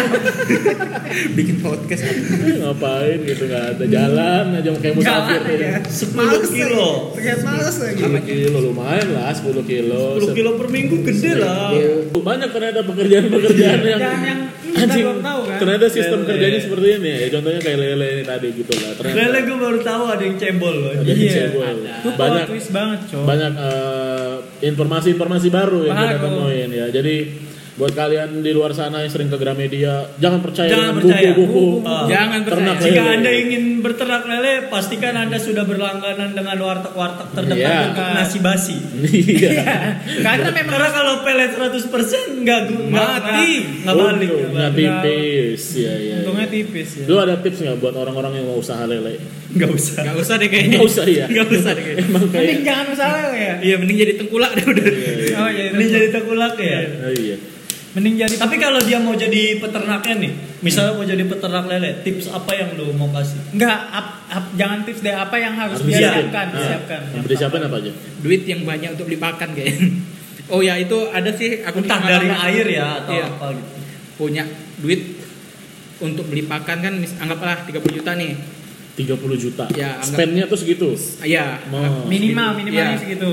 [SPEAKER 4] Bikin podcast apa?
[SPEAKER 2] Eh, Ngapain gitu gak ada jalan aja kayak musafir.
[SPEAKER 6] ya.
[SPEAKER 3] 10 kilo.
[SPEAKER 6] Terlihat males lagi.
[SPEAKER 2] 10 kilo lumayan lah, 10 kilo.
[SPEAKER 3] 10 kilo per minggu gede lah.
[SPEAKER 2] Iya. Banyak ternyata pekerjaan-pekerjaan
[SPEAKER 6] Dan
[SPEAKER 2] yang
[SPEAKER 6] yang lu kan
[SPEAKER 2] anjing.
[SPEAKER 6] belum tahu kan.
[SPEAKER 2] Ternyata sistem
[SPEAKER 3] Lele.
[SPEAKER 2] kerjanya seperti ini ya. Contohnya kayak lele ini tadi gitu lah. Ternyata
[SPEAKER 3] Lele gue baru tahu ada yang cebol loh.
[SPEAKER 2] ada
[SPEAKER 1] Iya,
[SPEAKER 2] cebol.
[SPEAKER 1] Itu
[SPEAKER 2] Banyak
[SPEAKER 1] plot twist banget, cok.
[SPEAKER 2] banyak eh, informasi-informasi baru yang kita
[SPEAKER 1] Baru.
[SPEAKER 2] temuin ya. Jadi buat kalian di luar sana yang sering ke Gramedia, jangan percaya
[SPEAKER 3] Jangan
[SPEAKER 2] dengan
[SPEAKER 3] percaya.
[SPEAKER 2] buku-buku.
[SPEAKER 3] Ah.
[SPEAKER 1] Jangan percaya.
[SPEAKER 2] ternak
[SPEAKER 3] Jika
[SPEAKER 2] lele.
[SPEAKER 3] anda ingin berternak lele, pastikan anda sudah berlangganan dengan warteg-warteg terdekat
[SPEAKER 2] Iya.
[SPEAKER 3] untuk nasi basi.
[SPEAKER 2] Iya.
[SPEAKER 3] Karena memang karena kalau pelet 100% nggak gu- nggak-
[SPEAKER 1] Mati.
[SPEAKER 3] nggak- nggak balik.
[SPEAKER 2] Untung,
[SPEAKER 3] nggak
[SPEAKER 2] nggak
[SPEAKER 3] balik.
[SPEAKER 2] tipis. Iya, iya.
[SPEAKER 1] Untungnya tipis ya.
[SPEAKER 2] Lu ada tips nggak buat orang-orang yang mau usaha lele?
[SPEAKER 3] Nggak usah.
[SPEAKER 4] Gak usah deh kayaknya.
[SPEAKER 2] Nggak usah ya.
[SPEAKER 4] Nggak usah deh kayaknya.
[SPEAKER 2] Emang kayak.
[SPEAKER 6] Mending jangan masalah lo ya.
[SPEAKER 4] Iya mending jadi tengkulak deh udah.
[SPEAKER 2] Iya, iya.
[SPEAKER 6] Oh iya.
[SPEAKER 3] Ini jadi tengkulak ya.
[SPEAKER 2] Oh, iya.
[SPEAKER 1] Mending jadi
[SPEAKER 3] Tapi kalau dia mau jadi peternaknya nih, misalnya mau jadi peternak lele, tips apa yang lu mau kasih?
[SPEAKER 1] enggak up- up- jangan tips deh apa yang harus
[SPEAKER 2] Harus
[SPEAKER 1] dia
[SPEAKER 2] disiapin.
[SPEAKER 1] siapkan,
[SPEAKER 2] Ah,
[SPEAKER 1] disiapkan.
[SPEAKER 2] Yang disiapin apa aja?
[SPEAKER 4] Duit yang banyak untuk beli pakan kayaknya. Oh ya itu ada sih aku
[SPEAKER 3] Entah
[SPEAKER 4] punya
[SPEAKER 3] dari
[SPEAKER 4] pengalaman.
[SPEAKER 3] air ya atau
[SPEAKER 4] Iya.
[SPEAKER 3] apa gitu.
[SPEAKER 4] punya duit untuk beli pakan kan mis- anggaplah 30 juta nih.
[SPEAKER 2] 30 juta.
[SPEAKER 4] Ya, anggap-
[SPEAKER 2] Spendnya tuh segitu.
[SPEAKER 4] Iya.
[SPEAKER 2] Mau.
[SPEAKER 1] Minimal, minimalnya
[SPEAKER 6] gitu.
[SPEAKER 4] Iya.
[SPEAKER 1] segitu.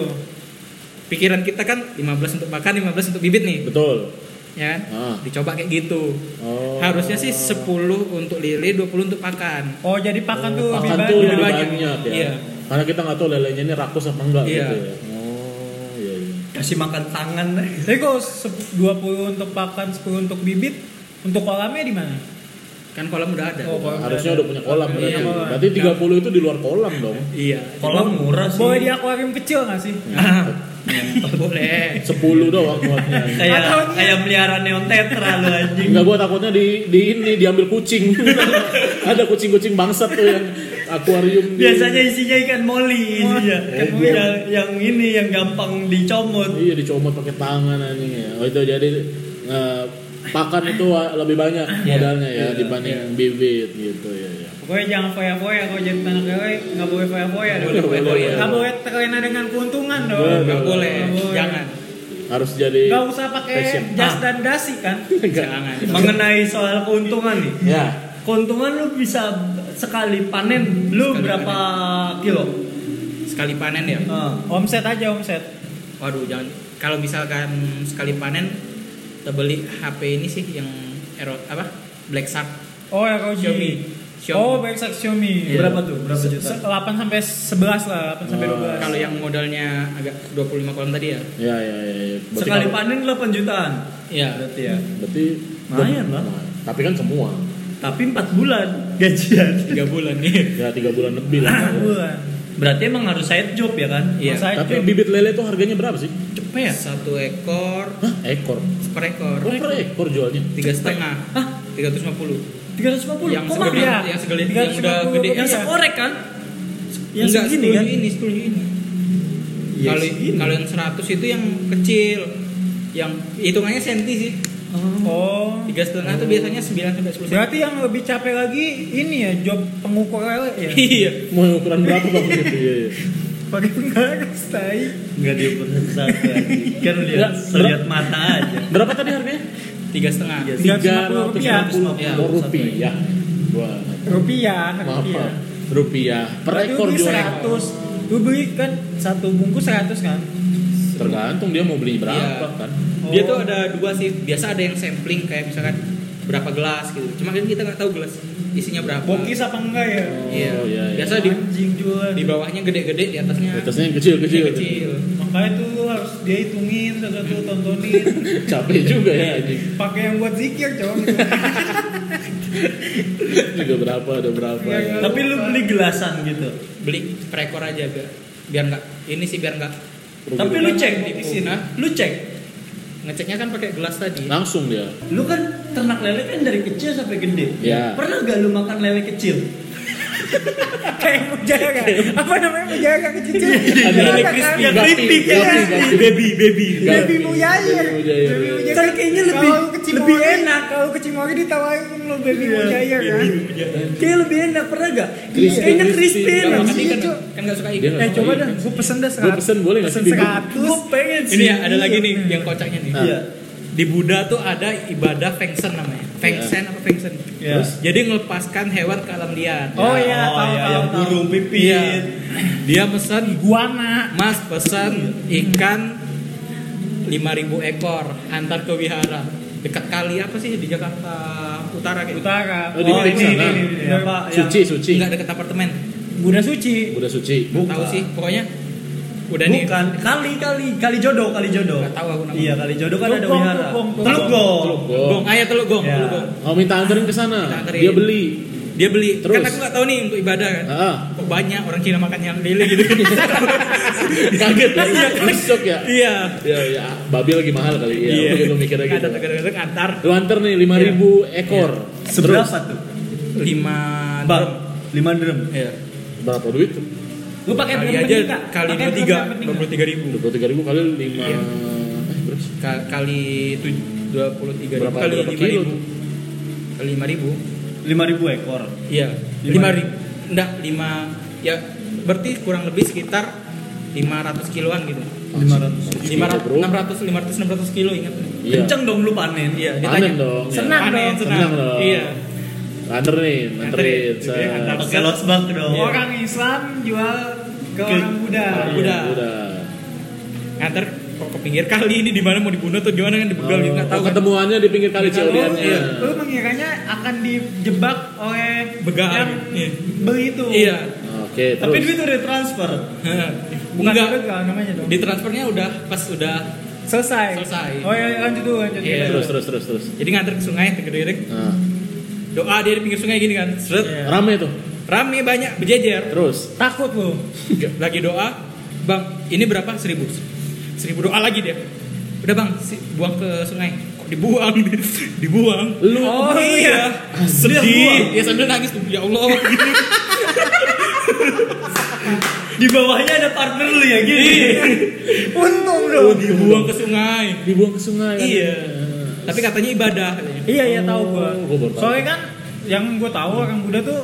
[SPEAKER 4] Pikiran kita kan 15 untuk pakan, 15 untuk bibit nih,
[SPEAKER 2] Betul.
[SPEAKER 4] ya kan?
[SPEAKER 2] Ah.
[SPEAKER 4] Dicoba kayak gitu.
[SPEAKER 2] Oh.
[SPEAKER 4] Harusnya sih 10 untuk lele, 20 untuk pakan.
[SPEAKER 1] Oh, jadi pakan tuh lebih
[SPEAKER 2] Makan
[SPEAKER 1] banyak.
[SPEAKER 2] tuh
[SPEAKER 4] kan lebih
[SPEAKER 2] lebih banyak,
[SPEAKER 4] banyak.
[SPEAKER 2] ya.
[SPEAKER 4] Iya.
[SPEAKER 2] Karena kita nggak tahu lelenya ini rakus apa enggak
[SPEAKER 4] Iya.
[SPEAKER 2] gitu ya. Oh, iya iya.
[SPEAKER 3] Kasih makan tangan.
[SPEAKER 1] Tapi kalau sep- 20 untuk pakan, 10 untuk bibit, untuk kolamnya di mana?
[SPEAKER 4] Kan kolam
[SPEAKER 2] Oh,
[SPEAKER 4] udah ada.
[SPEAKER 1] kolam
[SPEAKER 2] Harusnya udah punya kolam
[SPEAKER 1] Iya,
[SPEAKER 2] berarti.
[SPEAKER 1] kolam.
[SPEAKER 2] Berarti 30 itu di luar kolam dong.
[SPEAKER 4] Iya.
[SPEAKER 3] Kolam murah sih.
[SPEAKER 1] Boleh di akuarium kecil nggak sih?
[SPEAKER 4] Ah,
[SPEAKER 1] boleh
[SPEAKER 2] 10 doang buatnya.
[SPEAKER 3] kayak kayak melihara neon tetra lu anjing
[SPEAKER 2] Enggak gua takutnya di di ini diambil kucing. Ada kucing-kucing bangsat tuh yang akuarium di-
[SPEAKER 3] biasanya isinya ikan moli
[SPEAKER 4] iya.
[SPEAKER 3] isinya
[SPEAKER 2] Ikan
[SPEAKER 3] Yang-
[SPEAKER 2] moli.
[SPEAKER 3] yang, yang ini yang gampang dicomot
[SPEAKER 2] Iya dicomot pakai tangan anjing ya. Oh itu jadi eh, pakan itu wa- lebih banyak modalnya ya dibanding bibit gitu ya. ya.
[SPEAKER 6] Pokoknya jangan foya-foya kalau jadi anak cewek nggak boleh foya-foya
[SPEAKER 1] iya,
[SPEAKER 6] dong.
[SPEAKER 2] Boleh, boleh, boleh.
[SPEAKER 6] Nggak
[SPEAKER 1] ya?
[SPEAKER 6] boleh terlena dengan keuntungan dong.
[SPEAKER 2] Boleh,
[SPEAKER 6] Nggak
[SPEAKER 4] boleh
[SPEAKER 6] boleh.
[SPEAKER 4] jangan
[SPEAKER 2] Harus jadi
[SPEAKER 6] Nggak usah pakai
[SPEAKER 2] Fashion.
[SPEAKER 6] jas
[SPEAKER 3] Ah.
[SPEAKER 6] dan dasi kan.
[SPEAKER 4] jangan
[SPEAKER 3] mengenai soal keuntungan nih
[SPEAKER 2] ya.
[SPEAKER 3] keuntungan lu bisa sekali panen lu
[SPEAKER 4] Sekali
[SPEAKER 3] berapa kilo
[SPEAKER 4] sekali panen ya
[SPEAKER 3] Ah.
[SPEAKER 1] omset aja omset
[SPEAKER 4] waduh jangan kalau misalkan sekali panen kita beli HP ini sih yang Aero, apa Black Shark
[SPEAKER 1] oh ya kau
[SPEAKER 4] Xiaomi
[SPEAKER 1] Xiaomi oh
[SPEAKER 4] Xiaomi Iya.
[SPEAKER 1] baik sak Xiaomi
[SPEAKER 3] berapa tuh berapa juta Ah.
[SPEAKER 1] 8 sampai 11 lah 8 sampai
[SPEAKER 2] Oh.
[SPEAKER 1] 12
[SPEAKER 4] kalau yang modalnya agak 25 kolam tadi ya
[SPEAKER 2] Ya ya ya. ya. Berarti
[SPEAKER 3] sekali
[SPEAKER 2] kalau-
[SPEAKER 3] panen 8 jutaan
[SPEAKER 4] iya
[SPEAKER 3] berarti ya
[SPEAKER 2] Berarti
[SPEAKER 3] Lumayan lah.
[SPEAKER 2] Nah, Tapi kan semua.
[SPEAKER 3] tapi 4 bulan gajian
[SPEAKER 4] 3 bulan nih
[SPEAKER 2] Ya tiga bulan lebih lah.
[SPEAKER 1] bulan
[SPEAKER 3] berarti emang harus side job ya kan
[SPEAKER 4] iya
[SPEAKER 1] Masa-
[SPEAKER 2] Tapi bibit lele tuh harganya berapa sih?
[SPEAKER 4] cepet ya satu ekor
[SPEAKER 2] Hah, ekor.
[SPEAKER 4] per ekor
[SPEAKER 2] Per ekor, ekor jualnya.
[SPEAKER 4] tiga setengah
[SPEAKER 3] Hah?
[SPEAKER 4] 350
[SPEAKER 3] 350
[SPEAKER 4] yang
[SPEAKER 3] kok
[SPEAKER 4] segede
[SPEAKER 1] ya?
[SPEAKER 3] mahal?
[SPEAKER 4] yang segede yang udah
[SPEAKER 1] 350
[SPEAKER 4] gede
[SPEAKER 3] yang
[SPEAKER 1] Iya.
[SPEAKER 3] sekorek kan yang
[SPEAKER 4] Enggak,
[SPEAKER 3] segini
[SPEAKER 4] 10
[SPEAKER 3] kan Iya
[SPEAKER 4] ini 10 ini kalau kalau yang 100 itu yang kecil yang hitungannya senti sih
[SPEAKER 1] oh
[SPEAKER 4] tiga setengah itu biasanya 9 sampai 10
[SPEAKER 1] berarti yang lebih capek lagi ini ya job pengukur lele ya
[SPEAKER 4] iya
[SPEAKER 2] Mau ukuran berapa bang? Gitu, iya, iya.
[SPEAKER 1] pakai penggaris tai
[SPEAKER 3] nggak diukur satu kan lihat
[SPEAKER 2] Nggak,
[SPEAKER 3] lihat mata aja
[SPEAKER 2] Berapa tadi harganya?
[SPEAKER 4] tiga setengah
[SPEAKER 3] Iya
[SPEAKER 1] Tiga ratus lima puluh rupiah.
[SPEAKER 2] rupiah. rupiah. Wah,
[SPEAKER 1] rupiah anak
[SPEAKER 2] maaf
[SPEAKER 1] rupiah
[SPEAKER 2] Pak. rupiah per
[SPEAKER 1] Berarti
[SPEAKER 2] ekor
[SPEAKER 1] lu beli
[SPEAKER 2] jualnya.
[SPEAKER 1] 100 lu beli kan satu bungkus 100 kan
[SPEAKER 2] Tergantung dia mau beli berapa
[SPEAKER 4] Iya.
[SPEAKER 2] kan.
[SPEAKER 4] dia tuh ada dua sih biasa ada yang sampling kayak misalkan berapa gelas gitu cuma kan kita nggak tahu gelas isinya berapa
[SPEAKER 1] bokis apa enggak ya
[SPEAKER 4] iya.
[SPEAKER 2] Oh, iya, iya.
[SPEAKER 4] biasa di
[SPEAKER 1] anjing jual
[SPEAKER 4] di bawahnya gede-gede di atasnya
[SPEAKER 2] Atasnya yang kecil-kecil.
[SPEAKER 4] kecil
[SPEAKER 1] makanya tuh lu harus dia hitungin terus lu tontonin
[SPEAKER 2] Capek juga ya anjing.
[SPEAKER 1] pakai yang buat zikir coba gitu.
[SPEAKER 2] Juga berapa ada berapa.
[SPEAKER 1] Iya,
[SPEAKER 2] ya.
[SPEAKER 1] iya.
[SPEAKER 3] tapi lu beli gelasan gitu
[SPEAKER 4] beli per ekor aja biar biar nggak ini sih biar nggak
[SPEAKER 2] Rugi
[SPEAKER 3] tapi
[SPEAKER 2] dong.
[SPEAKER 3] lu cek di
[SPEAKER 4] Bokis ini.
[SPEAKER 3] sini lu cek
[SPEAKER 4] ngeceknya kan pakai gelas tadi
[SPEAKER 2] langsung dia.
[SPEAKER 3] lu kan ternak lele kan dari kecil sampai gede
[SPEAKER 2] Iya.
[SPEAKER 3] pernah gak lu makan lele kecil
[SPEAKER 1] kayak mujaga apa namanya mujaga kecil
[SPEAKER 2] Ada
[SPEAKER 1] Mujaga kan?
[SPEAKER 2] ada crispy,
[SPEAKER 3] yang
[SPEAKER 2] gapi,
[SPEAKER 3] keripik ya
[SPEAKER 2] gapi, gapi.
[SPEAKER 3] baby baby
[SPEAKER 2] Iya.
[SPEAKER 1] Baby Iya. Mujair.
[SPEAKER 2] Baby Iya. Mujair.
[SPEAKER 1] Baby Mujair.
[SPEAKER 3] Kan kayaknya lebih-
[SPEAKER 1] Kalau kecil
[SPEAKER 3] lebih
[SPEAKER 1] Mori,
[SPEAKER 3] enak.
[SPEAKER 1] Kalau kecil Mori ditawarin lo Baby Mujair kan.
[SPEAKER 3] kayak lebih enak pernah gak
[SPEAKER 2] Crispy,
[SPEAKER 3] kayaknya
[SPEAKER 2] crispy.
[SPEAKER 3] crispy
[SPEAKER 4] Nggak
[SPEAKER 3] enak
[SPEAKER 4] makan
[SPEAKER 1] Iya,
[SPEAKER 4] ikan
[SPEAKER 1] Cuk.
[SPEAKER 4] kan nggak suka
[SPEAKER 2] Dia
[SPEAKER 4] ikan
[SPEAKER 2] nggak
[SPEAKER 1] Eh
[SPEAKER 2] suka
[SPEAKER 1] coba
[SPEAKER 2] ikan.
[SPEAKER 1] dah, gue pesen dah
[SPEAKER 2] Gua
[SPEAKER 1] 100.
[SPEAKER 2] pesen boleh nggak sih?
[SPEAKER 1] Pesen
[SPEAKER 2] Bibi?
[SPEAKER 1] 100.
[SPEAKER 3] gue pengen sih
[SPEAKER 4] ini ya, ada lagi nih yang kocaknya nih
[SPEAKER 2] Nah.
[SPEAKER 3] Iya.
[SPEAKER 4] di Buddha tuh ada ibadah Fengsen namanya Fengsen apa Fengsen
[SPEAKER 3] Iya.
[SPEAKER 4] jadi melepaskan hewan ke alam liar
[SPEAKER 1] Oh iya, tahu
[SPEAKER 3] iya,
[SPEAKER 1] tahu.
[SPEAKER 3] yang
[SPEAKER 1] tahu.
[SPEAKER 3] burung pipit
[SPEAKER 4] Iya. dia pesan
[SPEAKER 1] Guana.
[SPEAKER 4] Mas pesan ikan 5000 ekor antar ke wihara dekat kali apa sih di Jakarta Utara kayak gitu.
[SPEAKER 1] Utara.
[SPEAKER 2] Oh, di
[SPEAKER 1] Oh, ini,
[SPEAKER 2] Periksa,
[SPEAKER 1] ini,
[SPEAKER 2] kan?
[SPEAKER 1] ini, ini.
[SPEAKER 3] Apa?
[SPEAKER 2] Suci, suci.
[SPEAKER 4] nggak dekat apartemen
[SPEAKER 1] Bunda Suci.
[SPEAKER 2] Udah suci.
[SPEAKER 4] Nggak tahu sih pokoknya udah nih
[SPEAKER 3] bukan kali kali kali jodoh kali jodoh
[SPEAKER 4] Nggak tahu aku namanya.
[SPEAKER 3] iya kali jodoh kan ada
[SPEAKER 1] Teluk Gong,
[SPEAKER 3] wihara
[SPEAKER 1] Teluk Gong, Teluk
[SPEAKER 3] teluk gong
[SPEAKER 2] Teluk
[SPEAKER 4] gong
[SPEAKER 2] Gong.
[SPEAKER 4] ayo teluk gong,
[SPEAKER 3] Iya.
[SPEAKER 4] teluk gong.
[SPEAKER 2] Oh minta anterin ke
[SPEAKER 4] Minta
[SPEAKER 2] sana.
[SPEAKER 4] anterin.
[SPEAKER 2] Dia beli. Ah.
[SPEAKER 4] dia beli
[SPEAKER 2] Terus?
[SPEAKER 4] kan aku nggak tahu nih untuk ibadah kan
[SPEAKER 2] Heeh.
[SPEAKER 4] kok banyak orang Cina makan yang lele gitu
[SPEAKER 2] Kaget ya. Besok ya.
[SPEAKER 4] iya
[SPEAKER 2] Ya, ya, babi lagi mahal kali ya.
[SPEAKER 4] Iya.
[SPEAKER 2] Mungkin lu mikirnya gitu.
[SPEAKER 4] ada Iya. tegak-tegak antar
[SPEAKER 2] Lu anter nih 5000 ekor.
[SPEAKER 3] seberapa tuh
[SPEAKER 4] lima
[SPEAKER 3] bang lima drum
[SPEAKER 4] Iya.
[SPEAKER 2] Terus, berapa duit? tuh?
[SPEAKER 1] Lu pakai
[SPEAKER 4] kali
[SPEAKER 1] drum
[SPEAKER 4] aja
[SPEAKER 1] peningkat.
[SPEAKER 4] kali
[SPEAKER 1] Pakai
[SPEAKER 4] dua
[SPEAKER 1] drum
[SPEAKER 4] tiga
[SPEAKER 1] yang peningkat.
[SPEAKER 4] dua puluh tiga ribu
[SPEAKER 2] 23000 kali 5
[SPEAKER 4] Iya.
[SPEAKER 2] eh berapa sih?
[SPEAKER 4] Ka- kali dua puluh tiga ribu
[SPEAKER 2] Berapa-
[SPEAKER 4] kali
[SPEAKER 2] berapa
[SPEAKER 4] lima
[SPEAKER 2] kilo
[SPEAKER 4] ribu
[SPEAKER 2] tuh?
[SPEAKER 4] kali lima ribu
[SPEAKER 3] lima ribu ekor
[SPEAKER 4] iya
[SPEAKER 3] Lima
[SPEAKER 4] lima ribu enggak lima ya berarti kurang lebih sekitar 500 kiloan gitu
[SPEAKER 3] lima ratus
[SPEAKER 4] lima ratus
[SPEAKER 2] Bro.
[SPEAKER 4] enam ratus lima ratus enam ratus kilo ingat
[SPEAKER 2] Iya.
[SPEAKER 3] kenceng dong lu panen
[SPEAKER 4] iya
[SPEAKER 2] Panen dong, iya.
[SPEAKER 4] senang
[SPEAKER 1] Panen,
[SPEAKER 4] dong senang,
[SPEAKER 2] senang dong.
[SPEAKER 4] iya
[SPEAKER 2] Anter nih, anterin.
[SPEAKER 4] Anterin.
[SPEAKER 2] set.
[SPEAKER 4] Antar.
[SPEAKER 3] pakai losbak dong
[SPEAKER 4] Iya.
[SPEAKER 1] Orang Islam jual ke
[SPEAKER 3] Ke-
[SPEAKER 1] orang Buddha.
[SPEAKER 2] Iya,
[SPEAKER 4] Udah.
[SPEAKER 2] Udah.
[SPEAKER 4] nganter kok ke pinggir kali ini di mana mau dibunuh atau gimana kan dibegal gitu nggak
[SPEAKER 2] Oh,
[SPEAKER 4] tahu kan
[SPEAKER 2] ketemuannya di pinggir kali
[SPEAKER 1] Kalau
[SPEAKER 2] Cioliannya.
[SPEAKER 1] iya. lu mengiranya akan dijebak oleh
[SPEAKER 4] begal
[SPEAKER 1] yang
[SPEAKER 4] iya.
[SPEAKER 1] beli itu.
[SPEAKER 4] iya
[SPEAKER 2] Oke,
[SPEAKER 3] tapi
[SPEAKER 2] terus.
[SPEAKER 3] duit udah transfer
[SPEAKER 1] Bukan
[SPEAKER 4] enggak
[SPEAKER 1] begal namanya dong.
[SPEAKER 4] di transfernya udah pas udah
[SPEAKER 1] Selesai.
[SPEAKER 4] Selesai.
[SPEAKER 1] Oh ya lanjut dulu lanjut.
[SPEAKER 4] Iya.
[SPEAKER 1] dulu.
[SPEAKER 2] Terus terus terus terus.
[SPEAKER 4] jadi nganter ke sungai tergerik
[SPEAKER 2] Nah,
[SPEAKER 4] doa dia di pinggir sungai gini kan seret
[SPEAKER 1] Iya.
[SPEAKER 2] rame tuh.
[SPEAKER 4] rame banyak berjejer
[SPEAKER 2] Terus.
[SPEAKER 1] Takut lu.
[SPEAKER 4] lagi doa bang ini berapa seribu seribu doa lagi dia udah bang si- buang ke sungai kok dibuang dibuang
[SPEAKER 2] Lu- ya?
[SPEAKER 4] oh iya sedih ya sambil nangis tuh ya allah
[SPEAKER 3] Di bawahnya ada partner lu ya gini.
[SPEAKER 1] Iya.
[SPEAKER 4] untung dong dibuang ke sungai
[SPEAKER 2] dibuang ke sungai kan?
[SPEAKER 4] Iya. tapi katanya ibadah katanya.
[SPEAKER 1] Iya iya tahu gua.
[SPEAKER 2] Oh, gua baru tahu.
[SPEAKER 1] Soalnya kan yang gua tahu orang Buddha tuh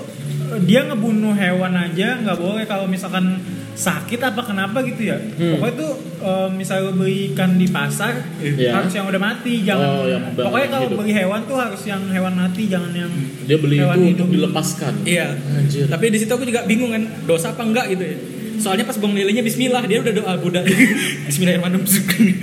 [SPEAKER 1] eh, dia ngebunuh hewan aja nggak boleh kalau misalkan sakit apa kenapa gitu ya. Pokoknya tuh eh, misalnya beli ikan di pasar
[SPEAKER 2] Iya.
[SPEAKER 1] harus yang udah mati jangan.
[SPEAKER 2] Oh, yang
[SPEAKER 1] pokoknya
[SPEAKER 2] yang
[SPEAKER 1] kalau
[SPEAKER 2] hidup.
[SPEAKER 1] beli hewan tuh harus yang hewan mati jangan yang
[SPEAKER 2] dia beli
[SPEAKER 1] hewan
[SPEAKER 2] itu
[SPEAKER 1] hidup.
[SPEAKER 2] untuk dilepaskan
[SPEAKER 4] iya
[SPEAKER 2] Anjir.
[SPEAKER 4] tapi di situ aku juga bingung kan dosa apa enggak gitu ya soalnya pas buang lelenya Bismillah dia udah doa Buddha Bismillahirrahmanirrahim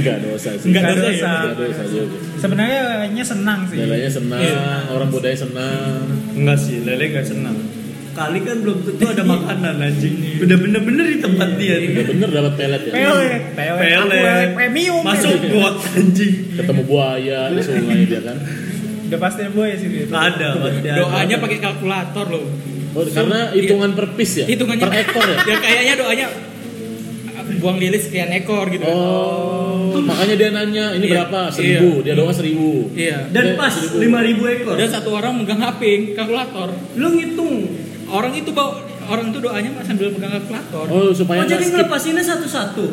[SPEAKER 2] enggak dosa sih
[SPEAKER 4] Nggak
[SPEAKER 1] Nggak
[SPEAKER 4] dosa ya?
[SPEAKER 1] dosa.
[SPEAKER 2] Nggak dosa juga
[SPEAKER 1] Sebenarnya lelenya senang sih.
[SPEAKER 2] Lelenya senang,
[SPEAKER 4] Iya.
[SPEAKER 2] orang budaya senang.
[SPEAKER 3] Enggak sih, lele enggak senang. Kali kan belum tentu ada makanan anjing. Udah bener-bener di tempat dia.
[SPEAKER 2] Ya bener dapat pelet ya.
[SPEAKER 1] Pele, pele,
[SPEAKER 3] Pele.
[SPEAKER 1] pele premium.
[SPEAKER 3] Masuk
[SPEAKER 1] ya.
[SPEAKER 3] buat anjing.
[SPEAKER 2] Ketemu buaya di sungai dia kan.
[SPEAKER 1] Udah pasti boy sih dia.
[SPEAKER 3] Nggak ada pasti
[SPEAKER 2] Ya,
[SPEAKER 3] ada.
[SPEAKER 4] doanya pakai kalkulator loh
[SPEAKER 2] Oh, karena hitungan per piece ya?
[SPEAKER 4] Iya. hitungannya
[SPEAKER 2] Per ekor ya?
[SPEAKER 4] ya kayaknya doanya buang lele sekian ekor gitu
[SPEAKER 2] Oh, makanya dia nanya ini
[SPEAKER 4] Iya.
[SPEAKER 2] berapa? Seribu. Dia doang seribu.
[SPEAKER 4] iya
[SPEAKER 3] dan pas 5000 ekor.
[SPEAKER 4] dan satu orang megang HP kalkulator
[SPEAKER 3] Lu ngitung.
[SPEAKER 4] orang itu bawa orang itu doanya mah sambil megang kalkulator
[SPEAKER 2] Oh, supaya
[SPEAKER 3] Oh, jadi
[SPEAKER 2] nggak skip.
[SPEAKER 3] ngelepasinnya satu-satu.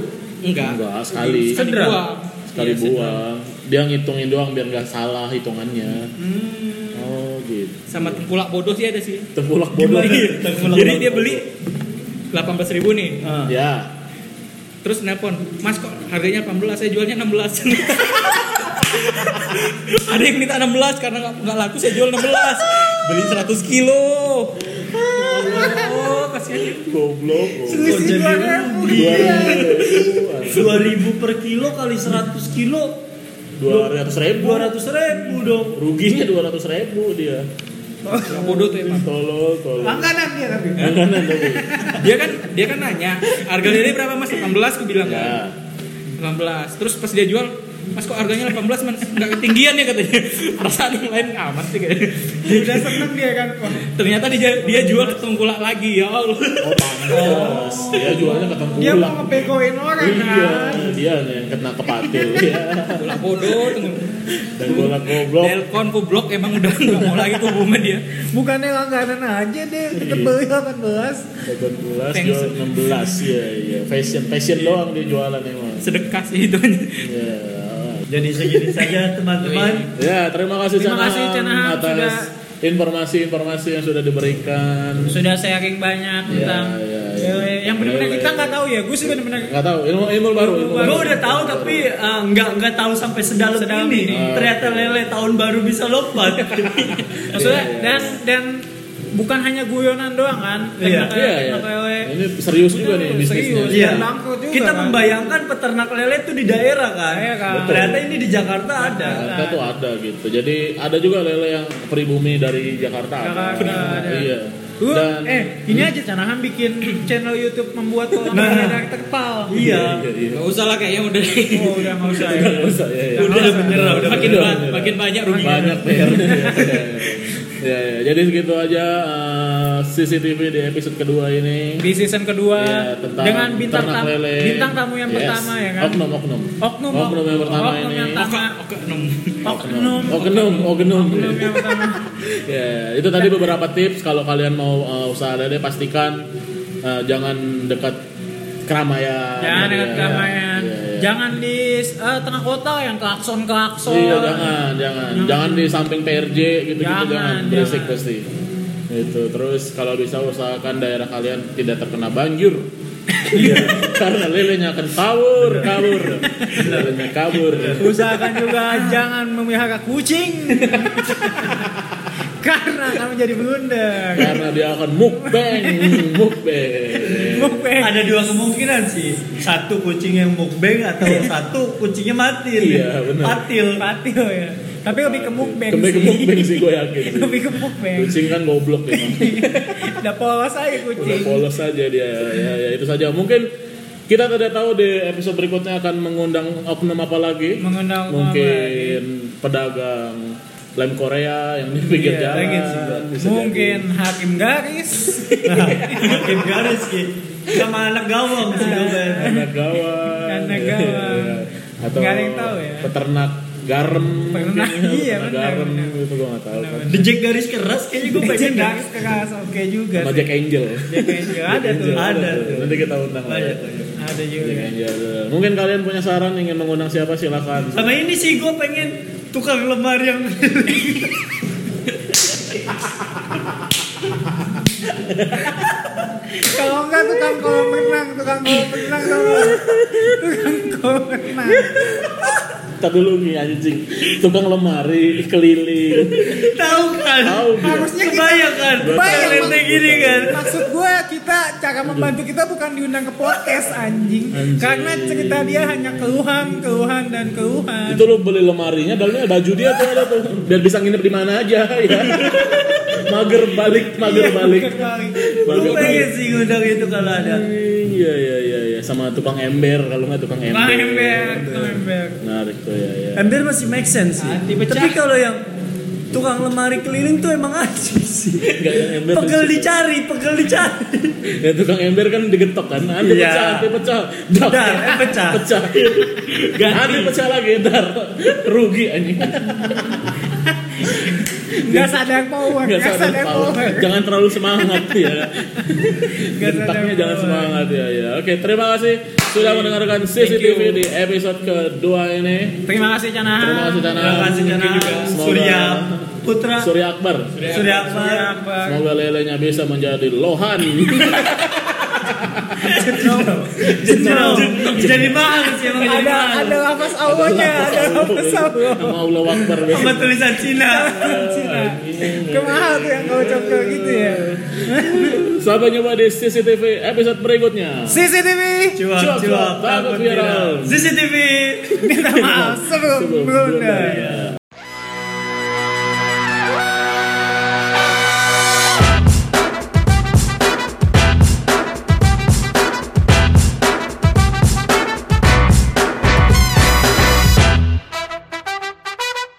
[SPEAKER 4] enggak
[SPEAKER 2] Enggak, sekali.
[SPEAKER 4] sekali
[SPEAKER 3] Sederhana.
[SPEAKER 4] buang
[SPEAKER 2] Sekali
[SPEAKER 4] Iya, sederhana.
[SPEAKER 2] buang. Dia ngitungin doang biar nggak salah hitungannya.
[SPEAKER 4] Hmm.
[SPEAKER 2] Oh, gitu.
[SPEAKER 4] sama tempulak bodoh sih ada sih
[SPEAKER 2] Tepulak bodoh.
[SPEAKER 4] jadi dia beli 18.000 nih
[SPEAKER 2] Ya.
[SPEAKER 4] terus nelpon mas kok harganya 18 saya jualnya 16 ada yang minta 16 karena nggak- nggak laku saya jual 16 beli 100 kilo oh kasihan
[SPEAKER 2] Goblok. goblok.
[SPEAKER 3] Oh, jadi
[SPEAKER 2] Dua
[SPEAKER 1] Iya.
[SPEAKER 2] ribu. Iya.
[SPEAKER 3] 2000 per kilo kali 100 kilo
[SPEAKER 2] Dua ratus ribu.
[SPEAKER 3] 200 ribu dong
[SPEAKER 2] Ruginya dua ratus ribu dia.
[SPEAKER 4] Orang bodoh tuh emang
[SPEAKER 2] Tolol, tolol.
[SPEAKER 1] Langganan dia tapi.
[SPEAKER 2] Langganan tapi.
[SPEAKER 4] dia kan dia kan nanya harga lele berapa mas 18 aku bilang kan
[SPEAKER 2] Ya.
[SPEAKER 4] 18 terus pas dia jual mas kok harganya 18 mas nggak ketinggian ya katanya perasaan yang lain amat sih kayaknya
[SPEAKER 1] Udah seneng dia kan. Wah,
[SPEAKER 4] ternyata dia dia jual ke tengkulak lagi ya allah
[SPEAKER 2] Oh, pantas. Dia jualnya ke
[SPEAKER 1] Dia
[SPEAKER 2] tengkulak.
[SPEAKER 1] mau ngebegoin orang
[SPEAKER 2] Iya,
[SPEAKER 1] kan.
[SPEAKER 2] dia yang kena kepatil. Iya.
[SPEAKER 4] tengkulak bodoh tengkulak
[SPEAKER 2] Dan golak goblok.
[SPEAKER 4] Delcon goblok emang udah nggak mau lagi tuh ya. boomnya dia
[SPEAKER 1] Bukannya langganan aja deh,
[SPEAKER 2] Iya.
[SPEAKER 1] kita beli 18
[SPEAKER 2] 18
[SPEAKER 4] Thanks.
[SPEAKER 2] jual 16. Iya, iya. Fashion, fashion doang dia jualan emang.
[SPEAKER 4] sedekah sih itu aja
[SPEAKER 2] Iya.
[SPEAKER 3] jadi segini saja teman-teman
[SPEAKER 2] Ya, terima kasih
[SPEAKER 1] Terima kasih, Canaham,
[SPEAKER 2] atas
[SPEAKER 1] sudah-
[SPEAKER 2] informasi-informasi yang sudah diberikan.
[SPEAKER 1] Sudah sharing banyak
[SPEAKER 2] Iya,
[SPEAKER 1] tentang
[SPEAKER 2] iya, iya.
[SPEAKER 1] Lele. Yang benar-benar
[SPEAKER 2] Lele.
[SPEAKER 1] kita nggak tahu ya, gue sih benar-benar
[SPEAKER 2] Nggak tahu, ilmu ilmu baru. Ilmu
[SPEAKER 3] gue udah tahu tapi eh, nggak nggak tahu sampai sedalam, ini.
[SPEAKER 2] ini.
[SPEAKER 3] ternyata lele tahun baru bisa lompat
[SPEAKER 1] maksudnya
[SPEAKER 2] Iya, iya.
[SPEAKER 1] dan dan bukan hanya guyonan doang kan.
[SPEAKER 3] Iya,
[SPEAKER 1] Teknik
[SPEAKER 2] Iya,
[SPEAKER 1] lele,
[SPEAKER 2] iya.
[SPEAKER 1] teknik lele.
[SPEAKER 2] Ini serius juga nih bisnisnya.
[SPEAKER 1] Serius,
[SPEAKER 3] Iya.
[SPEAKER 1] dan bangkrut juga.
[SPEAKER 3] kita
[SPEAKER 1] kan.
[SPEAKER 3] membayangkan peternak lele itu di daerah kan,
[SPEAKER 1] Iya, kan.
[SPEAKER 2] Betul.
[SPEAKER 3] ternyata ini di Jakarta ada
[SPEAKER 2] Jakarta Nah, tuh ada gitu. Jadi ada juga lele yang pribumi dari Jakarta. ada.
[SPEAKER 1] Jakarta ada.
[SPEAKER 2] Iya.
[SPEAKER 1] Lu,
[SPEAKER 2] Dan
[SPEAKER 1] eh, ini aja Canahan bikin channel YouTube membuat kolam
[SPEAKER 3] Nah.
[SPEAKER 1] nah. dari terpal.
[SPEAKER 3] iya
[SPEAKER 2] iya, iya.
[SPEAKER 4] nggak usah lah kayaknya udah
[SPEAKER 1] Oh, udah nggak usah ya.
[SPEAKER 2] Nggak usah, ya, ya.
[SPEAKER 4] udah bener lah, udah makin
[SPEAKER 2] Udah,
[SPEAKER 4] ba-
[SPEAKER 2] udah.
[SPEAKER 4] makin banyak ruginya
[SPEAKER 2] banyak iya, PR. ya, ya. Jadi segitu aja eh, CCTV di episode kedua ini.
[SPEAKER 1] Di season kedua
[SPEAKER 2] Ya, tentang
[SPEAKER 1] dengan bintang
[SPEAKER 2] ternak
[SPEAKER 1] tamu,
[SPEAKER 2] lele.
[SPEAKER 1] bintang tamu yang
[SPEAKER 2] Yes.
[SPEAKER 1] pertama ya kan.
[SPEAKER 2] Oknum, oknum.
[SPEAKER 1] Oknum,
[SPEAKER 2] oknum yang pertama
[SPEAKER 1] oknum
[SPEAKER 2] ini.
[SPEAKER 1] yang tamu.
[SPEAKER 4] Oke, oke, nom.
[SPEAKER 2] oknum, oknum, oknum.
[SPEAKER 1] Oknum yang pertama.
[SPEAKER 2] Ya, itu tadi beberapa tips kalau kalian mau eh, usaha lele pastikan eh, jangan dekat keramaian.
[SPEAKER 1] Jangan
[SPEAKER 2] Ya,
[SPEAKER 1] dekat
[SPEAKER 2] ya,
[SPEAKER 1] keramaian.
[SPEAKER 2] ya, ya.
[SPEAKER 1] Jangan di eh, tengah kota yang klakson-klakson.
[SPEAKER 2] Iya jangan, jangan, jangan di samping PRJ gitu gitu
[SPEAKER 1] Jangan,
[SPEAKER 2] jangan
[SPEAKER 1] jangan.
[SPEAKER 2] berisik pasti. Itu terus kalau bisa usahakan daerah kalian tidak terkena banjir. Iya, karena lelenya akan kabur, kabur, lelenya kabur.
[SPEAKER 1] Usahakan juga jangan memelihara kucing. Karena akan menjadi blunder.
[SPEAKER 2] Karena dia akan mukbang, mukbang.
[SPEAKER 1] Mukbang.
[SPEAKER 3] ada dua kemungkinan sih satu kucing yang mukbang atau satu kucingnya mati
[SPEAKER 2] Iya, benar.
[SPEAKER 3] patil
[SPEAKER 1] Patil ya. Tapi lebih ke mukbang
[SPEAKER 2] Lebih ke
[SPEAKER 1] sih.
[SPEAKER 2] mukbang sih gue yakin. sih.
[SPEAKER 1] Lebih ke mukbang.
[SPEAKER 2] Kucing kan goblok emang.
[SPEAKER 1] Udah polos aja
[SPEAKER 2] udah
[SPEAKER 1] kucing.
[SPEAKER 2] polos saja dia ya, ya itu saja mungkin kita tidak tahu di episode berikutnya akan mengundang oknum apa lagi
[SPEAKER 1] Mengundang oknum
[SPEAKER 2] mungkin pedagang lem Korea yang di pinggir
[SPEAKER 1] Iya,
[SPEAKER 2] jalan
[SPEAKER 1] mungkin sih, Bang.
[SPEAKER 2] bisa
[SPEAKER 1] Mungkin hakim garis.
[SPEAKER 3] Hakim garis gitu sama anak gawang sih gue bayar.
[SPEAKER 2] anak gawang
[SPEAKER 6] Anak gawang.
[SPEAKER 2] Iya. atau
[SPEAKER 6] Nggak ada yang tahu ya.
[SPEAKER 2] peternak garam
[SPEAKER 6] Peternak,
[SPEAKER 2] mungkin,
[SPEAKER 6] iya,
[SPEAKER 2] peternak
[SPEAKER 6] benar,
[SPEAKER 2] garam
[SPEAKER 6] benar.
[SPEAKER 2] itu gue nggak tahu kan
[SPEAKER 3] The Jack garis keras kayaknya gue pengen
[SPEAKER 6] Pengen
[SPEAKER 3] dah.
[SPEAKER 6] nangis keras oke juga.
[SPEAKER 2] ya. sama
[SPEAKER 6] sih.
[SPEAKER 2] Jack Angel
[SPEAKER 6] Jack Angel ada tuh.
[SPEAKER 2] Angel,
[SPEAKER 3] ada
[SPEAKER 2] tuh.
[SPEAKER 3] tuh.
[SPEAKER 2] nanti kita undang lah ya.
[SPEAKER 3] Ada, ada.
[SPEAKER 6] Ada juga.
[SPEAKER 2] Jack Angel mungkin kalian punya saran ingin mengundang siapa silakan
[SPEAKER 3] Sama ini sih gue pengen tukang lemari yang
[SPEAKER 1] Kalau enggak tukang kolam renang, tukang kolam renang sama tukang kolam renang.
[SPEAKER 2] tak dulu nih anjing tukang lemari keliling
[SPEAKER 3] tahu kan.
[SPEAKER 2] tahu gitu
[SPEAKER 1] Harusnya kita
[SPEAKER 3] Kebayang kan.
[SPEAKER 1] Kebayang,
[SPEAKER 3] Kebayang
[SPEAKER 1] Bang.
[SPEAKER 3] gini kan.
[SPEAKER 1] Maksud gue kita cara membantu kita bukan diundang ke podcast anjing, karena cerita dia hanya keluhan, keluhan dan keluhan.
[SPEAKER 2] itu lu beli lemarinya dalamnya baju dia tuh ada tuh biar bisa nginep di mana aja ya mager balik mager
[SPEAKER 1] Iya,
[SPEAKER 3] Iya,
[SPEAKER 2] balik
[SPEAKER 3] Gue
[SPEAKER 2] mager balik
[SPEAKER 3] pengen sih ngundang itu kalau ada.
[SPEAKER 2] iya iya iya iya sama tukang ember kalau nggak tukang ember
[SPEAKER 6] Tukang ember, tukang ember.
[SPEAKER 2] menarik tuh ya ya
[SPEAKER 3] Ember masih make sense sih.
[SPEAKER 6] Ah, dipecah.
[SPEAKER 3] Tapi kalau yang tukang lemari keliling tuh emang anjing sih.
[SPEAKER 2] Nggak, yang ember
[SPEAKER 3] Pegel
[SPEAKER 2] tuh-
[SPEAKER 3] dicari, pegel dicari.
[SPEAKER 2] ya tukang ember kan digetok kan nanti
[SPEAKER 3] Iya.
[SPEAKER 2] pecah nanti pecah
[SPEAKER 3] Dar, eh, pecah.
[SPEAKER 2] pecah nanti pecah lagi dar rugi anjing
[SPEAKER 1] Enggak sadar power,
[SPEAKER 2] Nggak
[SPEAKER 1] enggak
[SPEAKER 2] sadar
[SPEAKER 1] sadar
[SPEAKER 2] power.
[SPEAKER 1] power.
[SPEAKER 2] Jangan terlalu semangat ya. Gentaknya jangan
[SPEAKER 6] power.
[SPEAKER 2] semangat ya ya. Oke, terima kasih sudah mendengarkan CCTV di episode kedua ini.
[SPEAKER 6] Terima kasih Canahan.
[SPEAKER 2] Terima kasih Tanah.
[SPEAKER 3] Terima kasih Jana.
[SPEAKER 2] Semoga- ya.
[SPEAKER 3] Surya Putra.
[SPEAKER 2] Surya Akbar.
[SPEAKER 3] Surya apa?
[SPEAKER 6] Surya Akbar.
[SPEAKER 2] Semoga lelenya bisa menjadi lohan.
[SPEAKER 3] Jenderal. Jadi mahal sih emang jadi
[SPEAKER 1] Ada
[SPEAKER 3] mahal.
[SPEAKER 1] ada lafaz awalnya, ada lafaz awal.
[SPEAKER 2] Sama Allah Akbar. ya.
[SPEAKER 3] Sama tulisan Cina.
[SPEAKER 1] Kemahal tuh yang kau cokok gitu ya.
[SPEAKER 2] Sampai jumpa di CCTV episode berikutnya.
[SPEAKER 1] CCTV.
[SPEAKER 3] Cuap,
[SPEAKER 2] Cuap, cuap,
[SPEAKER 3] cuap,
[SPEAKER 2] takut
[SPEAKER 3] takut viral.
[SPEAKER 2] viral.
[SPEAKER 3] CCTV.
[SPEAKER 1] Minta maaf, sebelum ya.
[SPEAKER 2] Sebelum
[SPEAKER 1] blunder.
[SPEAKER 2] blunder.